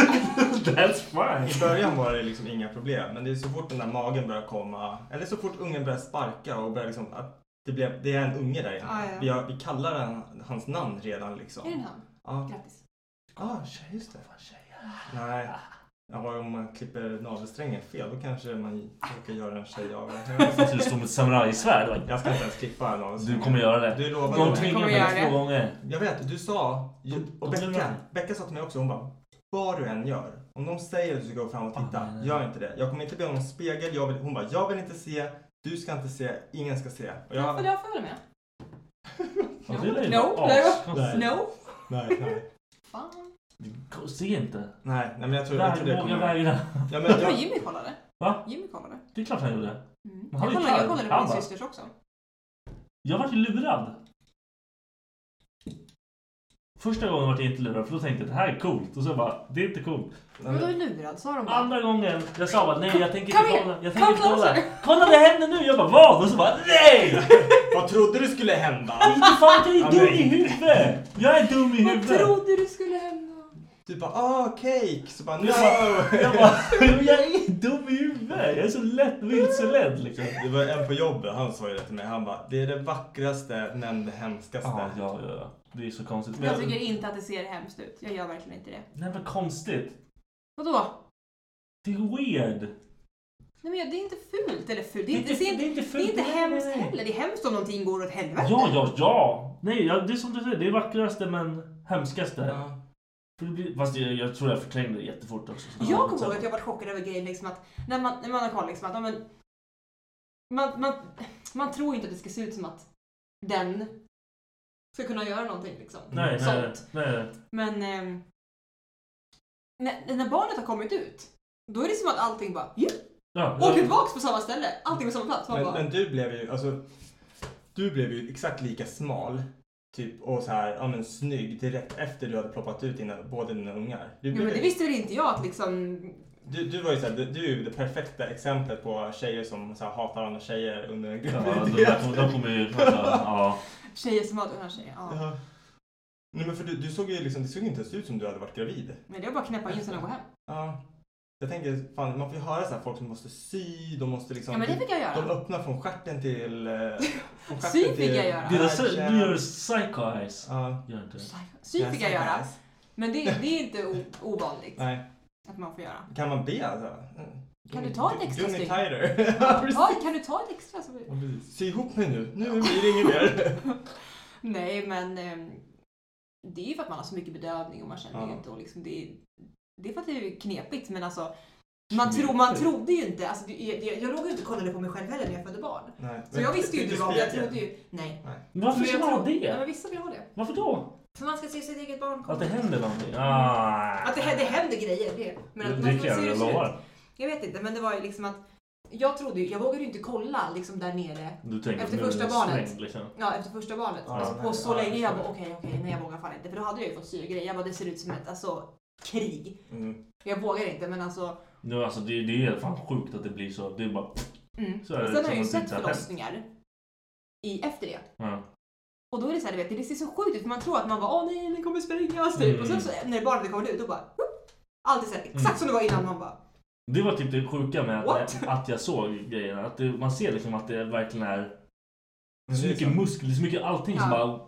[SPEAKER 4] That's fine.
[SPEAKER 7] i början var det liksom inga problem men det är så fort den där magen börjar komma eller så fort ungen börjar sparka och börjar liksom att det, blev, det är en unge där inne.
[SPEAKER 5] Ah, ja.
[SPEAKER 7] vi, har, vi kallar den, hans namn redan liksom.
[SPEAKER 5] Är den han?
[SPEAKER 7] Ja,
[SPEAKER 5] Grattis.
[SPEAKER 7] ah, tjej, just det. Nej. Ja, om man klipper navelsträngen fel då kanske man råkar göra en tjej av
[SPEAKER 4] Så att
[SPEAKER 7] det.
[SPEAKER 4] du står med ett samurajsvärd.
[SPEAKER 7] Jag ska inte ens klippa navelsträngen.
[SPEAKER 4] Du kommer göra det.
[SPEAKER 7] Du lovar
[SPEAKER 4] De
[SPEAKER 7] det.
[SPEAKER 4] tvingade
[SPEAKER 5] Kommer göra
[SPEAKER 4] mig
[SPEAKER 5] det.
[SPEAKER 4] två gånger.
[SPEAKER 7] Jag vet, du sa, ju- och
[SPEAKER 4] de- de-
[SPEAKER 7] Becka, Becka sa till mig också, hon bara, vad du än gör, om de säger att du ska gå fram och titta,
[SPEAKER 4] Ah, nej, nej.
[SPEAKER 7] gör inte det. Jag kommer inte be om någon spegel, jag vill, hon bara, jag vill inte se, du ska inte se, ingen ska se. Och
[SPEAKER 5] Ja.
[SPEAKER 7] jag,
[SPEAKER 5] Får jag följa med?
[SPEAKER 4] Ja, det är ju
[SPEAKER 5] No,
[SPEAKER 4] askonstigt.
[SPEAKER 5] no, no.
[SPEAKER 7] nej, nej.
[SPEAKER 5] Fan.
[SPEAKER 4] Se inte.
[SPEAKER 7] Nej, nej men jag tror, jag tror det
[SPEAKER 4] Våga
[SPEAKER 7] kommer...
[SPEAKER 4] vägra.
[SPEAKER 7] Ja, men
[SPEAKER 5] Jag tror
[SPEAKER 7] jag,
[SPEAKER 5] Jimmy kollade.
[SPEAKER 4] Va?
[SPEAKER 5] Jimmy kollade.
[SPEAKER 4] Det är klart han gjorde.
[SPEAKER 5] Mm.
[SPEAKER 4] Men han är ju
[SPEAKER 5] Jag, kollade jag
[SPEAKER 4] klar.
[SPEAKER 5] kollade
[SPEAKER 4] Han
[SPEAKER 5] på min
[SPEAKER 4] bara-
[SPEAKER 5] systers också.
[SPEAKER 4] Jag vart ju lurad. Första gången vart jag inte lurad för då tänkte jag det här är coolt och så bara det är inte coolt.
[SPEAKER 5] Men då är du lurad, sa de bara.
[SPEAKER 4] Andra gången jag sa bara nej jag tänker
[SPEAKER 5] Kom
[SPEAKER 4] inte
[SPEAKER 5] igen.
[SPEAKER 4] kolla. Jag
[SPEAKER 5] Kom
[SPEAKER 4] tänker inte kolla.
[SPEAKER 5] closer.
[SPEAKER 4] Kolla det händer nu! Jag bara vad? Och så bara nej!
[SPEAKER 7] vad trodde du skulle hända?
[SPEAKER 4] Inte fan jag är
[SPEAKER 7] Ja,
[SPEAKER 4] dum
[SPEAKER 7] men-
[SPEAKER 4] i huvudet! Jag är dum i
[SPEAKER 5] Vad
[SPEAKER 4] huvudet!
[SPEAKER 5] trodde du skulle hända?
[SPEAKER 7] Du bara ah, cake! Så bara no!
[SPEAKER 4] Jag bara jag är dum i huvudet! Jag är så lätt vilseledd liksom.
[SPEAKER 7] Det var en på jobbet, han sa ju det till mig. Han bara, det är det vackraste men det hemskaste.
[SPEAKER 4] Ja, Ah, ja, ja. ja. Det är så konstigt.
[SPEAKER 5] Jag tycker inte att det ser hemskt ut. Jag gör verkligen inte det.
[SPEAKER 4] Nej men konstigt.
[SPEAKER 5] Vadå?
[SPEAKER 4] Det är weird.
[SPEAKER 5] Nej men jag- det är inte fult eller fult.
[SPEAKER 4] Det
[SPEAKER 5] Det
[SPEAKER 4] är
[SPEAKER 5] är
[SPEAKER 4] inte-
[SPEAKER 5] inte, det är
[SPEAKER 4] det är inte
[SPEAKER 5] inte, det
[SPEAKER 4] fult.
[SPEAKER 5] är inte
[SPEAKER 4] Nej,
[SPEAKER 5] hemskt
[SPEAKER 4] nej, nej.
[SPEAKER 5] heller. Det är hemskt om någonting går åt helvete.
[SPEAKER 4] Ja, ja, ja! Nej, ja, det är som du säger, det är vackraste men hemskaste. För det blir, fast jag, jag tror jag förträngde det jättefort också. så-
[SPEAKER 5] Jag kommer ihåg att jag var chockad över grejen liksom att när man, när man har koll liksom att ja, men, man, man, man tror inte att det ska se ut som att den ska kunna göra någonting liksom.
[SPEAKER 4] Nej, nej,
[SPEAKER 5] Sånt.
[SPEAKER 4] nej, nej.
[SPEAKER 5] Men ehm, när, när barnet har kommit ut då är det som att allting bara yeah,
[SPEAKER 4] Ja,
[SPEAKER 5] åker tillbaks på samma ställe. Allting på samma plats. Man
[SPEAKER 7] Men,
[SPEAKER 5] bara,
[SPEAKER 7] men du blev ju, alltså. Du blev ju exakt lika smal. Typ och så här, ja men snygg direkt efter du hade ploppat ut dina, båda dina ungar. Du,
[SPEAKER 5] jo,
[SPEAKER 7] blev
[SPEAKER 5] men det
[SPEAKER 7] ju-
[SPEAKER 5] visste väl inte jag att liksom
[SPEAKER 7] du, du var ju så här, du, du är ju det perfekta exemplet på tjejer som så här, hatar andra tjejer under en
[SPEAKER 4] Ja, alltså, de där- de kommer ju... Alltså, ja.
[SPEAKER 5] tjejer som har den här tjejen. Ja.
[SPEAKER 7] Ja. Nej men för du, du såg ju liksom, det såg inte ens ut som du hade varit gravid.
[SPEAKER 5] Men det är bara att knäppa in sen och gå hem.
[SPEAKER 7] Ja. Jag tänker, fan, man får ju höra så här, folk som måste sy, de måste liksom...
[SPEAKER 5] Ja men det fick jag
[SPEAKER 7] De
[SPEAKER 5] göra.
[SPEAKER 7] öppnar från stjärten till... eh, Från
[SPEAKER 5] Sy fick jag göra.
[SPEAKER 4] Det är så,
[SPEAKER 7] världen.
[SPEAKER 4] du gör psycho eyes.
[SPEAKER 7] Ja.
[SPEAKER 4] Gör inte det.
[SPEAKER 5] Sy Typ fick jag göra. Men det, det är inte o- ovanligt
[SPEAKER 7] Nej.
[SPEAKER 5] att man får göra.
[SPEAKER 7] Kan man be alltså? Mm.
[SPEAKER 5] Kan du ta ett
[SPEAKER 7] Do-
[SPEAKER 5] extra
[SPEAKER 7] Do me
[SPEAKER 5] stygn?
[SPEAKER 7] tighter. Ja, precis.
[SPEAKER 5] Ja, kan du ta ett extra? Så...
[SPEAKER 7] Ja, precis. Sy ihop mig nu. Nu blir det inget mer.
[SPEAKER 5] Nej, men ehm, det är ju för att man har så mycket bedövning och man känner
[SPEAKER 7] Ja.
[SPEAKER 5] ju inte och liksom det är, det är för att det är knepigt men alltså man, tro, man trodde ju inte, alltså, det, jag, jag låg ju inte och kollade på mig själv heller när jag födde barn.
[SPEAKER 7] Nej.
[SPEAKER 5] Så jag visste ju inte vad, jag
[SPEAKER 7] spegel.
[SPEAKER 5] trodde ju, nej.
[SPEAKER 4] Men varför
[SPEAKER 5] Men
[SPEAKER 4] ska
[SPEAKER 5] jag
[SPEAKER 4] man ha
[SPEAKER 5] tro- Ja,
[SPEAKER 4] det?
[SPEAKER 5] men vissa vill ha det.
[SPEAKER 4] Varför då?
[SPEAKER 5] För man ska se sitt eget barn komma.
[SPEAKER 4] Att det händer någonting? Ah.
[SPEAKER 5] Att det, hä- det händer grejer, det. Men att
[SPEAKER 4] Det
[SPEAKER 5] man
[SPEAKER 4] kan
[SPEAKER 5] får
[SPEAKER 4] jag
[SPEAKER 5] se hur det
[SPEAKER 4] väl
[SPEAKER 5] ser ut.
[SPEAKER 4] lova.
[SPEAKER 5] Jag vet inte, men det var ju liksom att jag trodde ju, jag vågade ju inte kolla liksom där nere.
[SPEAKER 4] Du tänker
[SPEAKER 5] Efter
[SPEAKER 4] nu är
[SPEAKER 5] första
[SPEAKER 4] det
[SPEAKER 5] barnet.
[SPEAKER 4] stängt, liksom.
[SPEAKER 5] Ja, efter första barnet.
[SPEAKER 7] Ja,
[SPEAKER 5] Alltså,
[SPEAKER 7] nej,
[SPEAKER 5] och så
[SPEAKER 7] ja, jag
[SPEAKER 5] länge jag
[SPEAKER 7] förstår.
[SPEAKER 5] bara okej, okej, nej jag vågar fan inte. För då hade jag ju fått sy och grejer. Jag bara det ser ut som ett alltså, krig.
[SPEAKER 7] Mm.
[SPEAKER 5] Jag vågar inte men alltså.
[SPEAKER 4] Nu, alltså, det, det är fan sjukt att det blir så. Det är bara...
[SPEAKER 5] Mm.
[SPEAKER 4] Så är det
[SPEAKER 5] Sen har
[SPEAKER 4] som
[SPEAKER 5] jag ju
[SPEAKER 4] att det
[SPEAKER 5] sett
[SPEAKER 4] inte har
[SPEAKER 5] förlossningar i, efter det.
[SPEAKER 4] Ja.
[SPEAKER 5] Och då är det så här, du vet, det ser så sjukt ut för man tror att man bara åh nej, den kommer sprängas
[SPEAKER 4] Mm.
[SPEAKER 5] typ. Och sen så när barnet kommer ut då bara whoop. allt är så här, exakt som det var innan man bara
[SPEAKER 4] Det var typ det sjuka med att,
[SPEAKER 5] What?
[SPEAKER 4] att jag såg grejerna. Att det, man ser liksom att det verkligen är
[SPEAKER 7] Men
[SPEAKER 4] så
[SPEAKER 7] det är liksom-
[SPEAKER 4] mycket
[SPEAKER 7] sant.
[SPEAKER 4] muskler, så mycket allting som
[SPEAKER 5] Ja.
[SPEAKER 4] bara...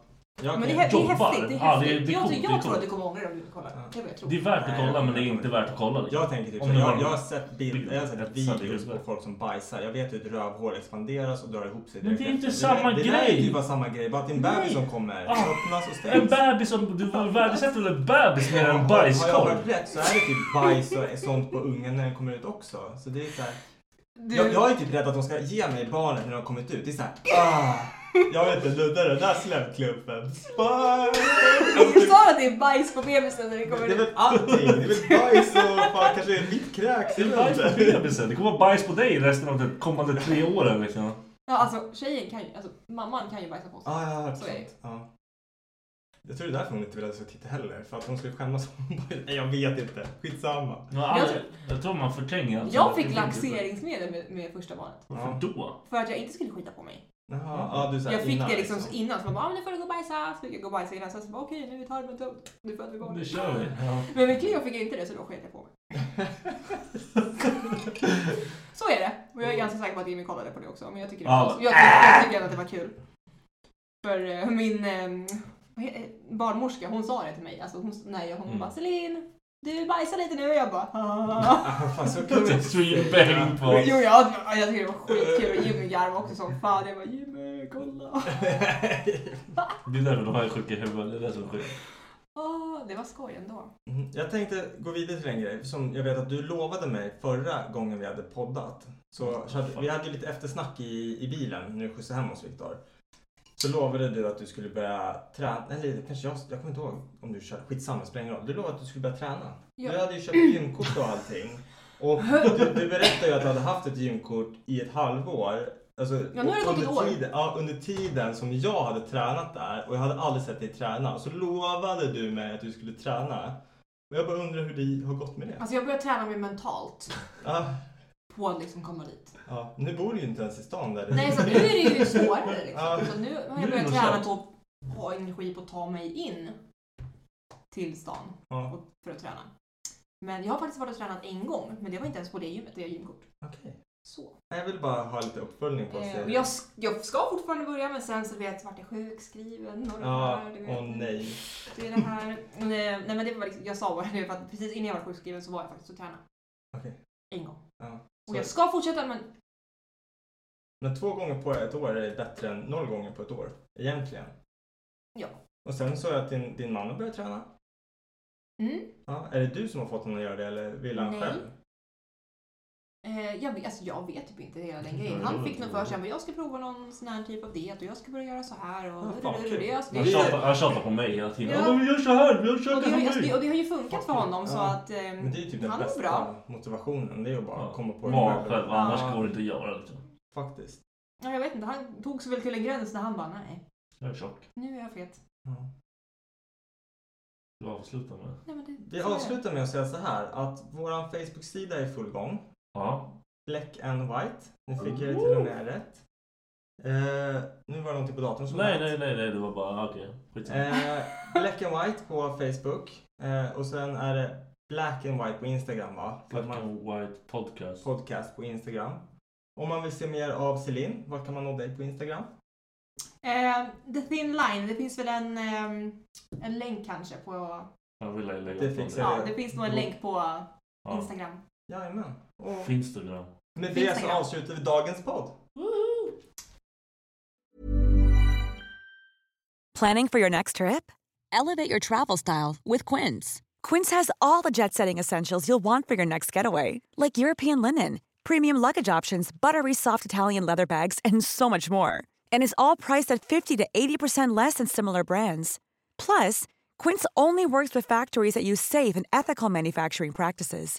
[SPEAKER 7] Jag
[SPEAKER 5] Men det
[SPEAKER 7] kan-
[SPEAKER 5] är, hä- det är
[SPEAKER 4] Jobbar.
[SPEAKER 5] häftigt. Det är häftigt.
[SPEAKER 4] Ja, det är- det är
[SPEAKER 5] jag
[SPEAKER 4] coolt, det är
[SPEAKER 5] jag tror
[SPEAKER 4] coolt.
[SPEAKER 5] att du kommer ångra dig om du inte kollar. Det är vad jag tror.
[SPEAKER 4] Det är värt att
[SPEAKER 7] Nej,
[SPEAKER 4] kolla
[SPEAKER 7] jag-
[SPEAKER 4] men det är inte värt att kolla. Liksom.
[SPEAKER 7] Jag tänker typ,
[SPEAKER 4] Om
[SPEAKER 7] jag,
[SPEAKER 4] det Mm.
[SPEAKER 7] jag,
[SPEAKER 4] var-
[SPEAKER 7] har sett, bild, jag har sett
[SPEAKER 4] Bild.
[SPEAKER 7] videos på folk som bajsar. Jag vet hur ett rövhål expanderas och drar ihop sig.
[SPEAKER 4] Men det är
[SPEAKER 7] direkt
[SPEAKER 4] inte
[SPEAKER 7] efter.
[SPEAKER 4] samma
[SPEAKER 7] det, Det där är
[SPEAKER 4] grej.
[SPEAKER 7] ju bara samma grej. Bara att det är en
[SPEAKER 4] Nej.
[SPEAKER 7] bebis som kommer.
[SPEAKER 4] Ah.
[SPEAKER 7] Öppnas och
[SPEAKER 4] En
[SPEAKER 7] stängs.
[SPEAKER 4] bebis som... Du värdesätter väl en bebis mer än en
[SPEAKER 7] Har
[SPEAKER 4] bajskorv?
[SPEAKER 7] jag hört rätt så är det typ bajs och sånt på ungen när den kommer ut också. Så det är så här,
[SPEAKER 5] Du,
[SPEAKER 7] jag, jag är typ rädd att de ska ge mig barnet när de har kommit ut. Det är så här, ah, Jag vet inte, Ludde den där släppklumpen.
[SPEAKER 5] Du
[SPEAKER 7] Bajs!
[SPEAKER 5] sa att det är bajs på bebisen när det kommer
[SPEAKER 7] Det är
[SPEAKER 5] ut.
[SPEAKER 7] väl allting. Det är väl bajs och fan, kanske vitt kräks.
[SPEAKER 4] Det
[SPEAKER 7] Jag
[SPEAKER 4] är
[SPEAKER 7] vet
[SPEAKER 4] bajs på
[SPEAKER 7] inte.
[SPEAKER 4] bebisen. Det kommer vara bajs på dig resten av de kommande tre åren. Liksom.
[SPEAKER 5] Ja, alltså tjejen kan ju, alltså mamman kan ju bajsa på sig.
[SPEAKER 7] Ah, Ja, jag har hört
[SPEAKER 5] Så är det.
[SPEAKER 7] sånt. Ja. Jag tror det är därför hon inte vill att jag ska titta heller. För att hon skulle skämmas om bajs. Nej, jag vet inte. Skitsamma.
[SPEAKER 4] Men alla-
[SPEAKER 5] Jag tror-
[SPEAKER 4] Jag tror man förtränger allt.
[SPEAKER 5] Jag fick
[SPEAKER 4] alltså, Det är inte-
[SPEAKER 5] laxeringsmedel med, med första barnet.
[SPEAKER 4] Varför då?
[SPEAKER 5] För att jag inte skulle skita på mig.
[SPEAKER 7] Jaha, ja, du, så här,
[SPEAKER 5] jag fick
[SPEAKER 7] innan,
[SPEAKER 5] det liksom innan. Så man bara, ah, men nu får du gå och bajsa. Så fick jag gå och bajsa innan. Sen så bara, okej nu tar vi en tumt. Nu föder vi
[SPEAKER 4] Nu
[SPEAKER 5] barnet.
[SPEAKER 4] kör vi. Ja.
[SPEAKER 5] Men med Cleo fick jag inte det så då sket jag på mig. Så är det. Och jag är ganska säker på att Jimmy kollade på det också. Men jag tycker, det
[SPEAKER 4] Ja.
[SPEAKER 5] var, jag, tycker, jag tycker ändå att det var kul. För eh, min eh, vad he- eh, barnmorska hon sa det till mig. Alltså hon, när jag, hon
[SPEAKER 4] Mm.
[SPEAKER 5] bara Celine, du bajsar lite nu. Och jag bara "Ah."
[SPEAKER 7] Ah, fan, så
[SPEAKER 4] Det är
[SPEAKER 7] kul.
[SPEAKER 4] ett Streambang på...
[SPEAKER 5] Jo, jag, jag tycker det var skitkul och Jimmy garvade också som fan. Jag bara Jimmy, kolla.
[SPEAKER 4] Det är därför de här är sjuka i huvudet. Det är det som är sjukt.
[SPEAKER 5] Ah, det var skoj ändå.
[SPEAKER 7] Mm, Jag tänkte gå vidare till en grej som jag vet att du lovade mig förra gången vi hade poddat. Så, så hade, vi hade ju lite eftersnack i, i bilen när du skjutsade hem oss Viktor. Så lovade du att du skulle börja träna. Eller det kanske jag, jag kommer inte ihåg om du körde. Skitsamma, det spelar ingen roll. Du lovade att du skulle börja träna.
[SPEAKER 5] Ja.
[SPEAKER 7] Du hade ju köpt gymkort och allting. Och du, du berättade ju att du hade haft ett gymkort i ett halvår. Alltså,
[SPEAKER 5] Ja, nu har det gått
[SPEAKER 7] under
[SPEAKER 5] ett år.
[SPEAKER 7] Tiden, ja, under tiden som jag hade tränat där och jag hade aldrig sett dig träna. Och så lovade du mig att du skulle träna. Och jag bara undrar hur det har gått med det.
[SPEAKER 5] Alltså jag börjar träna mig mentalt
[SPEAKER 7] Ja,
[SPEAKER 5] på att liksom komma dit.
[SPEAKER 7] ja. Nu bor du ju inte ens i stan där. Ah,
[SPEAKER 5] Nej, så nu är det ju svårare liksom. Så nu
[SPEAKER 7] Nu
[SPEAKER 5] har
[SPEAKER 7] är
[SPEAKER 5] jag börjat
[SPEAKER 7] det
[SPEAKER 5] träna
[SPEAKER 7] något
[SPEAKER 5] på att ha energi på att ta mig in till stan
[SPEAKER 7] Ja.
[SPEAKER 5] och, för att träna. Men jag har faktiskt varit och tränat en gång, men det var inte ens på det gymmet, det är gymkort.
[SPEAKER 7] Okej.
[SPEAKER 5] Så.
[SPEAKER 7] Jag vill bara ha lite uppföljning på
[SPEAKER 5] Eh,
[SPEAKER 7] serien.
[SPEAKER 5] men jag, sk- jag ska fortfarande börja, men sen så vet jag vart jag sjukskriven och det
[SPEAKER 7] Ja,
[SPEAKER 5] här, du vet.
[SPEAKER 7] åh nej.
[SPEAKER 5] Det är det här. Nej, nej men det var liksom, jag sa bara det för att precis innan jag var sjukskriven så var jag faktiskt och tränade.
[SPEAKER 7] Okej.
[SPEAKER 5] En gång.
[SPEAKER 7] Ja.
[SPEAKER 5] Och jag
[SPEAKER 7] Så-
[SPEAKER 5] ska fortsätta men
[SPEAKER 7] Men två gånger på ett år är bättre än noll gånger på ett år, egentligen.
[SPEAKER 5] ja.
[SPEAKER 7] Och sen så är att din, din man har börjat träna.
[SPEAKER 5] Mm.
[SPEAKER 7] Ja, är det du som har fått honom att göra det eller vill han
[SPEAKER 5] Nej.
[SPEAKER 7] själv?
[SPEAKER 5] Eh, jag, vet- alltså, jag vet typ inte hela den
[SPEAKER 7] Ja,
[SPEAKER 5] grejen.
[SPEAKER 7] det
[SPEAKER 5] Han
[SPEAKER 7] var
[SPEAKER 5] fick nog
[SPEAKER 7] inte
[SPEAKER 5] för sig att jag ska prova någon sån här typ av diet och jag ska börja göra så här och...
[SPEAKER 7] Ah, fan,
[SPEAKER 5] och- och- och-
[SPEAKER 7] kul.
[SPEAKER 5] jag ska-
[SPEAKER 4] Han tjatar, han tjatar på mig hela tiden.
[SPEAKER 5] Ja.
[SPEAKER 4] Ja. men gör så här, vi gör
[SPEAKER 5] alltså Och
[SPEAKER 4] käka
[SPEAKER 5] det, har, ju-
[SPEAKER 4] som
[SPEAKER 5] alltså, det,
[SPEAKER 4] mig.
[SPEAKER 5] och det har ju funkat för honom så
[SPEAKER 7] Ja.
[SPEAKER 5] att eh,
[SPEAKER 7] Men det är ju typ den
[SPEAKER 5] han mår
[SPEAKER 7] bästa
[SPEAKER 5] bra.
[SPEAKER 7] motivationen. Det är att bara komma på
[SPEAKER 4] Mara själv, annars
[SPEAKER 7] Ja,
[SPEAKER 4] går det inte att göra liksom.
[SPEAKER 7] Faktiskt.
[SPEAKER 5] Ja, jag vet inte, han tog sig väl till en gräns när han bara nej,
[SPEAKER 4] Jag är tjock.
[SPEAKER 5] nu är jag fet.
[SPEAKER 7] Ja.
[SPEAKER 4] Du avslutar med det.
[SPEAKER 5] Nej, men det,
[SPEAKER 7] Vi
[SPEAKER 5] så är det.
[SPEAKER 7] avslutar med att säga så här att våran Facebook-sida är i full gång.
[SPEAKER 4] Ja.
[SPEAKER 7] Black and White. Nu fick jag det till och med rätt. Eh, nu var det någonting på datorn som var
[SPEAKER 4] Nej,
[SPEAKER 7] rätt.
[SPEAKER 4] nej, nej, nej, det var bara okej. Skitsamma.
[SPEAKER 7] Eh, black and White på Facebook. Eh, och sen är det Black and White på Instagram va? För att
[SPEAKER 4] Black
[SPEAKER 7] man
[SPEAKER 4] and White Podcast.
[SPEAKER 7] podcast på Instagram. Om man vill se mer av Celine, var kan man nå dig på Instagram?
[SPEAKER 5] Eh, the thin line, det finns väl en, ehm, en länk kanske på...
[SPEAKER 4] Jag vill lägga upp
[SPEAKER 7] Det
[SPEAKER 4] någon
[SPEAKER 7] fixar
[SPEAKER 4] där.
[SPEAKER 5] Ja, det finns nog en länk på
[SPEAKER 4] Ja.
[SPEAKER 5] Instagram.
[SPEAKER 7] Jajamän. Och
[SPEAKER 4] Finstagram.
[SPEAKER 7] med det så
[SPEAKER 5] Instagram.
[SPEAKER 7] avslutar vi dagens podd.
[SPEAKER 8] Planning for your next trip?
[SPEAKER 9] Elevate your travel style with Quince.
[SPEAKER 8] Quince has all the jet setting essentials you'll want for your next getaway, like European linen, premium luggage options, buttery soft Italian leather bags, and so much more. And is all priced at 50 to 80% less than similar brands. Plus, Quince only works with factories that use safe and ethical manufacturing practices.